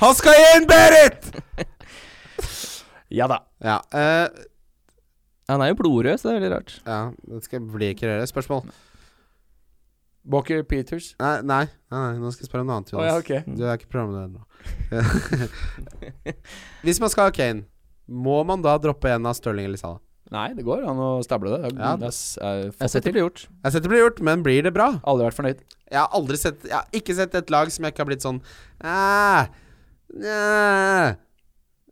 [SPEAKER 3] Han skal inn, Berit!
[SPEAKER 1] Ja da.
[SPEAKER 3] Ja, eh,
[SPEAKER 2] Han er jo blodrød, så det er veldig rart.
[SPEAKER 3] ja det skal bli ikke røre. Spørsmål?
[SPEAKER 1] Walker Peters.
[SPEAKER 3] Nei, nei, nei, nei, nå skal jeg spørre om noe annet,
[SPEAKER 1] Å
[SPEAKER 3] Jonas.
[SPEAKER 1] ja, ok.
[SPEAKER 3] Du er ikke programleder nå. *laughs* Hvis man skal ha Kane, må man da droppe en av Stirling eller Salah?
[SPEAKER 1] Nei, det går an å stable det. Det er-
[SPEAKER 3] Ja,
[SPEAKER 1] det er- er-
[SPEAKER 2] Jeg har sett det bli gjort.
[SPEAKER 3] Jeg har sett det blir gjort, men blir det bra?
[SPEAKER 1] Aldri vært fornøyd.
[SPEAKER 3] Jeg har aldri sett Jeg har ikke sett et lag som jeg ikke har blitt sånn «Æ, æ».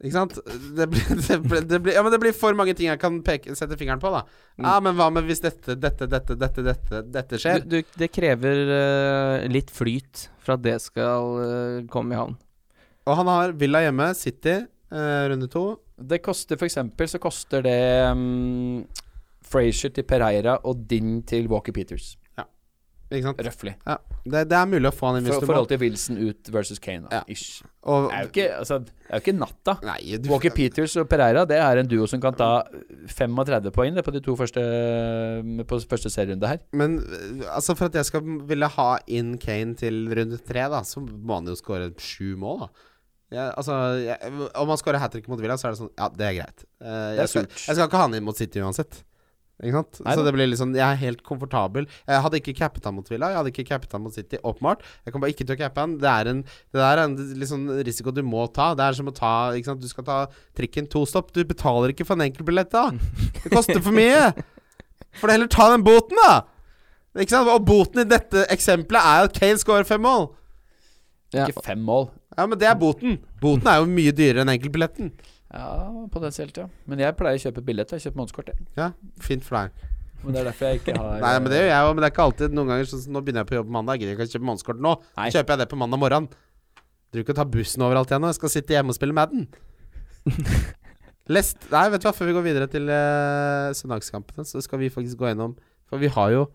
[SPEAKER 3] Ikke sant? Det blir, *laughs* det, blir, det, blir, ja, men det blir for mange ting jeg kan peke, sette fingeren på, da.
[SPEAKER 1] Mm.
[SPEAKER 3] Ja, men hva med hvis dette, dette, dette, dette, dette, dette skjer?
[SPEAKER 2] Du, du, det krever eh, litt flyt for at det skal eh, komme i havn.
[SPEAKER 3] Og han har Villa hjemme, City, eh, runde to.
[SPEAKER 1] Det koster for eksempel så koster det um, Frazier til Pereira og din til Walker Peters.
[SPEAKER 3] Ikke sant?
[SPEAKER 1] Røffelig.
[SPEAKER 3] Ja, det, det er mulig å få han inn hvis
[SPEAKER 1] For,
[SPEAKER 3] du må.
[SPEAKER 1] forhold til Wilson ut versus Kane, da.
[SPEAKER 3] Ja.
[SPEAKER 1] Ish.
[SPEAKER 3] Og,
[SPEAKER 1] Det er jo ikke, altså, det er jo ikke natta.
[SPEAKER 3] nei, du,
[SPEAKER 1] Walker Peters og Pereira Det er en duo som kan ta 35 poeng det, på de to første På første serierunde her.
[SPEAKER 3] Men eh, altså for at jeg skal ville ha inn Kane til runde tre, da, så må han jo skåre sju mål, da. Jeg, altså, jeg, om han skårer hat trick mot Villa, så er det sånn Ja, det er greit. Eh, jeg, skal,
[SPEAKER 1] surt.
[SPEAKER 3] jeg skal ikke ha han inn mot City uansett. Ikke sant?
[SPEAKER 1] Nei
[SPEAKER 3] så
[SPEAKER 1] da.
[SPEAKER 3] det blir liksom Jeg er helt komfortabel. Jeg hadde ikke cappet han mot Villa, jeg hadde ikke cappet han mot City, åpenbart. Jeg kommer bare ikke til å cappe han. Det er en, det der er en liksom, risiko du må ta. Det er som å ta ikke sant? Du skal ta trikken to stopp. Du betaler ikke for en enkeltbillett, da. Det koster for mye. Får du heller ta den boten, da. Ikke sant? Og boten i dette eksempelet er at Kane scorer fem mål.
[SPEAKER 2] Ja.
[SPEAKER 1] Ikke fem mål.
[SPEAKER 3] Ja, men det er boten. Boten er jo mye dyrere enn enkeltbilletten.
[SPEAKER 1] Ja, potensielt, ja. Men jeg pleier å kjøpe billett. Jeg kjøper månedskort, jeg.
[SPEAKER 3] Ja, fint for deg.
[SPEAKER 1] Men det er derfor jeg
[SPEAKER 3] *laughs*
[SPEAKER 1] ikke har
[SPEAKER 3] Nei, men det gjør jeg òg, men det er ikke alltid. Noen ganger sånn som Nå begynner jeg på jobb mandag, jeg gidder ikke å kjøpe månedskort nå.
[SPEAKER 1] Nei.
[SPEAKER 3] Så kjøper jeg det på mandag morgen. Du ikke å ta bussen overalt igjen nå. Jeg skal sitte hjemme og spille Madden. Lest Nei, vet du hva, før vi går videre til eh, søndagskampene, så skal vi faktisk gå gjennom For vi har jo,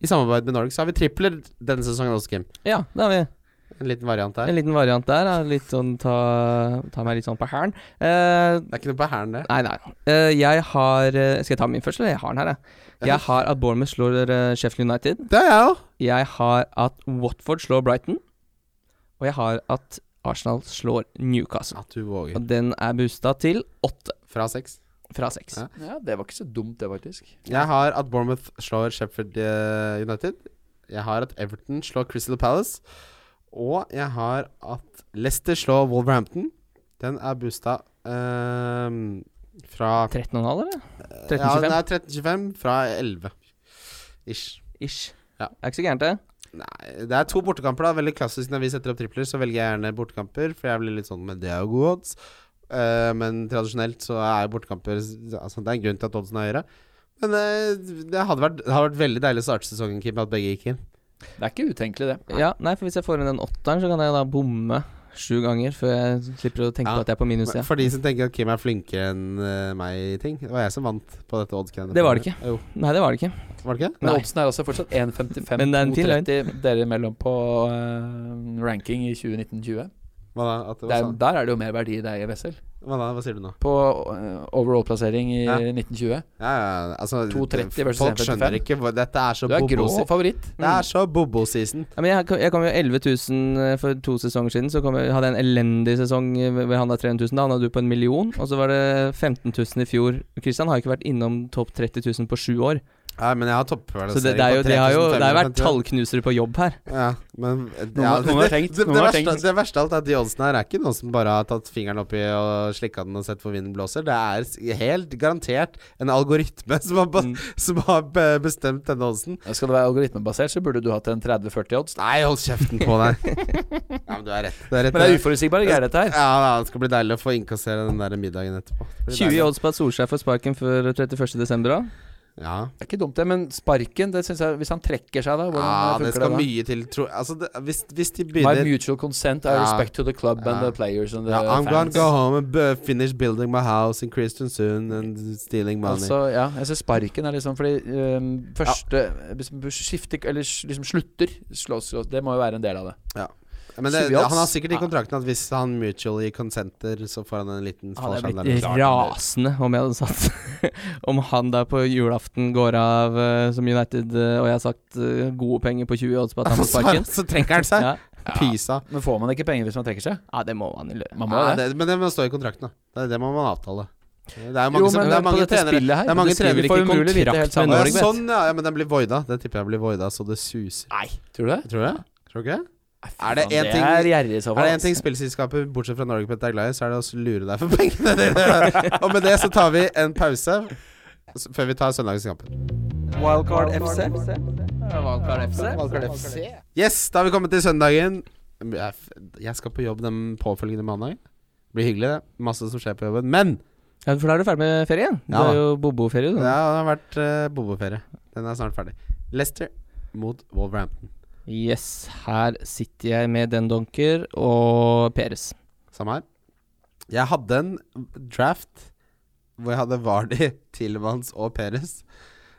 [SPEAKER 3] i samarbeid med Norge, så har vi tripler denne sesongen også, Kim.
[SPEAKER 2] Ja, det har vi.
[SPEAKER 3] En liten variant der.
[SPEAKER 2] En liten variant der. er Litt sånn ta, ta meg litt sånn på hælen. Eh,
[SPEAKER 3] Det er ikke noe på hæren, det.
[SPEAKER 2] nei, nei. Eh, jeg har eh, Skal jeg ta min først, eller? Jeg har den her, jeg. Jeg har at Bournemouth slår eh, Sheffield United.
[SPEAKER 3] Det er jeg òg.
[SPEAKER 2] Jeg har at Watford slår Brighton. Og jeg har at Arsenal slår Newcastle.
[SPEAKER 3] At du våger.
[SPEAKER 2] Og den er boosta til åtte
[SPEAKER 3] Fra seks.
[SPEAKER 2] fra seks.
[SPEAKER 3] Ja.
[SPEAKER 1] Ja, det var ikke så dumt, det, faktisk.
[SPEAKER 3] Jeg har at Bournemouth slår Sheffield eh, United. Jeg har at Everton slår Crystal Palace. Og jeg har at Leicester slår Wolverhampton. Den er boosta ehm, fra
[SPEAKER 2] 13,5, eller?
[SPEAKER 3] Ja,
[SPEAKER 2] 13,25
[SPEAKER 3] den er 13.25 fra 11. Ish.
[SPEAKER 2] ish.
[SPEAKER 3] Ja.
[SPEAKER 2] Er ikke så gærent, det.
[SPEAKER 3] Nei, det er to bortekamper, da. Veldig klassisk når vi setter opp tripler, så velger jeg gjerne bortekamper. For jeg blir litt sånn Men det er jo gode odds. Eh, men tradisjonelt så er jo bortekamper Altså, det er en grunn til at oddsen er høyere. Men eh, det hadde vært, det hadde vært veldig deilig å starte sesongen, Kim, at begge gikk inn.
[SPEAKER 1] Det er ikke utenkelig, det.
[SPEAKER 2] Ja, nei, for hvis jeg får inn den åtteren, så kan jeg da bomme sju ganger før jeg slipper å tenke
[SPEAKER 3] Ja,
[SPEAKER 2] på at jeg er på minussida.
[SPEAKER 3] For de som tenker at Kim er flinkere enn eh, meg i ting. Det var jeg som vant på dette oddsgreiene.
[SPEAKER 2] Det var det ikke.
[SPEAKER 3] Jo,
[SPEAKER 2] Nei, det var det ikke.
[SPEAKER 3] var det ikke?
[SPEAKER 1] Men
[SPEAKER 2] Nei.
[SPEAKER 1] oddsen er altså
[SPEAKER 3] *laughs*
[SPEAKER 1] fortsatt 1,55
[SPEAKER 2] Men det er en fin
[SPEAKER 1] 2,30 dere imellom på eh, ranking i 2019-20.
[SPEAKER 3] Hva da? At det
[SPEAKER 1] Der,
[SPEAKER 3] var sånn?
[SPEAKER 1] der er det jo mer verdi i deg, Wessel.
[SPEAKER 3] Hva da? Hva sier du nå?
[SPEAKER 1] På eh, overall-plassering i
[SPEAKER 3] Ja.
[SPEAKER 1] 1920.
[SPEAKER 3] Ja, ja, altså
[SPEAKER 1] 2,30 versus
[SPEAKER 3] Folk
[SPEAKER 1] 1,55.
[SPEAKER 3] skjønner ikke hvor Dette er så
[SPEAKER 1] Du er grå
[SPEAKER 3] bobo-season.
[SPEAKER 1] favoritt.
[SPEAKER 3] Det er så bobo-season.
[SPEAKER 2] Ja, men jeg, jeg kom jo 11 000 for to sesonger siden. Så kom jeg, hadde jeg en elendig sesong eh, hvor jeg handla 300 000. Da handla du på en million. Og så var det 15 000 i fjor. Kristian har jo ikke vært innom topp 30 000 på sju år.
[SPEAKER 3] Nei, men jeg har toppfølelse
[SPEAKER 2] Så det, det, er jo, det, har jo, det har jo vært tallknusere på jobb her.
[SPEAKER 3] Ja, men
[SPEAKER 1] Noen har- noen har tenkt,
[SPEAKER 3] *laughs* det,
[SPEAKER 1] noen
[SPEAKER 3] det,
[SPEAKER 1] har
[SPEAKER 3] verste,
[SPEAKER 1] tenkt.
[SPEAKER 3] det verste av alt er at de oddsene her er ikke noen som bare har tatt fingeren oppi og slikka den og sett hvor vinden blåser. Det er s- helt garantert en algoritme som har, ba-
[SPEAKER 1] Mm.
[SPEAKER 3] *laughs* som har be- bestemt denne oddsen.
[SPEAKER 1] Skal det være algoritmebasert, så burde du hatt en 30-40 odds.
[SPEAKER 3] Nei, hold kjeften på deg.
[SPEAKER 1] *laughs*
[SPEAKER 3] ja, men du er rett. Du er rett
[SPEAKER 1] Men det er uforutsigbare greier, dette her.
[SPEAKER 3] ja, ja, det skal bli deilig å få innkassere den der middagen etterpå. Det blir
[SPEAKER 2] 20
[SPEAKER 3] deilig.
[SPEAKER 2] odds på at Solskjær får sparken før 31.12. da.
[SPEAKER 3] Ja.
[SPEAKER 1] Det er ikke dumt, det. Men sparken, det synes jeg Hvis han trekker seg, da? Hvordan
[SPEAKER 3] Ja, det
[SPEAKER 1] funker
[SPEAKER 3] skal
[SPEAKER 1] det? da?
[SPEAKER 3] mye til, tro Altså, det, hvis, hvis de
[SPEAKER 1] My
[SPEAKER 3] begynner
[SPEAKER 1] mutual consent I
[SPEAKER 3] Ja.
[SPEAKER 1] respect to the club and
[SPEAKER 3] Ja.
[SPEAKER 1] the players and the
[SPEAKER 3] ja, I'm gonna
[SPEAKER 1] fans.
[SPEAKER 3] go home and bu- finish building my house in Kristiansund and stealing money.
[SPEAKER 1] Altså, ja, jeg ser sparken er liksom fordi ehm, første liksom, skifte, Eller s- liksom slutter slåss, slåss, Det må jo være en del av det.
[SPEAKER 3] Men det,
[SPEAKER 1] Syv i
[SPEAKER 3] det,
[SPEAKER 1] odds?
[SPEAKER 3] han har sikkert i
[SPEAKER 1] Ja.
[SPEAKER 3] kontrakten at hvis han mutually consenter, så får han en liten
[SPEAKER 2] Han hadde
[SPEAKER 3] fallskjerm.
[SPEAKER 2] blitt
[SPEAKER 3] *laughs*
[SPEAKER 2] rasende om jeg hadde sagt *laughs* Om han der på julaften går av eh, som United, eh, og jeg har sagt eh, gode penger på 20 odds på *laughs* at han får
[SPEAKER 3] Så,
[SPEAKER 2] sparken.
[SPEAKER 3] så trekker han seg.
[SPEAKER 2] Ja.
[SPEAKER 3] Pysa.
[SPEAKER 1] Men får man ikke penger hvis man trekker seg?
[SPEAKER 2] ja, det må han jo lø-
[SPEAKER 1] Man må
[SPEAKER 3] Ja,
[SPEAKER 1] det.
[SPEAKER 3] det, men det må stå i kontrakten, da. Det, er- det må man avtale. Det er jo mange,
[SPEAKER 1] Jo,
[SPEAKER 3] som,
[SPEAKER 1] men
[SPEAKER 3] det er mange
[SPEAKER 1] på dette
[SPEAKER 3] trenere
[SPEAKER 1] spillet her
[SPEAKER 3] Det er mange
[SPEAKER 1] det skriver
[SPEAKER 3] trenere
[SPEAKER 1] vi for
[SPEAKER 2] ikke
[SPEAKER 1] umulig å vite
[SPEAKER 2] kontrakt
[SPEAKER 1] helt
[SPEAKER 2] med
[SPEAKER 1] sammen.
[SPEAKER 3] Å, ja,
[SPEAKER 2] Norge, vet.
[SPEAKER 3] Sånn, ja, ja. Men den blir voida. Den tipper jeg blir voida så det suser.
[SPEAKER 1] Nei, tror du det?
[SPEAKER 3] Tror du det? Tror du ikke det?
[SPEAKER 1] Nei, fy
[SPEAKER 3] Er det
[SPEAKER 1] faen,
[SPEAKER 3] en ting-
[SPEAKER 1] Det er gjerrig i så
[SPEAKER 3] Er
[SPEAKER 1] fall.
[SPEAKER 3] det én ting spillselskaper bortsett fra NorgePet er glad i, så er det å lure deg for pengene dine. Og med det så tar vi en pause s- før vi tar søndagens kamper.
[SPEAKER 4] Wildcard FC.
[SPEAKER 3] Yes, da har vi kommet til søndagen. Jeg f- Jeg skal på jobb den påfølgende mandag. Blir hyggelig, det. Masse som skjer på jobben. Men
[SPEAKER 2] Ja, for da er du ferdig med ferie igjen.
[SPEAKER 3] Ja,
[SPEAKER 2] det
[SPEAKER 3] da.
[SPEAKER 2] er jo boboferie,
[SPEAKER 3] det
[SPEAKER 2] du.
[SPEAKER 3] har vært uh, boboferie. Den er snart ferdig. Leicester mot Wolverhampton.
[SPEAKER 2] Yes, her sitter jeg med Den Donker og *laughs* Peres.
[SPEAKER 3] Samme her. Jeg hadde en draft hvor jeg hadde Vardy, *laughs* Tillmans og Perez.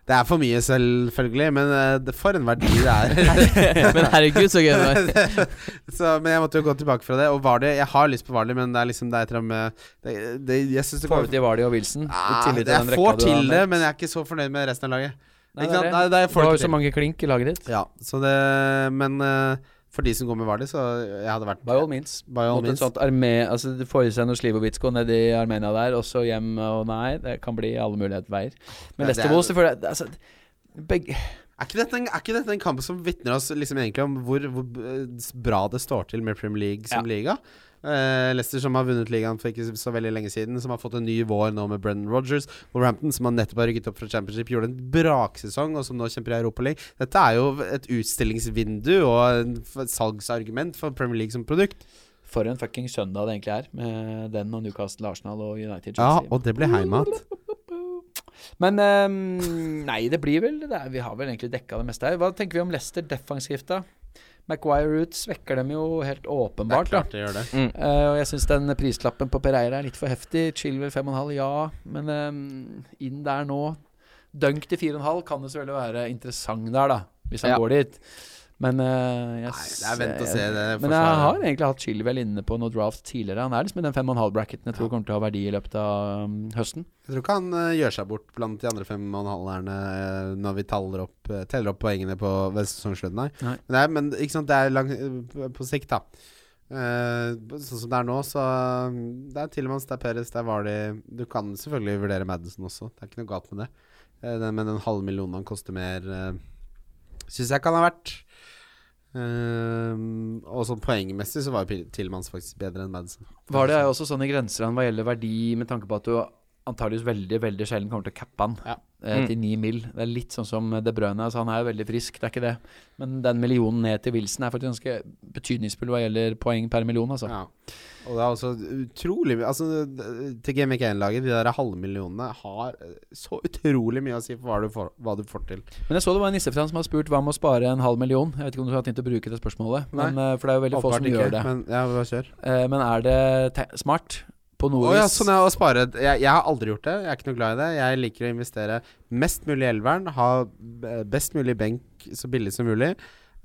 [SPEAKER 3] Det er for mye, selvfølgelig, men eh, det- for en verdi *laughs* det er.
[SPEAKER 2] Men herregud, så gøy det *laughs* var.
[SPEAKER 3] så, men jeg måtte jo gå tilbake fra det. Og Vardy, jeg har lyst på Vardy, men det er liksom det er et eller annet med det, det, Jeg syns det
[SPEAKER 1] Får
[SPEAKER 3] går
[SPEAKER 1] du til Vardy og Wilson? i
[SPEAKER 3] Ah,
[SPEAKER 1] tillegg til den
[SPEAKER 3] jeg
[SPEAKER 1] rekka du
[SPEAKER 3] får
[SPEAKER 1] har
[SPEAKER 3] til det,
[SPEAKER 1] med?
[SPEAKER 3] men jeg er ikke så fornøyd med resten av laget.
[SPEAKER 1] Nei,
[SPEAKER 3] ikke
[SPEAKER 1] det er
[SPEAKER 3] sant?
[SPEAKER 1] det.
[SPEAKER 3] Nei, det er
[SPEAKER 1] Du
[SPEAKER 3] jeg får
[SPEAKER 1] har
[SPEAKER 3] det
[SPEAKER 1] jo så
[SPEAKER 3] til.
[SPEAKER 1] mange klink i laget ditt.
[SPEAKER 3] Ja, så det, men eh, for de som går med Vardy, så jeg hadde vært
[SPEAKER 1] By all means.
[SPEAKER 3] By all
[SPEAKER 1] Mot et
[SPEAKER 3] means.
[SPEAKER 1] sånt arme... Altså, du får i seg noe Slivovitsko ned i Armenia der, og så hjem og nei. Det kan bli alle muligheter veier.
[SPEAKER 3] Ja,
[SPEAKER 1] Men
[SPEAKER 3] det er-
[SPEAKER 1] Lesterboe, selvfølgelig altså, begge,
[SPEAKER 3] Er ikke dette en, er ikke dette en kamp som vitner oss liksom egentlig om hvor, hvor eh, bra det står til med Premier League som liga? Eh, Leicester som har vunnet ligaen for ikke så veldig lenge siden, som har fått en ny vår nå med Brendan Rodgers. Wolverhampton, som har nettopp har rykket opp fra Championship, gjorde en braksesong, og som nå kjemper i Europa League. Dette er jo et utstillingsvindu og en f- et salgsargument for Premier League som produkt.
[SPEAKER 1] For en fucking søndag det egentlig er, med den og Newcastle, Arsenal og United.
[SPEAKER 3] Ja,
[SPEAKER 1] Chelsea.
[SPEAKER 3] og det blir heimat.
[SPEAKER 1] Men ehm, nei, det blir vel det. Er, vi har vel egentlig dekka det meste her. Hva tenker vi om Leicester defensivt, da? Maguire ut svekker dem jo helt åpenbart. da
[SPEAKER 3] det gjør det.
[SPEAKER 2] Mm.
[SPEAKER 1] Eh, og jeg syns den prislappen på Pereira er litt for heftig. Chilwell 5,5, ja. Men ehm, inn der nå. Dunk til 4,5 kan det selvfølgelig være interessant der, da. Hvis han
[SPEAKER 2] Ja.
[SPEAKER 1] går dit. Men eh, jeg
[SPEAKER 3] Nei, det er vent og se. Det
[SPEAKER 1] men jeg har egentlig hatt Chilwell inne på noen drafts tidligere. Han er liksom i den 5,5-bracketen jeg tror kommer til å ha verdi i løpet av um, høsten.
[SPEAKER 3] Jeg tror ikke han eh, gjør seg bort blant de andre fem og en halverne eh, når vi teller opp, eh, teller opp poengene på ved sesongslutten her.
[SPEAKER 1] Nei.
[SPEAKER 3] Men, det er, men ikke sant, det er lang, eh, på sikt, da. Eh, sånn som det er nå, så eh, Det er Tillemans, det er Peres, det er Vardy Du kan selvfølgelig vurdere Madison også, det er ikke noe galt med det. Eh, det men den halve millionen han koster mer, uh, syns jeg kan ha vært. Eh, og sånn poengmessig så var jo Tillemans faktisk bedre enn Madison.
[SPEAKER 1] Var det også sånne grenser han hva gjelder verdi, med tanke på at du antageligvis veldig veldig sjelden kommer til å cappe han
[SPEAKER 3] Ja.
[SPEAKER 1] eh,
[SPEAKER 2] Mm.
[SPEAKER 1] til 9 mil. Det er litt sånn som De Brøne. Altså, han er jo veldig frisk, det er ikke det. Men den millionen ned til Wilson er faktisk ganske betydningsfull hva gjelder poeng per million, altså.
[SPEAKER 3] Ja. Og det er også utrolig mye altså, d- Til Game 1-laget, de der halvmillionene har eh, så utrolig mye å si for hva du får, hva du får til.
[SPEAKER 1] Men jeg så det var en nissefran som har spurt hva med å spare en halv million. Jeg vet ikke om du har tenkt å bruke det spørsmålet, men, eh, for det er jo veldig få
[SPEAKER 3] Åpenbart
[SPEAKER 1] som gjør det. Men,
[SPEAKER 3] Men ja, bare kjør.
[SPEAKER 1] men er det te smart? På noe
[SPEAKER 3] Å ja,
[SPEAKER 1] vis?
[SPEAKER 3] sånn er å spare jeg, jeg har aldri gjort det. Jeg er ikke noe glad i det. Jeg liker å investere mest mulig i elveren, ha b- best mulig benk så billig som mulig.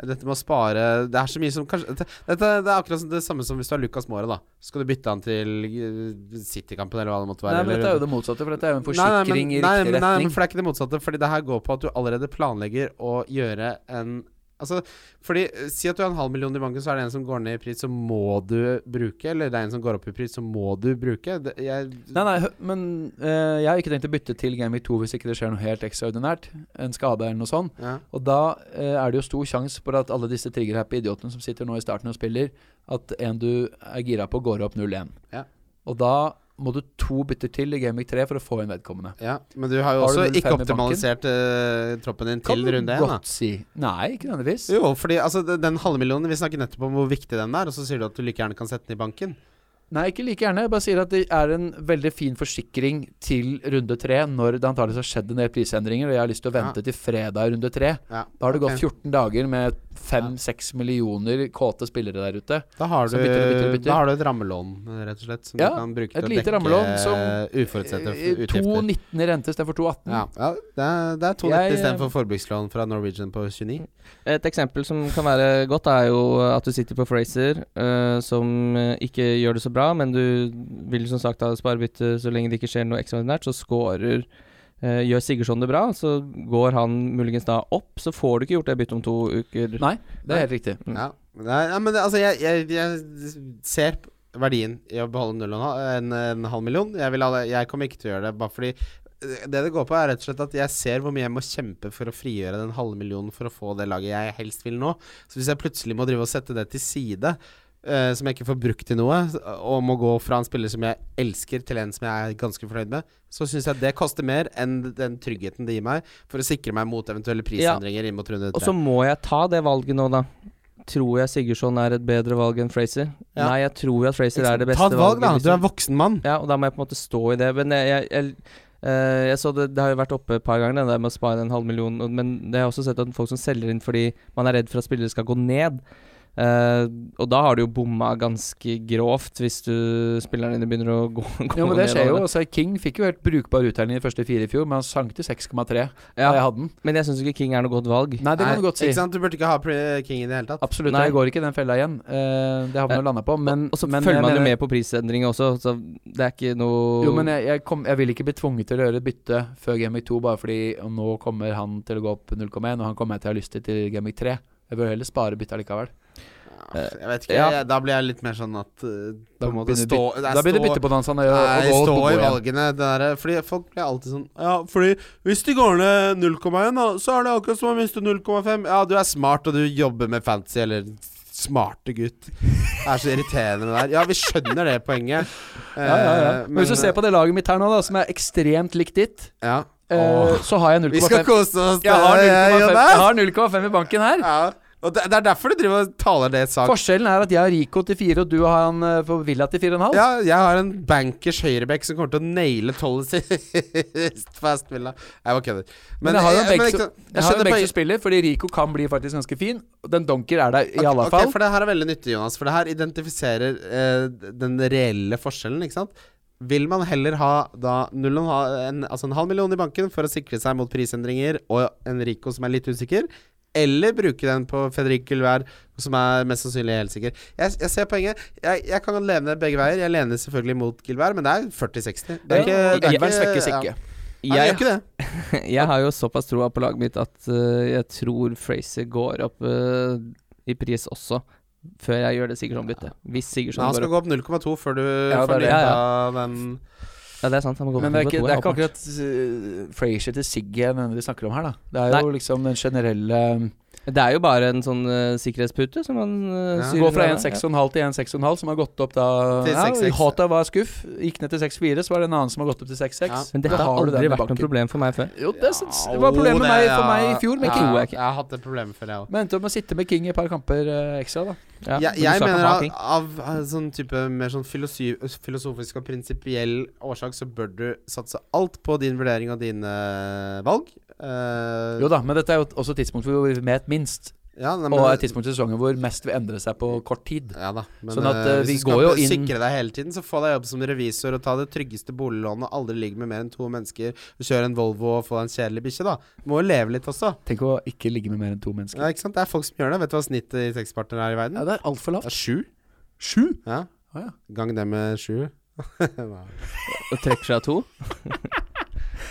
[SPEAKER 3] Dette med å spare Det er så mye som kanskje Dette, dette det er akkurat som- det samme som hvis du har Lucas Mora, da. Så skal du bytte han til eh, City-kampen eller hva det måtte være.
[SPEAKER 1] Nei, men
[SPEAKER 3] eller-
[SPEAKER 1] dette er jo det motsatte, for dette er jo en
[SPEAKER 3] Nei,
[SPEAKER 1] forsikring
[SPEAKER 3] nei, men-
[SPEAKER 1] i riktig
[SPEAKER 3] nei, men- Nei,
[SPEAKER 1] retning.
[SPEAKER 3] men for det er ikke det motsatte. Fordi det her går på at du allerede planlegger å gjøre en Altså, fordi eh, Si at du har en halv million i banken, så er det en som går ned i pris, så må du bruke. Eller det er en som går opp i pris, så må du bruke. Det, jeg,
[SPEAKER 1] Nei, nei, hø- men eh, jeg har ikke tenkt å bytte til Game Week 2 hvis ikke det skjer noe helt ekstraordinært. En skade eller noe sånt.
[SPEAKER 3] ja.
[SPEAKER 1] Og da eh, er det jo stor sjanse for at alle disse triggerhappy idiotene som sitter nå i starten og spiller, at en du er gira på, går opp 0-1.
[SPEAKER 3] Ja.
[SPEAKER 1] Og da må du to bytter til i Gamic 3 for å få inn vedkommende.
[SPEAKER 3] Ja, men du har jo
[SPEAKER 1] Har du
[SPEAKER 3] også
[SPEAKER 1] null
[SPEAKER 3] ikke
[SPEAKER 1] fem i
[SPEAKER 3] optimalisert eh, troppen din til
[SPEAKER 1] du
[SPEAKER 3] runde én. da.
[SPEAKER 1] godt si. Nei, ikke nødvendigvis.
[SPEAKER 3] Jo, fordi altså, de- den halve millionen Vi snakket nettopp om hvor viktig den er, og så sier du at du like gjerne kan sette den i banken.
[SPEAKER 1] Nei, ikke like gjerne. Jeg bare sier at det er en veldig fin forsikring til runde 3 når det antakeligvis har skjedd en del prisendringer, og jeg har lyst til å vente til fredag i runde 3.
[SPEAKER 3] Ja,
[SPEAKER 1] Da har det gått
[SPEAKER 3] ok.
[SPEAKER 1] 14 dager med 5-6 millioner kåte spillere der ute.
[SPEAKER 3] Da har, du,
[SPEAKER 1] Så bytter du, bytter du, bytter.
[SPEAKER 3] da har du et rammelån, rett og slett, som
[SPEAKER 1] Ja,
[SPEAKER 3] du kan bruke
[SPEAKER 1] et
[SPEAKER 3] til å
[SPEAKER 1] lite
[SPEAKER 3] dekke
[SPEAKER 1] rammelån som,
[SPEAKER 3] eh, uforutsette f-
[SPEAKER 1] Eh,
[SPEAKER 3] utgifter.
[SPEAKER 1] 2,19 i rente istedenfor 2,18.
[SPEAKER 3] Ja, ja, det er, det er
[SPEAKER 1] Jeg,
[SPEAKER 3] 2,90
[SPEAKER 1] eh,
[SPEAKER 3] istedenfor forbrukslån fra Norwegian på 29.
[SPEAKER 2] Et eksempel som kan være godt, er jo at du sitter på Fraser, eh, som eh, ikke gjør det så bra, men du vil som sagt ha sparebytte så lenge det ikke skjer noe ekstraordinært, så scorer eh, Gjør Sigurdsson det bra, så går han muligens da opp, så får du ikke gjort det byttet om to uker.
[SPEAKER 1] Nei, det er helt riktig.
[SPEAKER 2] Mm.
[SPEAKER 3] Ja, det er, ja, men det, altså, jeg, jeg, jeg ser p- verdien i å beholde null og en, halv- en, en halv million. Jeg, vil, alle- jeg kommer ikke til å gjøre det, bare fordi eh, det det går på, er rett og slett at jeg ser hvor mye jeg må kjempe for å frigjøre den halve millionen for å få det laget jeg helst vil nå. Så hvis jeg plutselig må drive og sette det til side, eh, som jeg ikke får brukt til noe, s- og må gå fra en spiller som jeg elsker, til en som jeg er ganske fornøyd med, så syns jeg det koster mer enn den tryggheten det gir meg, for å sikre meg mot eventuelle prisendringer inn mot runde
[SPEAKER 2] Og så
[SPEAKER 3] tre.
[SPEAKER 2] må jeg ta det valget nå, da. Tror jeg Sigurdsson er et bedre valg enn Fraser?
[SPEAKER 3] Ja.
[SPEAKER 2] Nei, jeg tror at Fraser er det beste
[SPEAKER 3] Liksom. Ta et valg,
[SPEAKER 2] valget.
[SPEAKER 3] da.
[SPEAKER 2] hvis
[SPEAKER 3] Du
[SPEAKER 1] liksom.
[SPEAKER 3] er voksen mann.
[SPEAKER 2] Ja, og da må jeg på en måte stå i det. Men jeg, jeg, jeg, eh, jeg så det, det har jo vært oppe et par ganger, det der med å spare en halv million. og- Men det har jeg også sett at folk som selger inn fordi man er redd for at spillere skal gå ned. Eh, og da har du jo bomma ganske grovt, hvis du spillerne dine begynner å *laughs* gå, gå
[SPEAKER 1] Jo, men det
[SPEAKER 2] ned
[SPEAKER 1] skjer jo.
[SPEAKER 2] allerede.
[SPEAKER 1] Altså, King fikk jo helt brukbar uttelling i de første fire i fjor, men han sank til 6,3 da jeg
[SPEAKER 2] Ja,
[SPEAKER 1] hadde den.
[SPEAKER 2] men jeg syns ikke King er noe godt valg.
[SPEAKER 1] Nei, det kan du godt si.
[SPEAKER 3] Ikke sant? Du burde ikke ha pre- King i det hele tatt.
[SPEAKER 1] Absolutt.
[SPEAKER 2] Nei.
[SPEAKER 1] Jeg går ikke i den fella igjen. Eh, det har vi nå landa på, men
[SPEAKER 2] og så
[SPEAKER 1] men
[SPEAKER 2] følger
[SPEAKER 1] jeg
[SPEAKER 2] man jo
[SPEAKER 1] mener-
[SPEAKER 2] med på prisendringer også, så det er ikke noe
[SPEAKER 1] Jo, men jeg, jeg, kom, jeg vil ikke bli tvunget til å gjøre et bytte før Gamic 2, bare fordi nå kommer han til å gå opp 0,1, og han kommer jeg til å ha lyst til til Gamic 3. Jeg bør heller spare byttet likevel.
[SPEAKER 3] Ja, Jeg vet ikke,
[SPEAKER 2] ja.
[SPEAKER 3] jeg, Da blir jeg litt mer sånn at uh,
[SPEAKER 1] Da
[SPEAKER 3] På en måte
[SPEAKER 1] begynner
[SPEAKER 3] stå
[SPEAKER 1] byt-
[SPEAKER 3] nei,
[SPEAKER 1] da begynner
[SPEAKER 3] stå-
[SPEAKER 1] byttepotansene å,
[SPEAKER 3] Nei,
[SPEAKER 1] å gå
[SPEAKER 3] stå
[SPEAKER 1] opp og
[SPEAKER 3] i
[SPEAKER 1] gå igjen.
[SPEAKER 3] valgene. Det der, eh, fordi Folk blir alltid sånn Ja, fordi hvis de går ned 0,1, da, så er det akkurat som å miste 0,5. Ja, du er smart, og du jobber med fancy, eller smarte gutt. Det er så irriterende med det her. Ja, vi skjønner det poenget.
[SPEAKER 1] Ja, ja, ja.
[SPEAKER 3] Eh,
[SPEAKER 1] Men hvis du ser på det laget mitt her nå, da, som er ekstremt likt ditt,
[SPEAKER 3] ja.
[SPEAKER 1] eh, så har jeg 0,5.
[SPEAKER 3] Vi skal kose oss.
[SPEAKER 1] Jeg har
[SPEAKER 3] eh,
[SPEAKER 1] 0,5
[SPEAKER 3] Jonas.
[SPEAKER 1] Jeg har 0,5 i banken her.
[SPEAKER 3] Ja. Og det, det er derfor du driver og taler det sak
[SPEAKER 1] Forskjellen er at jeg har Rico til 4, og du har han eh, på Villa til 4,5.
[SPEAKER 3] Ja, jeg har en bankers høyrebekk som kommer til å naile tolvet *laughs* sist fast villa. Jeg bare kødder.
[SPEAKER 1] Men jeg har jo en
[SPEAKER 3] men
[SPEAKER 1] bekk
[SPEAKER 3] ikke
[SPEAKER 1] som-
[SPEAKER 3] sant,
[SPEAKER 1] Jeg har en
[SPEAKER 3] skjønner
[SPEAKER 1] bekk
[SPEAKER 3] poenget.
[SPEAKER 1] som spiller, fordi Rico kan bli faktisk ganske fin. og Den donker er der i
[SPEAKER 3] Ok,
[SPEAKER 1] alle
[SPEAKER 3] ok,
[SPEAKER 1] fall.
[SPEAKER 3] for det her er veldig nyttig, Jonas. For det her identifiserer eh, den reelle forskjellen, ikke sant. Vil man heller ha da null og en, ha- en- altså en halv million i banken for å sikre seg mot prisendringer og en Rico som er litt usikker, eller bruke den på Fredrik Gulvær, som er mest sannsynlig helt sikker? Jeg, jeg ser poenget. Jeg, jeg kan lene begge veier. Jeg lener selvfølgelig mot Gulvær, men det er 40-60. Det er ikke,
[SPEAKER 1] Ja,
[SPEAKER 3] det er
[SPEAKER 1] Elveren svekkes
[SPEAKER 3] ja.
[SPEAKER 1] ikke.
[SPEAKER 3] Nei, det gjør ikke det.
[SPEAKER 2] Jeg har jo såpass troa på laget mitt at eh, jeg tror Fraser går opp eh, i pris også, før jeg gjør det Sigurdsson-byttet. Hvis
[SPEAKER 3] Men
[SPEAKER 2] Sigurdsson
[SPEAKER 3] han
[SPEAKER 2] går
[SPEAKER 3] skal
[SPEAKER 2] opp.
[SPEAKER 3] gå opp 0,2 før du
[SPEAKER 1] Ja, det
[SPEAKER 3] får
[SPEAKER 1] er det.
[SPEAKER 3] nytt
[SPEAKER 2] Ja,
[SPEAKER 3] av den
[SPEAKER 2] Ja, det er sant. Han må gå opp
[SPEAKER 1] Men det er
[SPEAKER 2] på
[SPEAKER 1] ikke,
[SPEAKER 2] to,
[SPEAKER 1] det er
[SPEAKER 2] ja,
[SPEAKER 1] ikke
[SPEAKER 2] åpenbart.
[SPEAKER 1] akkurat uh, Frazier til Sigge jeg mener vi snakker om her, da. Det er jo liksom den generelle
[SPEAKER 2] Det er jo bare en sånn eh, sikkerhetspute som han eh,
[SPEAKER 3] Ja.
[SPEAKER 2] syr
[SPEAKER 1] Gå fra
[SPEAKER 2] ned.
[SPEAKER 1] 1,6,5 til 1,6,5, som har gått opp da
[SPEAKER 3] Til
[SPEAKER 1] ja,
[SPEAKER 3] 6,6.
[SPEAKER 1] Hata var skuff, gikk ned til 6,4, så var det en annen som har gått opp til 6,6.
[SPEAKER 3] Ja.
[SPEAKER 2] Men dette
[SPEAKER 1] Da
[SPEAKER 2] har
[SPEAKER 1] du den i
[SPEAKER 2] aldri vært
[SPEAKER 1] bakken.
[SPEAKER 2] noe problem for meg før.
[SPEAKER 1] Jo, det, er sånn- det var problemet med meg, for meg i fjor, men
[SPEAKER 3] ja,
[SPEAKER 1] King.
[SPEAKER 2] King.
[SPEAKER 3] Jeg, jeg har hatt det problemet før, jeg òg.
[SPEAKER 1] Men endte opp med å sitte med King i et par kamper eh, ekstra, da.
[SPEAKER 2] Ja, men
[SPEAKER 3] jeg,
[SPEAKER 2] du
[SPEAKER 3] jeg
[SPEAKER 2] skal ikke
[SPEAKER 3] mener
[SPEAKER 2] ha
[SPEAKER 3] av,
[SPEAKER 2] ting.
[SPEAKER 3] av eh, sånn type mer sånn filosofi, filosofisk og prinsipiell årsak så bør du satse alt på din vurdering og dine valg. Eh,
[SPEAKER 1] Jo da, men dette er jo også tidspunktet hvor vi vet minst,
[SPEAKER 3] ja, nei, men-
[SPEAKER 1] og et tidspunkt i sesongen hvor mest vil endre seg på kort tid.
[SPEAKER 3] Ja da, men
[SPEAKER 1] Sånn at,
[SPEAKER 3] eh,
[SPEAKER 1] eh, vi
[SPEAKER 3] hvis du skal
[SPEAKER 1] går jo
[SPEAKER 3] sikre
[SPEAKER 1] inn-
[SPEAKER 3] deg hele tiden, så få deg jobb som revisor og ta det tryggeste boliglånet, aldri ligg med mer enn to mennesker, og kjøre en Volvo og få deg en kjedelig bikkje, da. Må jo leve litt også.
[SPEAKER 1] Tenk å ikke ligge med mer enn to mennesker.
[SPEAKER 3] Ja, ikke sant? Det er folk som gjør det. Vet du hva snittet i sexpartnere er i verden?
[SPEAKER 1] Ja, det er altfor
[SPEAKER 3] Det
[SPEAKER 1] lavt.
[SPEAKER 3] er sju.
[SPEAKER 1] Sju?
[SPEAKER 3] Ja.
[SPEAKER 1] Å, ja.
[SPEAKER 3] Gang det med sju. Nei.
[SPEAKER 1] *laughs*
[SPEAKER 2] Og trekker seg av to.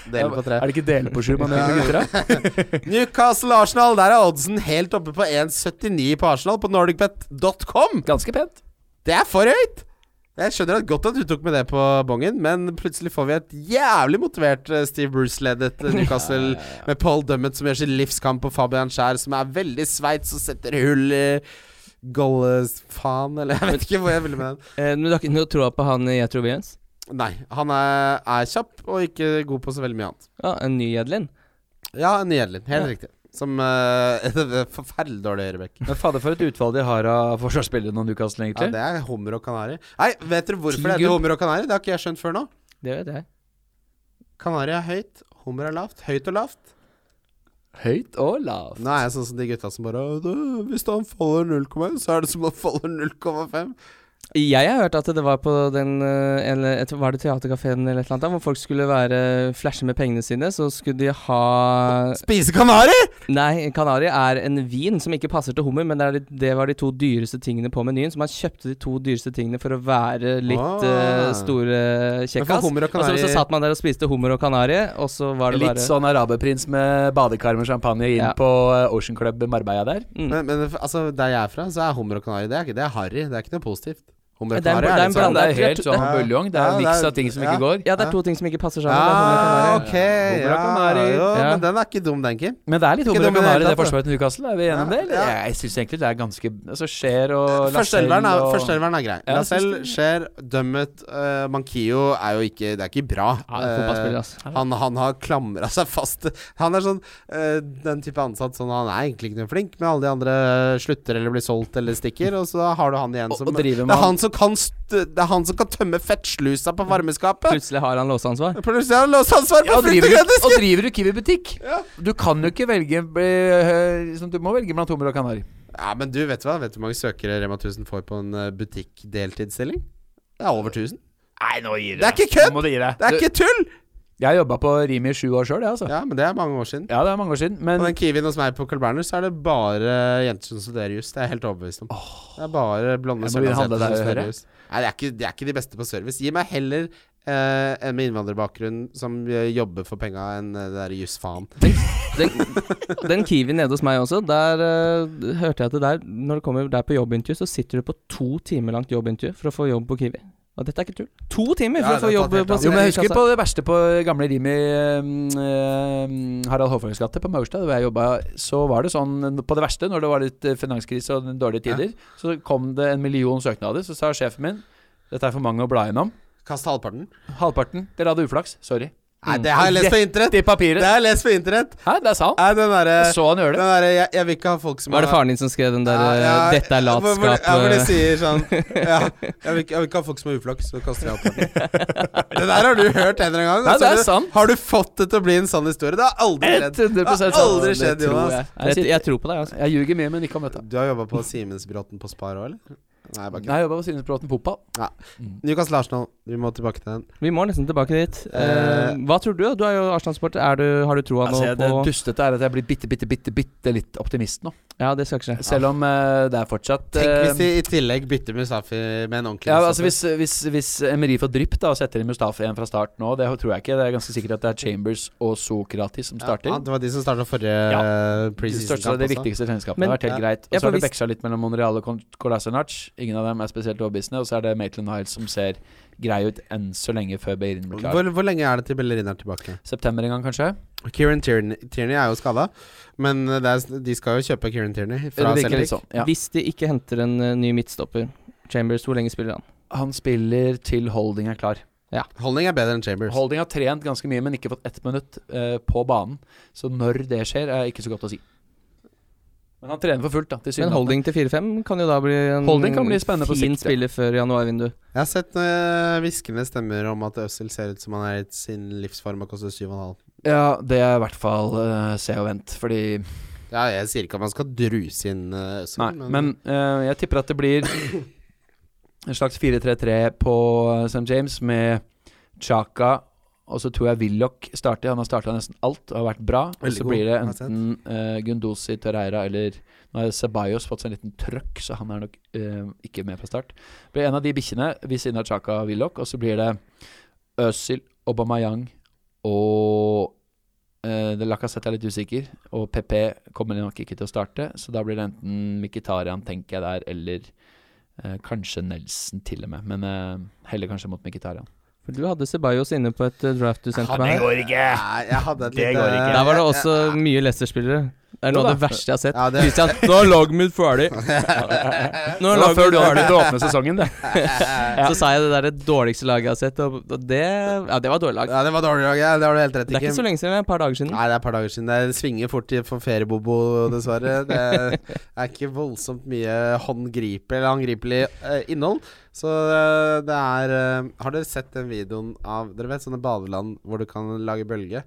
[SPEAKER 3] Dele på tre.
[SPEAKER 1] Er det ikke dele på sju man gjør med gutter? da?
[SPEAKER 3] Newcastle-Arsenal, der er oddsen helt oppe på 1,79 på Arsenal på nordicbet.com.
[SPEAKER 1] Ganske pent.
[SPEAKER 3] Det er for høyt! Jeg skjønner at godt at du tok med det på bongen, men plutselig får vi et jævlig motivert eh, Steve Bruce-ledet eh, Newcastle med Paul Dummett som gjør sin livskamp, og Fabian Skjær som er veldig Sveits og setter hull i Golles-faen, eller jeg vet ikke hvor jeg ville med den.
[SPEAKER 2] Eh, men du har ikke noe tro på han Jetro Williams?
[SPEAKER 3] Nei, han er, er kjapp og ikke god på så veldig mye annet.
[SPEAKER 2] Ja, en ny Edlin?
[SPEAKER 3] Ja, Nederlin. Helt riktig. Som eh, *laughs* Forferdelig dårlig høyrebekk.
[SPEAKER 1] Men fader, for et utvalg de har av forsvarsspillere når Newcastle,
[SPEAKER 3] Ja,
[SPEAKER 1] egentlig.
[SPEAKER 3] det er hummer og kanari. Nei, vet dere hvorfor det
[SPEAKER 1] Tiger.
[SPEAKER 3] heter hummer og kanari? Det har ikke jeg skjønt før nå.
[SPEAKER 2] Det vet jeg.
[SPEAKER 3] Kanari er høyt, hummer er lavt. Høyt og lavt.
[SPEAKER 1] Høyt og lavt.
[SPEAKER 3] Nå er jeg sånn som de gutta som bare «Å, da, Hvis han faller 0,1, så er det som å falle 0,5.
[SPEAKER 2] Jeg har hørt at det var på den eh, eller, et- Var det Theatercaféen eller et eller annet der, hvor folk skulle være flashe med pengene sine, så skulle de ha
[SPEAKER 3] Spise kanari!
[SPEAKER 2] Nei, Kanari er en vin som ikke passer til hummer, men det, er de, det var de to dyreste tingene på menyen, så man kjøpte de to dyreste tingene for å være litt
[SPEAKER 3] Ah.
[SPEAKER 2] eh, store
[SPEAKER 3] Men for
[SPEAKER 2] kjekkas.
[SPEAKER 3] hummer og
[SPEAKER 2] Og så,
[SPEAKER 3] kanari
[SPEAKER 2] så satt man der og spiste hummer og kanari, og så var det
[SPEAKER 1] Litt
[SPEAKER 2] bare
[SPEAKER 1] sånn araberprins med badekar med champagne inn
[SPEAKER 2] Ja.
[SPEAKER 1] på eh, Ocean Club Marbella der.
[SPEAKER 2] mm.
[SPEAKER 3] men, men altså, der jeg er fra, så er hummer og kanari Det er ikke, det er harry. Det er ikke noe positivt. Hummer og
[SPEAKER 2] Det er
[SPEAKER 1] Så
[SPEAKER 2] en- det er en
[SPEAKER 3] kanari er litt sånn
[SPEAKER 1] det
[SPEAKER 2] blanding.
[SPEAKER 1] er helt sånn
[SPEAKER 3] Ja.
[SPEAKER 1] buljong. Det er
[SPEAKER 3] Ja,
[SPEAKER 1] en
[SPEAKER 3] det
[SPEAKER 1] miks
[SPEAKER 3] er-
[SPEAKER 1] av ting som
[SPEAKER 3] ja.
[SPEAKER 1] ikke går.
[SPEAKER 2] Ja, det er to ting som ikke passer sammen. det er hummer og
[SPEAKER 3] Ah,
[SPEAKER 2] kanari.
[SPEAKER 3] ok.
[SPEAKER 1] Hummer og kanari.
[SPEAKER 3] Ja, jo,
[SPEAKER 2] Ja.
[SPEAKER 3] Men den er ikke dum, den, Kim.
[SPEAKER 1] Men det er litt hummer og
[SPEAKER 3] dum i det
[SPEAKER 1] kanari i det
[SPEAKER 3] hele tatt,
[SPEAKER 1] forsvaret til Newcastle. Er vi enige om det? eller?
[SPEAKER 3] Ja.
[SPEAKER 1] Jeg syns egentlig det er ganske Altså skjer og
[SPEAKER 3] Førsteelveren er,
[SPEAKER 1] og-
[SPEAKER 3] førsteelveren er grei.
[SPEAKER 1] Ja,
[SPEAKER 3] Lacelle,
[SPEAKER 1] jeg synes
[SPEAKER 3] Skjer, Dummet, uh, Mankio er jo ikke Det er ikke bra.
[SPEAKER 2] Ja, det er fotballspiller,
[SPEAKER 1] altså.
[SPEAKER 2] ass.
[SPEAKER 3] Eh, han, han har klamra seg fast. Han er sånn eh, den type ansatt sånn Han er egentlig ikke noe flink, men alle de andre eh, slutter eller blir solgt eller stikker, og så har du han igjen
[SPEAKER 1] Og-
[SPEAKER 3] som
[SPEAKER 1] og driver
[SPEAKER 3] det,
[SPEAKER 1] med
[SPEAKER 3] er
[SPEAKER 1] han-
[SPEAKER 3] han som kan st det er han som kan tømme fettslusa på varmeskapet!
[SPEAKER 2] Plutselig har han låseansvar.
[SPEAKER 3] Plutselig har han låseansvar
[SPEAKER 1] Ja,
[SPEAKER 3] på
[SPEAKER 1] og
[SPEAKER 3] frukt
[SPEAKER 1] driver,
[SPEAKER 3] og grønt!
[SPEAKER 1] du- og driver du Kiwi-butikk?
[SPEAKER 3] Ja.
[SPEAKER 1] Du kan jo ikke velge eh, liksom, Du må velge blant hummer og kanari.
[SPEAKER 3] Ja, men du, vet du hva? Vet du hvor mange søkere Rema 1000 får på en eh, butikkdeltidsstilling? Det er over 1000.
[SPEAKER 1] Nei, nå gir
[SPEAKER 3] Det er ikke kødd!
[SPEAKER 1] du gi deg.
[SPEAKER 3] Det er ikke tull!
[SPEAKER 1] Jeg jobba på Rimi i sju år sjøl, jeg, altså. Ja.
[SPEAKER 3] Ja, men det er mange år siden.
[SPEAKER 1] det er mange år siden.
[SPEAKER 3] På
[SPEAKER 1] Men
[SPEAKER 3] den Kiwien hos meg på Carl Berner, så er det bare jenter som studerer jus. Det er jeg helt overbevist om. Det er bare blonde
[SPEAKER 1] Jeg må begynne å handle
[SPEAKER 3] sørlandsjenter som
[SPEAKER 1] der, hører jeg.
[SPEAKER 3] studerer jus. Nei, det er, ikke, det er ikke de beste på service. Gi meg heller eh, en med innvandrerbakgrunn som eh, jobber for penga, enn eh, det derre jusfaen.
[SPEAKER 2] Den, den Kiwi nede hos meg også, der eh, hørte jeg at det der Når du kommer der på jobbintervju, så sitter du på to timer langt jobbintervju for å få jobb på Kiwi. Og dette er ikke tull. To timer for
[SPEAKER 3] Ja,
[SPEAKER 2] å få
[SPEAKER 3] det er
[SPEAKER 2] jobb
[SPEAKER 3] tatt helt
[SPEAKER 2] på
[SPEAKER 3] av.
[SPEAKER 1] jo, men jeg husker
[SPEAKER 3] altså-
[SPEAKER 2] Sørlandskassa.
[SPEAKER 1] på det verste på gamle Rimi eh, eh, Harald Hårfagres gate på Maurstad, hvor jeg jobba, så var det sånn På det verste, når det var litt eh, finanskrise og dårlige tider, så kom det en million søknader. Så sa sjefen min dette er for mange å bla gjennom.
[SPEAKER 3] Kast halvparten.
[SPEAKER 1] Halvparten. Dere hadde uflaks. Sorry.
[SPEAKER 3] Nei, det har jeg lest på internett!
[SPEAKER 1] Mm. I papiret.
[SPEAKER 3] Det har jeg lest på internett!
[SPEAKER 1] Hæ, det sa han.
[SPEAKER 3] Nei, den derre
[SPEAKER 1] Jeg så han gjøre
[SPEAKER 3] den
[SPEAKER 1] det.
[SPEAKER 3] derre- jeg, jeg vil ikke ha folk som
[SPEAKER 2] Var det
[SPEAKER 3] har-
[SPEAKER 2] faren din som skrev den der eh,
[SPEAKER 3] Ja, ja,
[SPEAKER 1] eh,
[SPEAKER 2] 'dette er
[SPEAKER 3] hvor- hvor-
[SPEAKER 2] latskap'?
[SPEAKER 3] Ja, hvor de
[SPEAKER 2] eh,
[SPEAKER 3] sier
[SPEAKER 1] *laughs*
[SPEAKER 3] sånn ja, jeg, vil ikke, jeg vil ikke ha folk som har uflaks, så kaster jeg alt
[SPEAKER 2] eh?
[SPEAKER 3] *laughs* på den. Det der har du hørt en eller annen gang.
[SPEAKER 1] Nei,
[SPEAKER 3] altså, og så
[SPEAKER 1] det er
[SPEAKER 3] har du-
[SPEAKER 1] sant.
[SPEAKER 3] Har du fått det til å bli en sann historie? Det har aldri skjedd.
[SPEAKER 1] 100
[SPEAKER 3] Det
[SPEAKER 1] sant.
[SPEAKER 3] har aldri
[SPEAKER 1] Det
[SPEAKER 3] skjedd,
[SPEAKER 1] tror
[SPEAKER 3] Jonas.
[SPEAKER 1] jeg. Jeg
[SPEAKER 2] Jeg,
[SPEAKER 1] sitter-
[SPEAKER 2] jeg tror på deg, altså.
[SPEAKER 1] Jeg ljuger mye, men ikke om dette.
[SPEAKER 3] Du har jobba på Simensbråten på Spar òg, eller? Nei, bare ikke.
[SPEAKER 1] Nei, jeg jobba på Synesbråten fotball.
[SPEAKER 3] Newcastle Arsenal, vi må tilbake til den.
[SPEAKER 2] Vi må nesten tilbake dit. Eh,
[SPEAKER 3] Eh,
[SPEAKER 2] hva tror du? da? Du er jo Arsenal-supporter. Er du- Har du troa
[SPEAKER 1] Altså, jeg-
[SPEAKER 2] nå på
[SPEAKER 1] det dustete er at jeg blir bitte, bitte, bitte, bitte litt optimist nå.
[SPEAKER 2] Ja, det skal ikke skje.
[SPEAKER 1] Selv om eh, det er fortsatt
[SPEAKER 3] Tenk hvis
[SPEAKER 1] eh,
[SPEAKER 3] de i tillegg bytter Mustafi med en ordentlig
[SPEAKER 1] ja,
[SPEAKER 3] Mustafi.
[SPEAKER 1] altså hvis, hvis, hvis Emery får drypp da, og setter inn Mustafi igjen fra start nå, det tror jeg ikke. Det er ganske sikkert at det er Chambers og Sokratis som starter.
[SPEAKER 3] Ja, det var de som starta forrige
[SPEAKER 1] Ja.
[SPEAKER 3] ja.
[SPEAKER 1] De største av
[SPEAKER 3] preseason-kamp.
[SPEAKER 1] de
[SPEAKER 3] også.
[SPEAKER 1] viktigste selskapene.
[SPEAKER 2] Men-
[SPEAKER 1] det har vært helt
[SPEAKER 3] Ja.
[SPEAKER 1] greit. Og
[SPEAKER 2] Ja,
[SPEAKER 1] så har
[SPEAKER 2] for
[SPEAKER 1] det veksla litt mellom Monreal og Colasinac. Ingen av dem er spesielt overbevisende. Og så er det Maitland Hiles som ser grei ut enn så lenge før Beirin blir klar.
[SPEAKER 3] Hvor, hvor lenge er det til Bellerin er tilbake?
[SPEAKER 1] September en gang, kanskje?
[SPEAKER 3] Kieran Tierney, Tierney er jo skada, men det er, de skal jo kjøpe Kieran Tierney fra
[SPEAKER 1] Det virker litt
[SPEAKER 3] Celtic.
[SPEAKER 1] sånn, ja.
[SPEAKER 2] Hvis de ikke henter en eh, ny midtstopper, Chambers, hvor lenge spiller han?
[SPEAKER 1] Han spiller til Holding er klar.
[SPEAKER 3] Holding er bedre enn Chambers.
[SPEAKER 1] Holding har trent ganske mye, men ikke fått ett minutt eh, på banen. Så når det skjer, er ikke så godt å si. Men han trener for fullt, da. Til
[SPEAKER 2] Men holding til 4-5 kan jo da bli en
[SPEAKER 1] Holding kan bli spennende på
[SPEAKER 2] fin
[SPEAKER 1] sikt, ja.
[SPEAKER 2] spiller før januarvindu.
[SPEAKER 3] Jeg har sett eh, hviskende stemmer om at Øzil ser ut som han er i sin livsform og koster 7,5.
[SPEAKER 1] Ja, det er i hvert fall eh, se og vent, fordi
[SPEAKER 3] Ja, jeg sier ikke at man skal druse inn eh, Øzil,
[SPEAKER 1] Nei, men eh, jeg tipper at det blir en slags 4-3-3 på eh, St. James med Chaka. Og så tror jeg Willoch starter. Han har starta nesten alt og har vært bra. Og
[SPEAKER 3] Veldig
[SPEAKER 1] så
[SPEAKER 3] god,
[SPEAKER 1] blir det
[SPEAKER 3] har jeg sett.
[SPEAKER 1] enten eh, Gunduzi, Terreira eller Nå har Ceballos fått seg en liten trøkk, så han er nok eh, ikke med fra start. Det blir en av de bikkjene ved siden av Chaka og Willoch, og så blir det Øzil, Aubameyang Og eh, det Lacassette er litt usikker, og PP kommer nok ikke til å starte. Så da blir det enten Mkhitarian, tenker jeg der, eller eh, kanskje Nelson til og med. Men eh, heller kanskje mot Mkhitarian.
[SPEAKER 2] For du hadde Ceballos inne på et eh, draft du sendte meg. her.
[SPEAKER 1] går ikke!
[SPEAKER 3] Nei, jeg hadde et
[SPEAKER 1] Det
[SPEAKER 3] lite-
[SPEAKER 1] går ikke.
[SPEAKER 2] Der var det også mye Leicester-spillere. Det er noe
[SPEAKER 1] Jo
[SPEAKER 2] av det
[SPEAKER 1] da.
[SPEAKER 2] verste jeg har sett.
[SPEAKER 3] Ja, det-
[SPEAKER 2] Christian, nå er laget mitt ferdig! Nå
[SPEAKER 1] *laughs* Det
[SPEAKER 2] er
[SPEAKER 1] var
[SPEAKER 2] laget
[SPEAKER 1] før
[SPEAKER 2] mitt
[SPEAKER 1] du hadde
[SPEAKER 2] ferdig.
[SPEAKER 1] til å åpne sesongen, det.
[SPEAKER 2] Så sa jeg det der dårligste laget jeg har sett, og og det Ja, det var dårlig lag.
[SPEAKER 3] Ja, det var dårlig dag. Ja. Det har du helt rett i.
[SPEAKER 2] Det er ikke
[SPEAKER 3] Kim.
[SPEAKER 2] så lenge siden, det er et par dager siden.
[SPEAKER 3] Nei, det er et par dager siden. Det svinger fort i- for feriebobo, dessverre. Det er ikke voldsomt mye håndgripelig eller håndgripelig eh, innhold. Så eh, det er eh, Har dere sett den videoen av Dere vet sånne badeland hvor du kan lage bølge?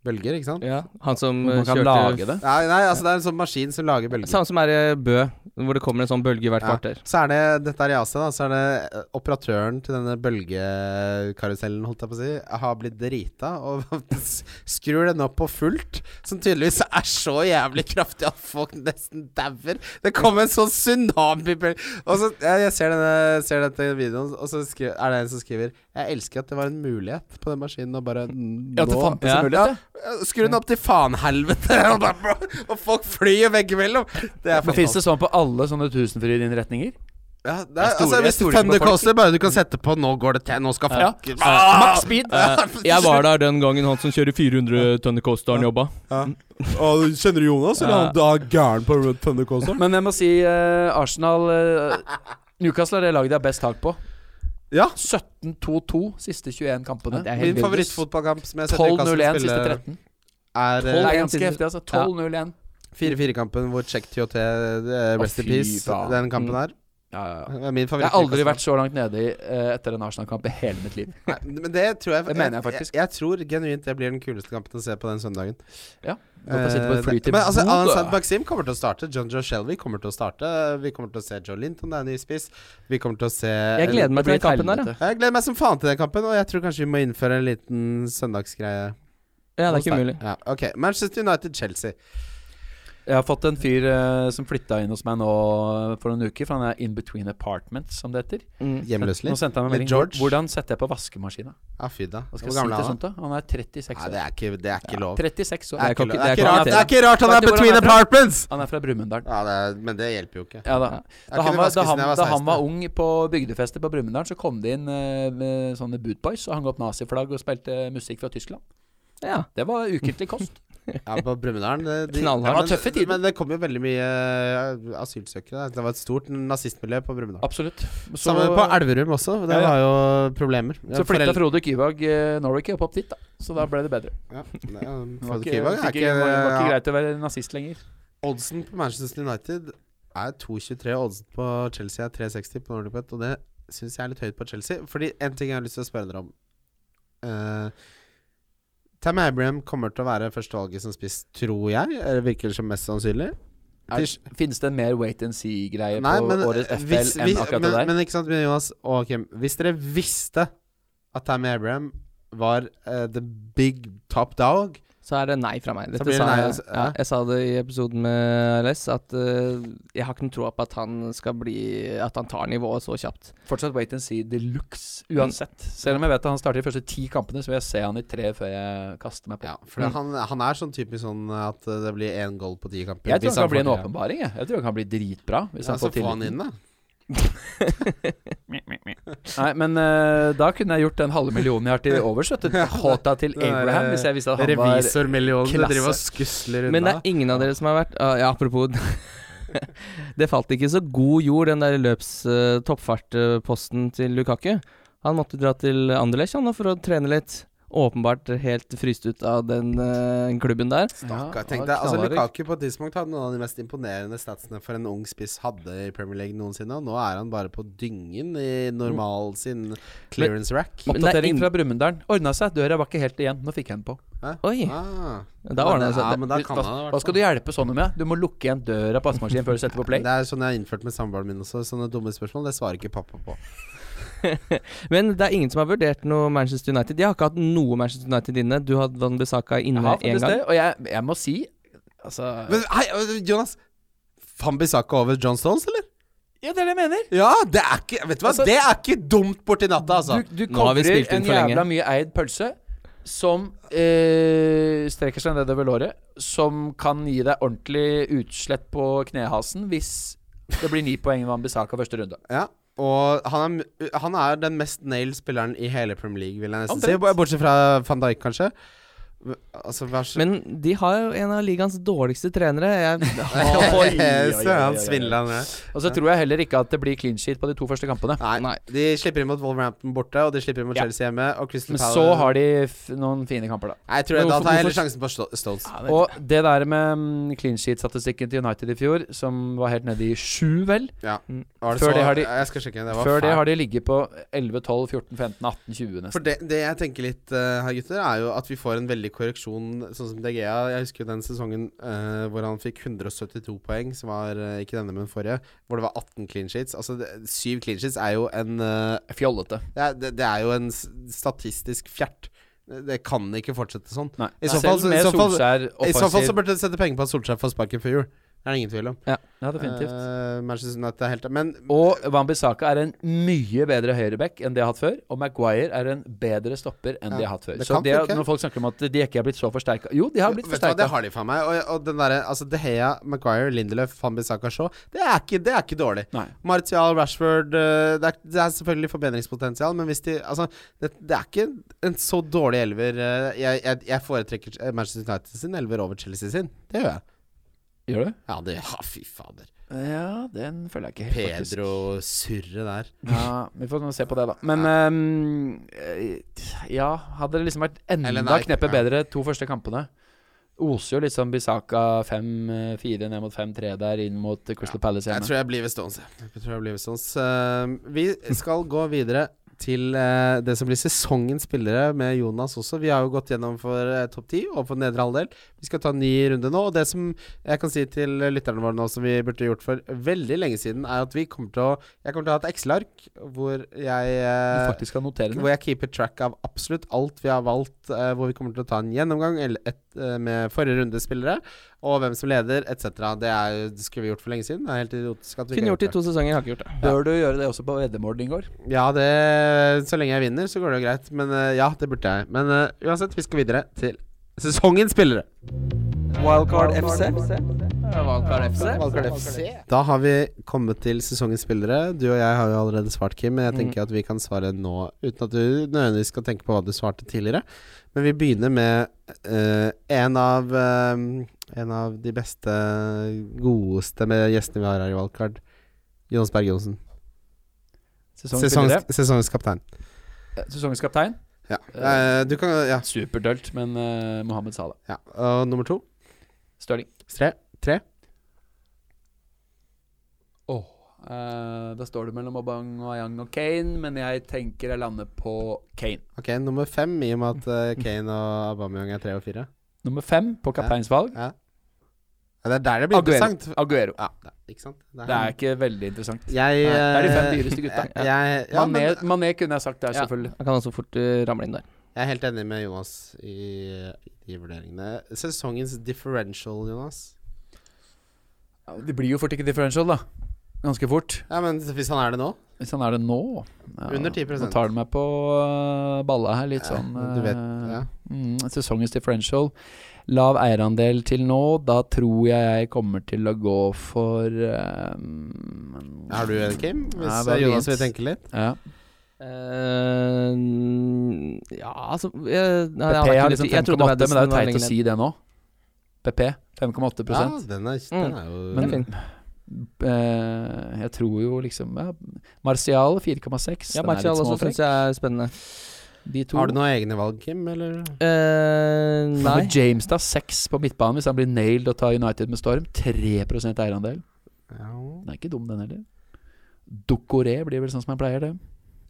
[SPEAKER 3] Bølger, ikke sant?
[SPEAKER 2] Ja, han som eh,
[SPEAKER 1] Man kan
[SPEAKER 2] kjørte
[SPEAKER 1] lage det.
[SPEAKER 3] Nei, nei, altså det er en sånn maskin som lager bølger.
[SPEAKER 2] Samme som er i Bø, hvor det kommer en sånn bølge hvert
[SPEAKER 1] *laughs*
[SPEAKER 3] Ja.
[SPEAKER 2] kvarter.
[SPEAKER 3] Så er det Dette er i Asia, da. Så er det eh, operatøren til denne bølgekarusellen, holdt jeg på å si, har blitt drita og *laughs* s- skrur den opp på fullt. Som tydeligvis er så jævlig kraftig at folk nesten dauer. Det kom en sånn tsunamibølge. Og så jeg, jeg ser, denne, ser dette videoen, og så skri, er det en som skriver Jeg elsker at det var en mulighet på den maskinen, og bare
[SPEAKER 1] Ja, at det
[SPEAKER 3] nå-
[SPEAKER 1] fantes en
[SPEAKER 3] Ja.
[SPEAKER 1] mulighet, ja.
[SPEAKER 3] Ja, Skru den opp til faenhelvete, *laughs* og, bare bro- og folk flyr veggimellom. Det er
[SPEAKER 1] Men fins
[SPEAKER 3] fantastisk.
[SPEAKER 1] det sånn på alle sånne tusenfrydinnretninger?
[SPEAKER 3] Ja, det er,
[SPEAKER 1] Jeg stoler-
[SPEAKER 3] altså,
[SPEAKER 1] jeg stoler
[SPEAKER 3] hvis
[SPEAKER 1] ikke på folk.
[SPEAKER 3] Thundercoaster bare du kan sette på Nå går det til, nå skal
[SPEAKER 1] Ja.
[SPEAKER 3] folk Ah!
[SPEAKER 1] Max speed!
[SPEAKER 2] Eh, jeg var der den gangen han som kjører 400 tonn i coasteren jobba.
[SPEAKER 3] Ah, Kjenner du Jonas,
[SPEAKER 2] eller han
[SPEAKER 3] da er gæren på Thundercoaster?
[SPEAKER 1] *laughs* Men jeg må si eh, Arsenal eh, Newcastle er det laget de har best tak på.
[SPEAKER 3] Ja.
[SPEAKER 1] 17-2-2 siste 21 kampene.
[SPEAKER 2] Ja, det er helt
[SPEAKER 3] Min favorittfotballkamp som jeg har sett Newcastle
[SPEAKER 1] 12-0-1 siste
[SPEAKER 3] spille,
[SPEAKER 1] 13.
[SPEAKER 3] er
[SPEAKER 1] Det er
[SPEAKER 3] eh,
[SPEAKER 1] ganske heftig, altså. 12-0-1.
[SPEAKER 3] 4-4-kampen hvor Check TOT eh, Rest
[SPEAKER 1] Å,
[SPEAKER 3] in
[SPEAKER 1] fy
[SPEAKER 3] peace,
[SPEAKER 1] faen.
[SPEAKER 3] den kampen her.
[SPEAKER 1] Ja, ja, ja.
[SPEAKER 3] Det er Min favoritt.
[SPEAKER 1] Jeg har aldri vært så langt nede i, eh, etter en Arsenal-kamp i hele mitt liv.
[SPEAKER 3] Nei, Men det tror jeg
[SPEAKER 1] Det mener jeg faktisk.
[SPEAKER 3] Jeg, jeg tror genuint det blir den kuleste kampen å se på den søndagen.
[SPEAKER 1] Godt å sitte på et fly
[SPEAKER 3] Eh,
[SPEAKER 1] til
[SPEAKER 3] Men altså,
[SPEAKER 1] Bodø.
[SPEAKER 3] Alain Maxim kommer til å starte. John Joe Shelby kommer til å starte. Vi kommer til å se Joe Linton, det er en ny spiss. Vi kommer til å se
[SPEAKER 2] Jeg gleder meg til den kampen der. da.
[SPEAKER 1] helvete.
[SPEAKER 3] Jeg gleder meg som faen til den kampen, og jeg tror kanskje vi må innføre en liten søndagsgreie.
[SPEAKER 2] Ja, det er
[SPEAKER 1] Hos
[SPEAKER 2] ikke
[SPEAKER 1] deg.
[SPEAKER 2] umulig.
[SPEAKER 3] Ja, ok, Manchester United-Chelsea.
[SPEAKER 1] Jeg har fått en fyr eh, som flytta inn hos meg nå eh, for noen uker, for han er in between apartments, som det heter.
[SPEAKER 2] Mm.
[SPEAKER 3] Hjemløs
[SPEAKER 1] Nå
[SPEAKER 3] litt.
[SPEAKER 1] sendte han meg
[SPEAKER 3] Litt
[SPEAKER 1] melding.
[SPEAKER 3] George.
[SPEAKER 1] Hvordan setter jeg på vaskemaskina?
[SPEAKER 3] Ja, fy da.
[SPEAKER 1] Hva
[SPEAKER 3] Hvor
[SPEAKER 1] skal jeg si
[SPEAKER 3] gammel er
[SPEAKER 1] til
[SPEAKER 3] han?
[SPEAKER 1] sånt, da? Han er 36
[SPEAKER 3] Nei,
[SPEAKER 1] år.
[SPEAKER 3] det er ikke, det er ikke lov.
[SPEAKER 1] 36
[SPEAKER 3] Det er
[SPEAKER 1] år.
[SPEAKER 3] ikke,
[SPEAKER 2] ikke lov.
[SPEAKER 3] lov. Det er
[SPEAKER 2] Det er
[SPEAKER 3] ikke rart,
[SPEAKER 2] ikke
[SPEAKER 3] det er ikke rart han
[SPEAKER 1] Vet
[SPEAKER 3] er
[SPEAKER 1] du hvor
[SPEAKER 3] between
[SPEAKER 1] han er fra?
[SPEAKER 3] apartments!
[SPEAKER 1] Han er fra Brumunddal.
[SPEAKER 3] Ja, det, er- men det hjelper jo ikke.
[SPEAKER 1] Ja, da. Da,
[SPEAKER 3] Jeg
[SPEAKER 1] han
[SPEAKER 3] kunne
[SPEAKER 1] var,
[SPEAKER 3] vaskes
[SPEAKER 1] da,
[SPEAKER 3] når
[SPEAKER 1] han,
[SPEAKER 3] jeg var
[SPEAKER 1] da han
[SPEAKER 3] 16.
[SPEAKER 1] var ung på bygdefester på Brumunddal, så kom det inn eh, med sånne bootboys, og hang opp naziflagg og spilte eh, musikk fra Tyskland.
[SPEAKER 2] Ja.
[SPEAKER 1] Det var ukentlig
[SPEAKER 3] *laughs*
[SPEAKER 1] kost.
[SPEAKER 3] Ja, på Brumunddal. det- de-
[SPEAKER 2] Knallhard.
[SPEAKER 3] Ja, men-
[SPEAKER 1] Det var tøffe tider.
[SPEAKER 3] Men det kom jo veldig mye eh, asylsøkere. Det var et stort nazistmiljø på Brumunddal.
[SPEAKER 1] Absolutt. Så,
[SPEAKER 3] Samme på Elverum også. Det
[SPEAKER 1] Ja, ja.
[SPEAKER 3] var jo problemer.
[SPEAKER 1] så flytta Frode Kyvag eh, Norway opp dit, da. Så da ble det bedre.
[SPEAKER 3] Ja, det er-
[SPEAKER 1] Det
[SPEAKER 3] Frode
[SPEAKER 1] var ikke,
[SPEAKER 3] Kyvang er
[SPEAKER 1] fikk ikke, var, var ikke
[SPEAKER 3] ja.
[SPEAKER 1] greit å være nazist lenger.
[SPEAKER 3] Oddsen på Manchester United er 2,23, og oddsen på Chelsea er 3,60 på Nordic Bet, og det syns jeg er litt høyt på Chelsea. Fordi en ting jeg har lyst til å spørre dere om Eh, Tam Abraham kommer til å være førstevalget som spiss, tror jeg. Eller virker det som mest sannsynlig.
[SPEAKER 1] Er,
[SPEAKER 3] Til-
[SPEAKER 1] finnes det en mer wait and see-greie på
[SPEAKER 3] Nei, men
[SPEAKER 1] årets FL
[SPEAKER 3] hvis,
[SPEAKER 1] enn
[SPEAKER 3] hvis,
[SPEAKER 1] akkurat
[SPEAKER 3] men,
[SPEAKER 1] det der?
[SPEAKER 3] men ikke sant, Jonas og Kim. Hvis dere visste at Tam Abraham var eh, the big top dog
[SPEAKER 2] Så er det nei fra meg. Dette
[SPEAKER 3] blir det
[SPEAKER 2] sa
[SPEAKER 3] nei,
[SPEAKER 2] jeg,
[SPEAKER 3] altså.
[SPEAKER 2] ja,
[SPEAKER 3] Ja.
[SPEAKER 2] jeg sa det i episoden med Les, at eh, jeg har ikke noe troa på at han skal bli At han tar nivået så kjapt.
[SPEAKER 1] Fortsatt wait and see de luxe, uansett. Selv om jeg vet at han starter de første ti kampene, så vil jeg se han i tre før jeg kaster meg på.
[SPEAKER 3] Ja, for
[SPEAKER 2] Mm.
[SPEAKER 3] han, han er sånn typisk sånn at eh, det blir én goal på ti kamper.
[SPEAKER 1] Jeg tror
[SPEAKER 3] Hvis
[SPEAKER 1] han kan bli en
[SPEAKER 3] får til, ja.
[SPEAKER 1] åpenbaring. Jeg. jeg tror han kan bli dritbra. Hvis
[SPEAKER 3] Ja,
[SPEAKER 1] han
[SPEAKER 3] så
[SPEAKER 1] får
[SPEAKER 3] få han
[SPEAKER 1] tilliten.
[SPEAKER 3] inn, da.
[SPEAKER 1] Nei, men eh, da kunne jeg gjort den halve millionen jeg har til overs.
[SPEAKER 3] *laughs*
[SPEAKER 1] vet du. Håta til
[SPEAKER 3] Den der,
[SPEAKER 1] Abraham, hvis jeg visste at han var
[SPEAKER 3] Revisormillionen
[SPEAKER 1] klasse.
[SPEAKER 3] driver og skusler unna.
[SPEAKER 2] Men det er ingen av dere som har vært ah, Ja, apropos *laughs* Det falt ikke så god jord, den der løps-toppfartposten til Lukaku. Han måtte dra til Anderlecht han, nå for å trene litt. Åpenbart helt fryst ut av den eh, klubben der.
[SPEAKER 3] Stakkar,
[SPEAKER 1] Ja,
[SPEAKER 3] tenk
[SPEAKER 1] han
[SPEAKER 3] deg, altså
[SPEAKER 1] knallhard.
[SPEAKER 3] Lukaku på et tidspunkt hadde noen av de mest imponerende statsene for en ung spiss hadde i Premier League noensinne, og nå er han bare på dyngen i normal sin clearance rack.
[SPEAKER 2] Men det er
[SPEAKER 1] Oppdatering
[SPEAKER 2] ingen-
[SPEAKER 1] fra Brumunddal. Ordna seg, døra var ikke helt igjen. Nå fikk jeg den på.
[SPEAKER 3] Hæ?
[SPEAKER 2] Oi.
[SPEAKER 3] Ah.
[SPEAKER 2] Da altså- ordner det seg.
[SPEAKER 3] Ja, men da kan
[SPEAKER 1] hva,
[SPEAKER 3] han det, i
[SPEAKER 1] hva
[SPEAKER 3] hvert
[SPEAKER 1] skal du hjelpe sånne med? Du må lukke igjen døra på vaskemaskinen før du setter på
[SPEAKER 3] fall.
[SPEAKER 1] play.
[SPEAKER 3] sånn. Det er sånn jeg har innført med samboeren min også. Sånne dumme spørsmål, det svarer ikke pappa på.
[SPEAKER 2] Men det er ingen som har vurdert noe Manchester United. Jeg har ikke hatt noe Manchester United inne. Du hadde Van Bissaka
[SPEAKER 1] Jeg
[SPEAKER 2] inne
[SPEAKER 1] har
[SPEAKER 2] én
[SPEAKER 1] faktisk
[SPEAKER 2] gang.
[SPEAKER 1] det, og jeg, jeg må si Altså
[SPEAKER 3] Men hei, øh, Jonas! Fambisaka over John Stones, eller?
[SPEAKER 1] Ja, det er det jeg mener.
[SPEAKER 3] Ja, det er ikke Vet du hva,
[SPEAKER 1] Altså-
[SPEAKER 3] det er ikke dumt borti natta, altså.
[SPEAKER 1] Du, du
[SPEAKER 2] Nå har vi
[SPEAKER 1] covrer
[SPEAKER 2] spilt inn
[SPEAKER 1] en
[SPEAKER 2] for lenge.
[SPEAKER 1] jævla mye eid pølse. som eh, strekker seg nedover låret, som kan gi deg ordentlig utslett på knehasen hvis det blir ni *laughs* poeng ved Ambisaka første runde.
[SPEAKER 3] Ja. Og han er, han er den mest nailed spilleren i hele Premier League, vil jeg nesten si.
[SPEAKER 1] Omtrent.
[SPEAKER 3] Bo- Bortsett fra van Dijk, kanskje. V- Altså, vær *laughs* så
[SPEAKER 2] Men de har jo en av ligaens dårligste trenere.
[SPEAKER 1] *laughs*
[SPEAKER 2] Jeg
[SPEAKER 1] Oi, oi, oi, oi, oi,
[SPEAKER 3] Søren
[SPEAKER 1] oi.
[SPEAKER 3] svindla ned.
[SPEAKER 1] Og så tror jeg heller ikke at det blir clean sheet på de to første kampene.
[SPEAKER 3] Nei.
[SPEAKER 2] Nei.
[SPEAKER 3] De slipper inn mot Wolverhampton borte, og de slipper inn mot
[SPEAKER 1] Ja.
[SPEAKER 3] Chelsea hjemme. Og Crystal
[SPEAKER 1] Men
[SPEAKER 3] Palace
[SPEAKER 1] så har de f noen fine kamper, da.
[SPEAKER 3] Nei, jeg tror jeg,
[SPEAKER 1] Hvorfor-
[SPEAKER 3] Da tar jeg heller
[SPEAKER 1] hvorfor-
[SPEAKER 3] sjansen på Sto- Stones.
[SPEAKER 1] Og det der med mm, clean sheet-statistikken til United i fjor, som var helt nede i sju, vel
[SPEAKER 3] Var det
[SPEAKER 1] Før
[SPEAKER 3] så-
[SPEAKER 1] det har de-
[SPEAKER 3] Jeg skal sjekke. Det var
[SPEAKER 1] Før det
[SPEAKER 3] fælt.
[SPEAKER 1] har de ligget på 11, 12, 14, 15, 18, 20
[SPEAKER 3] For
[SPEAKER 1] nesten.
[SPEAKER 3] det, det jeg tenker litt eh, her, gutter, er jo at vi får en veldig korreksjon, sånn som DGA. Jeg husker jo den sesongen eh, hvor han fikk 172 poeng, som var eh, ikke denne, men forrige, hvor det var 18 clean sheets. Altså, det, syv clean sheets er jo en eh,
[SPEAKER 1] Fjollete.
[SPEAKER 3] det, er, det, det er jo en s- statistisk fjert. Det, det kan ikke fortsette sånn.
[SPEAKER 1] Nei.
[SPEAKER 3] I så fall-
[SPEAKER 1] Selv med
[SPEAKER 3] i så fall-
[SPEAKER 1] Solskjær
[SPEAKER 3] I så fall så
[SPEAKER 1] offensiv.
[SPEAKER 3] burde du sette penger på at Solskjær får sparken før jul. Det er det ingen tvil om.
[SPEAKER 1] Ja, definitivt.
[SPEAKER 3] Eh, Manchester United er helt Men
[SPEAKER 1] Og Wambisaka er en mye bedre høyreback enn de har hatt før. Og Maguire er en bedre stopper enn
[SPEAKER 3] Ja,
[SPEAKER 1] de har hatt før.
[SPEAKER 3] det
[SPEAKER 1] så
[SPEAKER 3] kan
[SPEAKER 1] det, er-
[SPEAKER 3] funke.
[SPEAKER 1] når folk snakker om at de ikke er blitt så forsterka Jo, de har blitt
[SPEAKER 3] Vet du hva, Det
[SPEAKER 1] forsterka.
[SPEAKER 3] har de faen meg. Og, og den derre altså De Hea, Maguire, Lindelöf, Fambisaka Shaw, det er ikke, det er ikke dårlig.
[SPEAKER 1] Nei.
[SPEAKER 3] Martial, Rashford eh, det er, det er selvfølgelig forbedringspotensial, men hvis de Altså, det, det er ikke en så dårlig elver. eh, Jeg, jeg, jeg foretrekker eh, Manchester United sin elver over Chelsea sin. Det gjør jeg.
[SPEAKER 1] Gjør du?
[SPEAKER 3] Ja, det ja, Fy fader.
[SPEAKER 1] Ja, den føler jeg ikke helt. faktisk.
[SPEAKER 3] Pedro surre der.
[SPEAKER 1] Ja, vi får nå se på det, da. Men ehm, eh, ja, hadde det liksom vært
[SPEAKER 3] Eller
[SPEAKER 1] enda
[SPEAKER 3] nei,
[SPEAKER 1] kneppet
[SPEAKER 3] ja.
[SPEAKER 1] bedre to første kampene Oser jo liksom Bisaka 5-4 ned mot 5-3 der inn mot Crystal Palace
[SPEAKER 3] Jeg
[SPEAKER 1] hjemme.
[SPEAKER 3] tror jeg blir ved Stones. jeg. Jeg tror jeg blir ved Stones. Eh, vi skal gå videre til eh, det som blir sesongens spillere med Jonas også. Vi har jo gått gjennom for eh, topp ti og for nedre halvdel. Vi skal ta en ny runde nå. Og det som jeg kan si til lytterne våre nå, som vi burde gjort for veldig lenge siden, er at vi kommer til å Jeg kommer til å ha et Excel-ark hvor jeg
[SPEAKER 1] Du
[SPEAKER 3] eh,
[SPEAKER 1] faktisk skal notere det.
[SPEAKER 3] hvor jeg keeper track av absolutt alt vi har valgt, eh, hvor vi kommer til å ta en gjennomgang eller et, eh, med forrige rundes spillere, og hvem som leder, etc. Det, er, det skulle vi gjort for lenge siden. Det er helt idiotisk at vi ikke
[SPEAKER 2] kunne
[SPEAKER 3] har
[SPEAKER 2] gjort det i to sesonger, jeg har ikke gjort det.
[SPEAKER 1] Bør du gjøre det også på veddemål, Dingård?
[SPEAKER 3] Ja, det, så lenge jeg vinner, så går det jo greit. Men eh, ja, det burde jeg. Men eh, uansett, vi skal videre til sesongens spillere.
[SPEAKER 4] Wildcard FC.
[SPEAKER 3] Da har vi kommet til sesongens spillere. Du og jeg har jo allerede svart, Kim,
[SPEAKER 1] Mm.
[SPEAKER 3] men jeg tenker at vi kan svare nå uten at du nødvendigvis skal tenke på hva du svarte tidligere. Men vi begynner med eh, en, av, eh, en av de beste, godeste med gjestene vi har her i Valgkart. Jonas Berg Johnsen.
[SPEAKER 1] Sesongens spillere.
[SPEAKER 3] Sesongs, sesongskaptein.
[SPEAKER 1] Eh, Sesongens kaptein.
[SPEAKER 3] Ja.
[SPEAKER 1] Eh,
[SPEAKER 3] Eh, du kan Ja.
[SPEAKER 1] Superdølt, men eh, Mohammed Salah.
[SPEAKER 3] ja. Og nummer to.
[SPEAKER 1] Stirling.
[SPEAKER 3] Tre. Tre.
[SPEAKER 1] Eh, da står det mellom Aubang og Ayang og Kane, men jeg tenker jeg lander på Kane.
[SPEAKER 3] Ok, nummer fem, i og med at eh, Kane og Aubameyang er tre og fire.
[SPEAKER 1] Nummer fem på kapteinsvalg.
[SPEAKER 3] Ja. ja det er der det blir
[SPEAKER 1] Aguero.
[SPEAKER 3] interessant.
[SPEAKER 1] Aguero.
[SPEAKER 3] Ja, det, ikke sant? Det
[SPEAKER 1] Det er ikke veldig interessant.
[SPEAKER 3] Jeg
[SPEAKER 1] Det er de fem
[SPEAKER 3] eh,
[SPEAKER 1] dyreste gutta.
[SPEAKER 3] Jeg, jeg, ja,
[SPEAKER 1] Mané,
[SPEAKER 3] men,
[SPEAKER 1] Mané kunne jeg sagt der,
[SPEAKER 2] Ja.
[SPEAKER 1] selvfølgelig.
[SPEAKER 2] Han kan også fort eh, ramle inn der.
[SPEAKER 3] jeg er helt enig med Jonas i de vurderingene. Sesongens differential, Jonas.
[SPEAKER 1] Det blir jo fort ikke differential, da. Ganske fort.
[SPEAKER 3] Ja, men Hvis han er det nå
[SPEAKER 1] Hvis han er det nå ja,
[SPEAKER 3] Under 10%.
[SPEAKER 1] Nå tar du meg på eh, balla her, litt
[SPEAKER 3] Ja,
[SPEAKER 1] sånn
[SPEAKER 3] Du vet
[SPEAKER 1] eh,
[SPEAKER 3] ja.
[SPEAKER 1] Mm, sesongens differential. Lav eierandel til nå. Da tror jeg jeg kommer til å gå for eh, ehm,
[SPEAKER 3] Har du en, Kim? Hvis
[SPEAKER 1] Ja, bare
[SPEAKER 3] eh, Jonas
[SPEAKER 1] vent.
[SPEAKER 3] vil tenke litt?
[SPEAKER 1] Ja.
[SPEAKER 2] Eh, ja, altså jeg, nei, jeg,
[SPEAKER 1] PP
[SPEAKER 2] ikke
[SPEAKER 1] har
[SPEAKER 2] lyst
[SPEAKER 1] liksom
[SPEAKER 2] til- sånn- jeg trodde
[SPEAKER 1] 5,8, men det er jo
[SPEAKER 2] Madison var
[SPEAKER 1] teit å
[SPEAKER 2] lenger
[SPEAKER 1] si det nå. PP 5,8
[SPEAKER 3] Ja, den er, den er jo
[SPEAKER 2] ned.
[SPEAKER 1] Men-
[SPEAKER 2] Den er fin.
[SPEAKER 1] eh, Jeg tror jo liksom ja, Martial 4,6.
[SPEAKER 2] Ja,
[SPEAKER 1] Den er litt
[SPEAKER 2] Martial også
[SPEAKER 1] småfrekk.
[SPEAKER 2] syns jeg er spennende.
[SPEAKER 1] De to.
[SPEAKER 3] Har du noen egne valg, Kim? Eller?
[SPEAKER 2] Eh, nei.
[SPEAKER 1] Nei. James da, 6 på midtbanen hvis han blir nailed og tar United med storm. 3 eierandel.
[SPEAKER 3] Ja.
[SPEAKER 1] Den er ikke dum, den heller. Dokoré blir vel sånn som han pleier, det.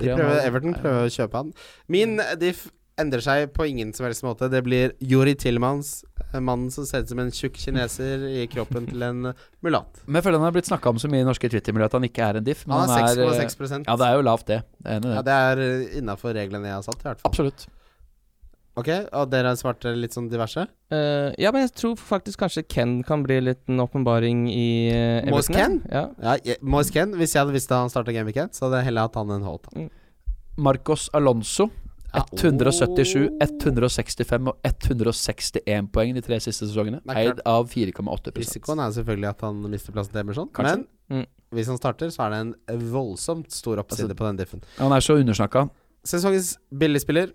[SPEAKER 3] De prøver, Everton prøver å kjøpe han. Min diff endrer seg på ingen som helst måte. Det blir Yuri Tilmans, mannen som ser ut som en tjukk kineser i kroppen til en mulatt.
[SPEAKER 1] Eh, Men jeg føler han har blitt snakka om så mye i norske Twitter-miljø at han ikke er en diff. Men
[SPEAKER 3] Han
[SPEAKER 1] han
[SPEAKER 3] er
[SPEAKER 1] er, eh,
[SPEAKER 3] 6,6
[SPEAKER 1] Ja, det er jo lavt, det. Jeg er enig i
[SPEAKER 3] Ja,
[SPEAKER 1] det.
[SPEAKER 3] det er innafor reglene jeg har satt, i hvert fall.
[SPEAKER 1] Absolutt.
[SPEAKER 3] Ok, Og dere har svart litt sånn diverse?
[SPEAKER 2] Eh, ja, men jeg tror faktisk kanskje Ken kan bli litt en åpenbaring i uh,
[SPEAKER 3] Moise
[SPEAKER 2] Everton.
[SPEAKER 3] Kean?
[SPEAKER 2] Ja.
[SPEAKER 3] Ja, jeg- Moise Kean, hvis jeg hadde visst at han starta Game Weekend, så hadde jeg heller hatt han enn Holt.
[SPEAKER 1] Marcos Alonso
[SPEAKER 3] Ja. Oh.
[SPEAKER 1] 177, 165 og 161 poeng de tre siste sesongene.
[SPEAKER 3] Det er klart.
[SPEAKER 1] Eid av 4,8
[SPEAKER 3] Risikoen er selvfølgelig at han mister plassen til Emerson,
[SPEAKER 1] Kanskje.
[SPEAKER 3] men
[SPEAKER 2] Mm.
[SPEAKER 3] hvis han starter, så er det en voldsomt stor oppside
[SPEAKER 1] Altså-
[SPEAKER 3] på den diffen.
[SPEAKER 1] Han er så undersnakka.
[SPEAKER 3] Sesongens billigspiller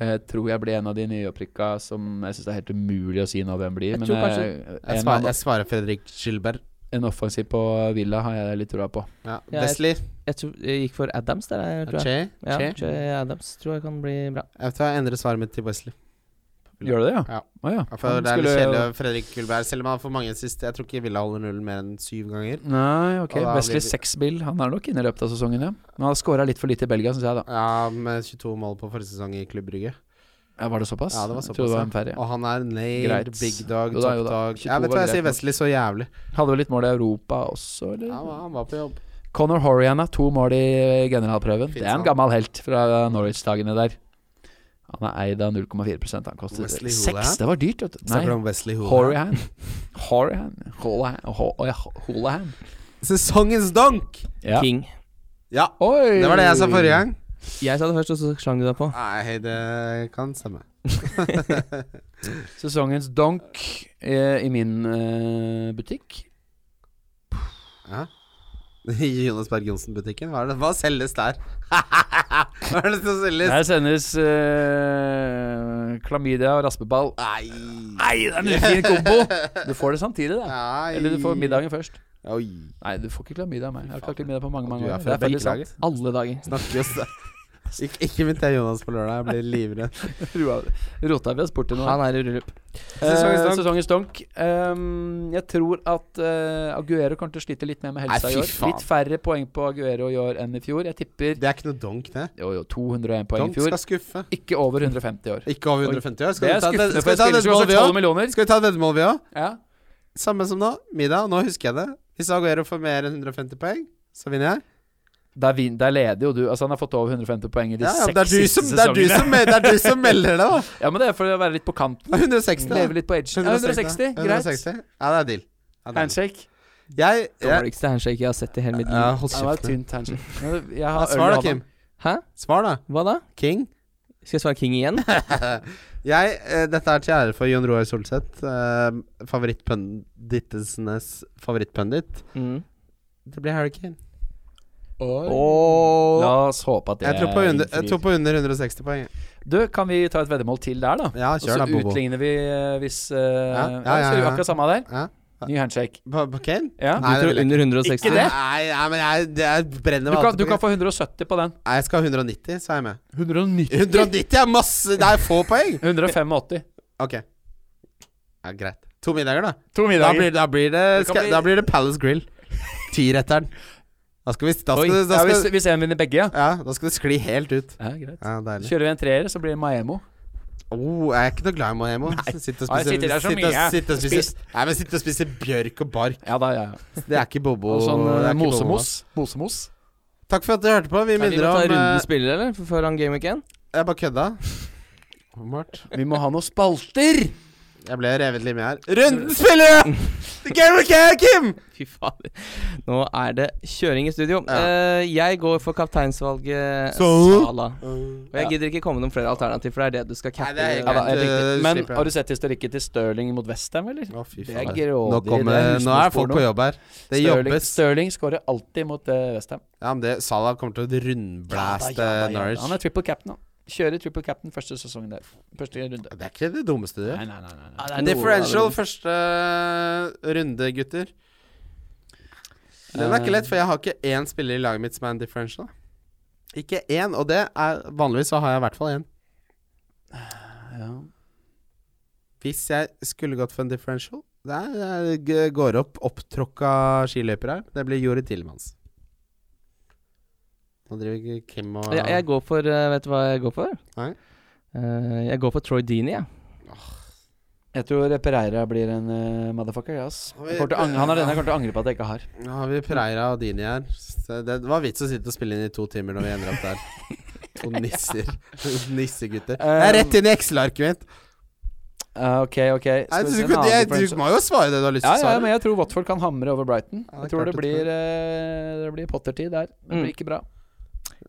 [SPEAKER 1] Jeg tror jeg blir en av de nyopprykka som jeg syns det er helt umulig å si nå hvem blir.
[SPEAKER 2] Jeg
[SPEAKER 1] Men
[SPEAKER 2] tror
[SPEAKER 1] jeg,
[SPEAKER 3] jeg,
[SPEAKER 1] en,
[SPEAKER 3] svar,
[SPEAKER 1] av-
[SPEAKER 3] jeg svarer Fredrik Schilberg.
[SPEAKER 1] en offensiv på Villa har jeg litt troa på.
[SPEAKER 3] Ja.
[SPEAKER 2] Ja, jeg-
[SPEAKER 3] Wesley.
[SPEAKER 2] Jeg, tror, jeg gikk for Adams der, jeg, tror jeg.
[SPEAKER 3] Che.
[SPEAKER 2] Ja,
[SPEAKER 3] Che.
[SPEAKER 2] Che Adams tror jeg kan bli bra.
[SPEAKER 3] Jeg vet hva, jeg endrer svaret mitt til Wesley.
[SPEAKER 1] Gjør du det, ja?
[SPEAKER 3] Ja.
[SPEAKER 1] Å, ja.
[SPEAKER 3] Ja, For
[SPEAKER 1] Han
[SPEAKER 3] det er litt
[SPEAKER 1] skulle-
[SPEAKER 3] kjedelig av Fredrik Kulberg, selv om han får mange sist. Jeg tror ikke Villa holder nullen mer enn syv ganger.
[SPEAKER 1] Nei, ok.
[SPEAKER 3] Og da
[SPEAKER 1] Wesley
[SPEAKER 3] blir det-
[SPEAKER 1] Sexbill. Han er nok inne i løpet av sesongen, ja. Men han har skåra litt for lite i Belgia, syns jeg, da.
[SPEAKER 3] Ja, med 22 mål på forrige sesong i Klubb Brygge.
[SPEAKER 1] Ja, var det såpass?
[SPEAKER 3] Ja, det var
[SPEAKER 1] Jeg trodde det var en
[SPEAKER 3] såpass.
[SPEAKER 1] færre.
[SPEAKER 3] ja. Og han er nailed,
[SPEAKER 1] Greit.
[SPEAKER 3] big dog,
[SPEAKER 1] Jo da, jo
[SPEAKER 3] top
[SPEAKER 1] da.
[SPEAKER 3] dog.
[SPEAKER 1] 22
[SPEAKER 3] Jeg
[SPEAKER 1] var
[SPEAKER 3] vet hva jeg
[SPEAKER 1] greit
[SPEAKER 3] sier,
[SPEAKER 1] nok.
[SPEAKER 3] Wesley så jævlig.
[SPEAKER 1] Hadde vel litt mål i Europa også, eller?
[SPEAKER 3] Ja, han var på jobb.
[SPEAKER 1] Conor Horian er to mål i generalprøven.
[SPEAKER 3] Fint,
[SPEAKER 1] det er en
[SPEAKER 3] sant.
[SPEAKER 1] gammel helt fra Norwich-dagene der. Han er eid av 0,4 Han koster
[SPEAKER 3] Wesley Holahan?
[SPEAKER 1] seks. Det var dyrt, vet du.
[SPEAKER 3] Snakker
[SPEAKER 1] Nei,
[SPEAKER 3] om Wesley Horan.
[SPEAKER 1] Horian. Horian. Holahan. Ho- ja, Holahan.
[SPEAKER 3] Sesongens donk!
[SPEAKER 1] Ja.
[SPEAKER 2] King.
[SPEAKER 3] Ja,
[SPEAKER 1] Oi!
[SPEAKER 3] det var det jeg sa forrige gang.
[SPEAKER 2] Jeg sa det først, og så slang du deg på.
[SPEAKER 3] Nei, det kan stemme.
[SPEAKER 1] Sesongens donk eh, i min eh, butikk.
[SPEAKER 3] Ja. I Jonas Berg Johnsen-butikken, hva, er det- hva selges der? *laughs* hva er det som selges?
[SPEAKER 1] Her sendes eh, klamydia og raspeball.
[SPEAKER 3] Nei
[SPEAKER 1] Nei, det
[SPEAKER 3] *laughs*
[SPEAKER 1] er en ufin kombo! Du får det samtidig, da.
[SPEAKER 3] Nei.
[SPEAKER 1] Eller du får middagen først.
[SPEAKER 3] Oi.
[SPEAKER 1] Nei, du får ikke klamydia av meg. Jeg har ikke hatt klamydia på mange mange
[SPEAKER 3] Du er
[SPEAKER 1] år. Det
[SPEAKER 3] fra
[SPEAKER 1] er faktisk
[SPEAKER 3] Bekkelaget.
[SPEAKER 1] sant.
[SPEAKER 2] Alle dager.
[SPEAKER 3] Snakker oss *laughs* Ik Ikke mitt jeg Jonas på lørdag, jeg blir livredd.
[SPEAKER 1] Rota vi oss bort til noe.
[SPEAKER 2] Han er i rulllup.
[SPEAKER 3] Sesongens
[SPEAKER 1] Eh,
[SPEAKER 3] donk.
[SPEAKER 1] Sesongens donk. Ehm, jeg tror at eh, Aguero kommer til å slite litt mer med helsa
[SPEAKER 3] Nei,
[SPEAKER 1] i
[SPEAKER 3] fy
[SPEAKER 1] år.
[SPEAKER 3] faen.
[SPEAKER 1] Litt færre poeng på Aguero i år enn i fjor. Jeg tipper
[SPEAKER 3] Det er ikke noe donk, det.
[SPEAKER 1] jo, jo, 201 poeng i
[SPEAKER 3] Donk
[SPEAKER 1] fjor.
[SPEAKER 3] skal skuffe.
[SPEAKER 1] Ikke over 150 i år.
[SPEAKER 3] Ikke over 150 år.
[SPEAKER 1] Det
[SPEAKER 3] Skal
[SPEAKER 1] er
[SPEAKER 3] vi ta
[SPEAKER 1] skuffende
[SPEAKER 3] et-
[SPEAKER 1] for
[SPEAKER 3] skal vi
[SPEAKER 1] en
[SPEAKER 3] ta et
[SPEAKER 1] spiller som
[SPEAKER 3] veddemål,
[SPEAKER 1] koster
[SPEAKER 3] vi
[SPEAKER 1] 12
[SPEAKER 3] òg?
[SPEAKER 1] millioner.
[SPEAKER 3] Skal vi ta et veddemål, vi òg?
[SPEAKER 1] Ja.
[SPEAKER 3] Samme som nå. Middag. Nå husker jeg det. Hvis Aguero får mer enn 150 poeng, så vinner jeg.
[SPEAKER 1] Der, vin, der leder jo du. Altså Han har fått over 150 poeng i de
[SPEAKER 3] Ja, ja, men det,
[SPEAKER 1] seks
[SPEAKER 3] er du som,
[SPEAKER 1] siste
[SPEAKER 3] det, er du
[SPEAKER 1] sesongene.
[SPEAKER 3] som, mel- det er du som melder
[SPEAKER 1] *laughs*
[SPEAKER 3] det, da.
[SPEAKER 1] Ja, men Det er for å være litt på kanten.
[SPEAKER 3] Det er 160. da.
[SPEAKER 1] Leve litt på edgen. Ja, 160, greit.
[SPEAKER 3] 160. Ja, det er deal. Ja, det er deal.
[SPEAKER 1] Handshake.
[SPEAKER 3] Jeg, jeg,
[SPEAKER 2] Dårligste handshake jeg har sett i hele mitt
[SPEAKER 3] Ja,
[SPEAKER 2] liv.
[SPEAKER 3] hold
[SPEAKER 1] Ja, det var et
[SPEAKER 3] kjeft. nå.
[SPEAKER 1] tynt handshake. Men Jeg
[SPEAKER 3] Ja,
[SPEAKER 1] har
[SPEAKER 3] Svar
[SPEAKER 1] øl
[SPEAKER 3] da,
[SPEAKER 1] i
[SPEAKER 3] Kim.
[SPEAKER 1] hånda.
[SPEAKER 2] Hæ?
[SPEAKER 3] Svar da.
[SPEAKER 2] Hva da?
[SPEAKER 3] King. *laughs*
[SPEAKER 2] Skal jeg svare King igjen?
[SPEAKER 3] Jeg, eh, dette er til ære for Jon Roar Solseth. Eh, Favorittpøndittenes favorittpøndit.
[SPEAKER 2] Mm.
[SPEAKER 3] Det blir Harry Kane.
[SPEAKER 1] La oss håpe at det
[SPEAKER 3] Jeg tror på under,
[SPEAKER 1] innfrir.
[SPEAKER 3] jeg tror på under 160 poeng.
[SPEAKER 1] Du, kan vi ta et veddemål til der, da?
[SPEAKER 3] Ja, kjør da,
[SPEAKER 1] Og så
[SPEAKER 3] Bobo.
[SPEAKER 1] utligner vi eh, hvis eh, ja, så
[SPEAKER 3] ja, ja,
[SPEAKER 1] gjør vi
[SPEAKER 3] ja.
[SPEAKER 1] akkurat samme der.
[SPEAKER 3] Ja.
[SPEAKER 1] Ny handshake.
[SPEAKER 3] På, på Kane?
[SPEAKER 1] Ja.
[SPEAKER 3] Nei,
[SPEAKER 2] Du tror
[SPEAKER 3] det vil jeg
[SPEAKER 2] under
[SPEAKER 1] Ikke
[SPEAKER 2] 160?
[SPEAKER 1] det?
[SPEAKER 3] Nei, nei, men jeg, det jeg brenner
[SPEAKER 1] Du
[SPEAKER 3] meg
[SPEAKER 1] kan,
[SPEAKER 3] alltid
[SPEAKER 1] du
[SPEAKER 3] på
[SPEAKER 1] kan
[SPEAKER 3] Kane.
[SPEAKER 1] få 170 på den.
[SPEAKER 3] Nei, jeg skal ha 190, så er jeg med.
[SPEAKER 1] 190?
[SPEAKER 3] 190 er masse! Det er få poeng!
[SPEAKER 1] 185.
[SPEAKER 3] Ok. Ja, Greit. To middager, da.
[SPEAKER 1] To
[SPEAKER 3] Da blir, da blir, det,
[SPEAKER 1] Det kan
[SPEAKER 3] skal,
[SPEAKER 1] bli-
[SPEAKER 3] da blir det Palace Grill. Tiretteren. Da skal vi Da
[SPEAKER 1] Oi,
[SPEAKER 3] skal, det- da
[SPEAKER 1] ja, hvis,
[SPEAKER 3] skal,
[SPEAKER 1] hvis en vinner begge, ja.
[SPEAKER 3] ja, da skal det skli helt ut.
[SPEAKER 1] ja greit.
[SPEAKER 3] Ja, deilig.
[SPEAKER 1] Kjører vi en treer, så blir det Maemo.
[SPEAKER 3] Oh, jeg er ikke noe glad i Maemo. Sitte og
[SPEAKER 1] Nei, jeg
[SPEAKER 3] spise
[SPEAKER 1] sitter der så
[SPEAKER 3] sitte-
[SPEAKER 1] mye, jeg.
[SPEAKER 3] sitte og spise-
[SPEAKER 1] Spist.
[SPEAKER 3] Nei, men sitte og spise bjørk og bark.
[SPEAKER 1] Ja da, ja. ja.
[SPEAKER 3] Det er ikke Bobo.
[SPEAKER 1] Og sånn
[SPEAKER 3] det
[SPEAKER 1] eh,
[SPEAKER 3] er ikke Bobo.
[SPEAKER 1] mosemos. Mosemos.
[SPEAKER 3] Takk for at du hørte på. Vi
[SPEAKER 2] Kan vi
[SPEAKER 3] minner
[SPEAKER 2] ta
[SPEAKER 3] om
[SPEAKER 2] runden
[SPEAKER 3] eh,
[SPEAKER 2] spiller, eller? F- Før han gamer igjen?
[SPEAKER 3] Jeg bare kødda. Mart.
[SPEAKER 1] Vi må ha noen spalter!
[SPEAKER 3] Jeg ble revet litt med her. Runden spiller! The game of care, Kim!
[SPEAKER 2] *laughs* Fy fader. Nå er det kjøring i studio.
[SPEAKER 3] Ja.
[SPEAKER 2] Eh, jeg går for kapteinsvalget
[SPEAKER 3] Så?
[SPEAKER 2] Sala. Og jeg gidder ikke komme med noen flere alternativ, for det er det du skal cappe.
[SPEAKER 3] Nei, det er
[SPEAKER 1] Ja, da, er
[SPEAKER 3] Eh,
[SPEAKER 1] riktig. Men
[SPEAKER 3] slipper jeg.
[SPEAKER 1] har du sett historikken til Stirling mot Westham, eller?
[SPEAKER 3] Å, fy
[SPEAKER 1] Det er
[SPEAKER 3] faen.
[SPEAKER 1] grådig.
[SPEAKER 3] Nå, kommer,
[SPEAKER 1] det er
[SPEAKER 3] nå er folk på
[SPEAKER 1] husmorsporno.
[SPEAKER 3] jobb her. Det
[SPEAKER 1] Stirling-
[SPEAKER 3] jobbes.
[SPEAKER 1] Stirling skårer alltid mot eh, Westham.
[SPEAKER 3] Ja, men det, Salah kommer til å rundblaste eh, Norwich.
[SPEAKER 1] Han er triple cap'n, han. Kjører triple cap'n første sesongen der. Første runde.
[SPEAKER 3] Det er ikke det dummeste du
[SPEAKER 1] Nei,
[SPEAKER 3] gjør.
[SPEAKER 1] nei, nei. nei, nei.
[SPEAKER 2] det er noe-
[SPEAKER 3] Differential første eh, runde, gutter. Den
[SPEAKER 1] Eh.
[SPEAKER 3] er ikke lett, for jeg har ikke én spiller i laget mitt som er en differential. Ikke én, og det er vanligvis så har jeg i hvert fall én.
[SPEAKER 1] Ja.
[SPEAKER 3] Hvis jeg skulle gått for en differential Det er, jeg g- går opp opptråkka skiløyper her. Det blir Jori Tilmans. Nå driver ikke Kim og
[SPEAKER 2] Jeg, jeg går for eh, Vet du hva jeg går for?
[SPEAKER 3] Nei.
[SPEAKER 2] Eh, jeg går for Troy Deeney, jeg.
[SPEAKER 1] Jeg tror Pereira blir en eh, motherfucker, ja, ass.
[SPEAKER 3] Har vi-
[SPEAKER 1] Jeg kommer til å ang- Han er den jeg kommer til å angre på at jeg ikke har.
[SPEAKER 3] Nå har vi Preira og Dini her. Så Det var vits å sitte og spille inn i to timer når vi ender opp
[SPEAKER 1] *laughs*
[SPEAKER 3] der. To nisser. *laughs* Nissegutter.
[SPEAKER 1] Um,
[SPEAKER 3] Jeg er rett inn i Excel-arket mitt.
[SPEAKER 1] Eh, ok, ok.
[SPEAKER 3] Nei,
[SPEAKER 1] Skal vi
[SPEAKER 3] du,
[SPEAKER 1] se en
[SPEAKER 3] kunne-
[SPEAKER 1] annen
[SPEAKER 3] jeg, du
[SPEAKER 1] differential?
[SPEAKER 3] må jo svare det du har lyst
[SPEAKER 1] ja,
[SPEAKER 3] til å
[SPEAKER 1] ja,
[SPEAKER 3] svare.
[SPEAKER 1] men jeg tror Watford kan hamre over Brighton.
[SPEAKER 3] Ja, det er
[SPEAKER 1] jeg tror
[SPEAKER 3] klart
[SPEAKER 1] det
[SPEAKER 3] det tror
[SPEAKER 1] blir, eh, det blir Potter-tid der. Det
[SPEAKER 2] Mm.
[SPEAKER 1] blir ikke bra.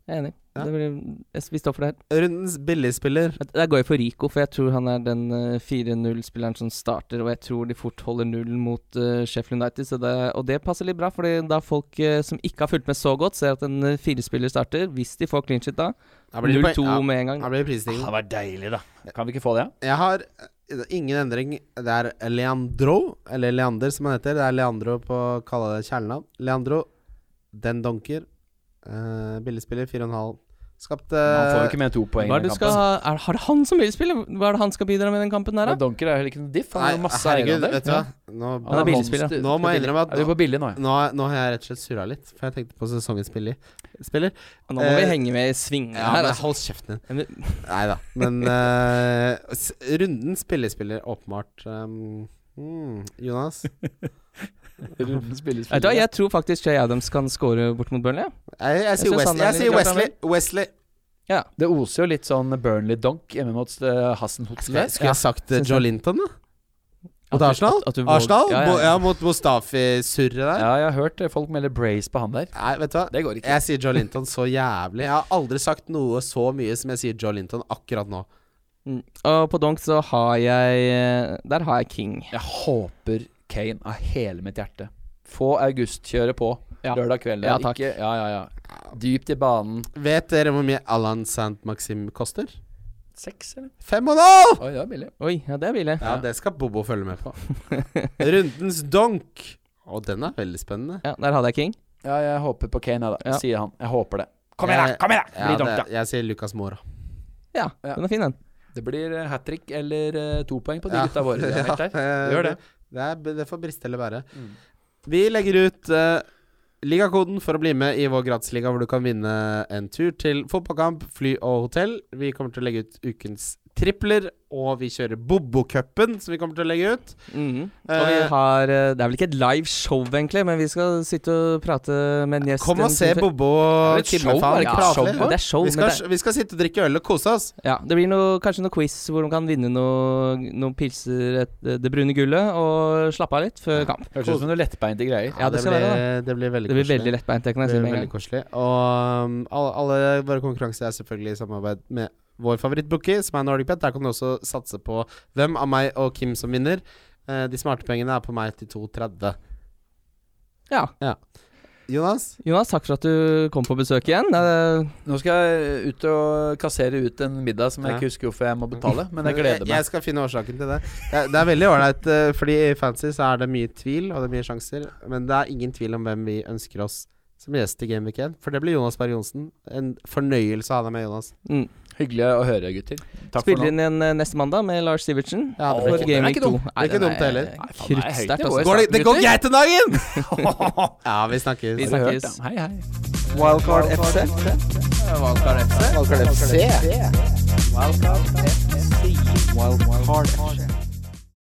[SPEAKER 2] Jeg er enig.
[SPEAKER 3] Ja.
[SPEAKER 2] Det blir, jeg, vi står for det her.
[SPEAKER 3] Rundens billigspiller.
[SPEAKER 2] Jeg- Der går jeg for Rico, for jeg tror han er den eh, 4-0-spilleren som starter, og jeg tror de fort holder nullen mot eh, Sheffield United, så det, og det passer litt bra, fordi da folk eh, som ikke har fulgt med så godt, ser at en eh, firespiller starter, hvis de får clean shit da,
[SPEAKER 3] Da blir det
[SPEAKER 2] 0-2
[SPEAKER 3] poeng- ja,
[SPEAKER 2] med en gang.
[SPEAKER 3] da blir det
[SPEAKER 1] Det
[SPEAKER 3] prisstigning.
[SPEAKER 1] hadde vært deilig, da. Kan vi ikke få det?
[SPEAKER 3] Jeg har eh, ingen endring. Det er Leandro, eller Leander som han heter. Det er Leandro på å kalle det kjælenavn. Leandro, den donker. Eh, billigspiller, 4,5. Skapt
[SPEAKER 1] Han får
[SPEAKER 3] eh,
[SPEAKER 1] jo ikke mer enn to poeng.
[SPEAKER 2] Hva er
[SPEAKER 1] i
[SPEAKER 2] det du skal
[SPEAKER 1] kampen.
[SPEAKER 2] ha? Er, har det han som vil spille? Hva er det han skal bidra med i den kampen der,
[SPEAKER 1] Men
[SPEAKER 2] da?
[SPEAKER 1] Donker er heller ikke noe diff. Han
[SPEAKER 3] Nei,
[SPEAKER 1] har jo masse
[SPEAKER 3] herregud,
[SPEAKER 1] eierandel.
[SPEAKER 3] vet du hva. Nå,
[SPEAKER 1] Ja.
[SPEAKER 2] Han er billigspiller,
[SPEAKER 1] monster-
[SPEAKER 3] Nå må jeg innrømme at-
[SPEAKER 1] Er vi på billig
[SPEAKER 3] *laughs*
[SPEAKER 1] nå, ja?
[SPEAKER 3] nå, nå har jeg rett og slett surra litt, for jeg tenkte på sesongens billig spiller.
[SPEAKER 2] Nå må
[SPEAKER 3] Eh,
[SPEAKER 2] vi henge med i svingene
[SPEAKER 3] Ja,
[SPEAKER 2] her,
[SPEAKER 3] men
[SPEAKER 2] altså.
[SPEAKER 3] hold kjeften din.
[SPEAKER 2] Men-
[SPEAKER 3] Nei da. Men eh, s- rundens billigspiller, åpenbart. Um, mm, Jonas?
[SPEAKER 2] Vet du hva, jeg tror faktisk Jay Adams kan score bort mot Burnley. ja.
[SPEAKER 3] Jeg, jeg sier
[SPEAKER 2] synes han
[SPEAKER 3] Wesley.
[SPEAKER 2] er litt
[SPEAKER 3] Jeg sier
[SPEAKER 2] klart han
[SPEAKER 3] Wesley. Wesley.
[SPEAKER 1] Det oser jo litt sånn Burnley-donk hjemme mot eh, Hassenhotel.
[SPEAKER 3] Skulle jeg, skulle jeg sagt eh,
[SPEAKER 2] Synes
[SPEAKER 3] Joe
[SPEAKER 2] jeg.
[SPEAKER 3] Linton, da?
[SPEAKER 2] At
[SPEAKER 3] Mot
[SPEAKER 2] du-
[SPEAKER 3] Arsenal?
[SPEAKER 2] at- at du våg-
[SPEAKER 3] Arsenal?
[SPEAKER 2] Ja, ja,
[SPEAKER 3] Mo-
[SPEAKER 2] ja.
[SPEAKER 3] Ja, mot Mustafi-surret der.
[SPEAKER 1] Ja, jeg har hørt eh, folk melder brace på han der.
[SPEAKER 3] Nei, vet du hva?
[SPEAKER 1] Det går ikke.
[SPEAKER 3] Jeg sier Joe Linton så jævlig. Jeg har aldri sagt noe så mye som jeg sier Joe Linton akkurat nå.
[SPEAKER 2] Mm. Og på donk så har jeg eh, Der har jeg King.
[SPEAKER 1] Jeg håper Kane av hele mitt hjerte. Få augustkjøret på
[SPEAKER 2] Ja.
[SPEAKER 1] lørdag kveld.
[SPEAKER 2] Ja, takk.
[SPEAKER 1] Ikke, ja, ja, ja. Dypt i banen.
[SPEAKER 3] Vet dere hvor mye Alan Sant Maxim koster?
[SPEAKER 1] Seks, eller?
[SPEAKER 3] Fem og en halv!
[SPEAKER 1] Oi, det er billig.
[SPEAKER 2] Oi, ja, det er billig.
[SPEAKER 3] Ja, det skal Bobo følge med
[SPEAKER 1] *laughs*
[SPEAKER 3] på. Rundens donk. Å, den er veldig spennende.
[SPEAKER 2] Ja, der hadde jeg King.
[SPEAKER 1] Ja, jeg håper på Kane, jeg, da.
[SPEAKER 2] Ja.
[SPEAKER 1] Sier han. Jeg håper det. Kom igjen, da!
[SPEAKER 3] Jeg-
[SPEAKER 1] Kom igjen, da!
[SPEAKER 3] Eh, Ja,
[SPEAKER 1] Bli donk,
[SPEAKER 3] det, jeg sier Lucas Mora.
[SPEAKER 2] Ja,
[SPEAKER 1] Ja.
[SPEAKER 2] den er fin, den.
[SPEAKER 1] da. Det blir hat trick eller eh, to poeng på de
[SPEAKER 3] Ja.
[SPEAKER 1] gutta våre. de har
[SPEAKER 3] *laughs* Ja,
[SPEAKER 1] meldt her.
[SPEAKER 3] eh,
[SPEAKER 1] Gjør det.
[SPEAKER 3] Det, er, det får briste eller bære. Vi legger ut eh, ligakoden for å bli med i vår gratisliga, hvor du kan vinne en tur til fotballkamp, fly og hotell. Vi kommer til å legge ut ukens tripler, og vi kjører Bobokupen, som vi kommer til å legge ut.
[SPEAKER 2] Mhm.
[SPEAKER 3] Eh,
[SPEAKER 2] og vi har eh, Det er vel ikke et live show, egentlig, men vi skal sitte og prate med en gjest.
[SPEAKER 3] Kom og
[SPEAKER 2] en
[SPEAKER 3] se
[SPEAKER 2] time før-
[SPEAKER 3] Bobo
[SPEAKER 1] Det er et show,
[SPEAKER 3] Kimmefaen
[SPEAKER 1] er det ikke
[SPEAKER 3] prate
[SPEAKER 1] show?
[SPEAKER 3] litt.
[SPEAKER 2] Ja, det er show,
[SPEAKER 3] Vi
[SPEAKER 2] men det
[SPEAKER 3] skal, vi skal sitte og drikke øl og kose oss.
[SPEAKER 2] Ja, det blir noe, kanskje noe quiz hvor de kan vinne noe- noen pilser et, det brune gullet og slappe av litt før kamp.
[SPEAKER 1] Høres ut som noen lettbeinte greier.
[SPEAKER 2] Ja, det skal
[SPEAKER 3] blir,
[SPEAKER 2] være
[SPEAKER 3] det blir veldig
[SPEAKER 2] Det blir
[SPEAKER 3] koselig.
[SPEAKER 2] veldig lettbeint, det kan jeg
[SPEAKER 3] Det
[SPEAKER 2] si
[SPEAKER 3] er
[SPEAKER 2] med en
[SPEAKER 3] veldig
[SPEAKER 2] gang.
[SPEAKER 3] koselig. Og um, alle, alle våre konkurranser er selvfølgelig i samarbeid med vår favorittbookie, som er Nordic Pet. Der kan du også satse på hvem av meg og Kim som vinner. Eh, de smarte pengene er på meg til 2,30.
[SPEAKER 2] Ja.
[SPEAKER 3] Jonas?
[SPEAKER 2] Jonas, takk for at du kom på besøk igjen. Eh,
[SPEAKER 1] Nå skal jeg ut og kassere ut en middag som jeg
[SPEAKER 3] Ja.
[SPEAKER 1] ikke husker hvorfor jeg må betale, men jeg gleder
[SPEAKER 3] *laughs* Jeg,
[SPEAKER 1] meg.
[SPEAKER 3] skal finne årsaken til det. Det, det er veldig ålreit, eh, fordi i Fantasy så er det mye tvil, og det er mye sjanser. Men det er ingen tvil om hvem vi ønsker oss som gjest i Game Week 1. For det blir Jonas Berg Johnsen. En fornøyelse å ha deg med, Jonas.
[SPEAKER 2] Mm.
[SPEAKER 1] Hyggelig å høre, gutter. Takk for
[SPEAKER 2] Spiller
[SPEAKER 1] nå.
[SPEAKER 2] inn igjen eh, neste mandag med Lars Sivertsen.
[SPEAKER 3] Ja,
[SPEAKER 1] Åh,
[SPEAKER 3] det
[SPEAKER 2] For
[SPEAKER 3] blir
[SPEAKER 1] den er
[SPEAKER 2] Game Week
[SPEAKER 1] ikke dum.
[SPEAKER 2] 2. Nei,
[SPEAKER 3] Det er ikke
[SPEAKER 2] den
[SPEAKER 3] dumt, heller.
[SPEAKER 1] Nei, faen, det er høyt
[SPEAKER 2] Kruttsterkt,
[SPEAKER 1] nivå,
[SPEAKER 2] altså.
[SPEAKER 1] jeg
[SPEAKER 3] Går det, det går
[SPEAKER 1] gutter?
[SPEAKER 3] greit om
[SPEAKER 1] *laughs*
[SPEAKER 3] dagen! ja, vi snakkes.
[SPEAKER 2] Vi
[SPEAKER 1] Har du hørt
[SPEAKER 2] snakkes.
[SPEAKER 1] det? Hei, hei.
[SPEAKER 4] Wildcard FC.
[SPEAKER 3] Valgkart FC.
[SPEAKER 4] Wildcard FC.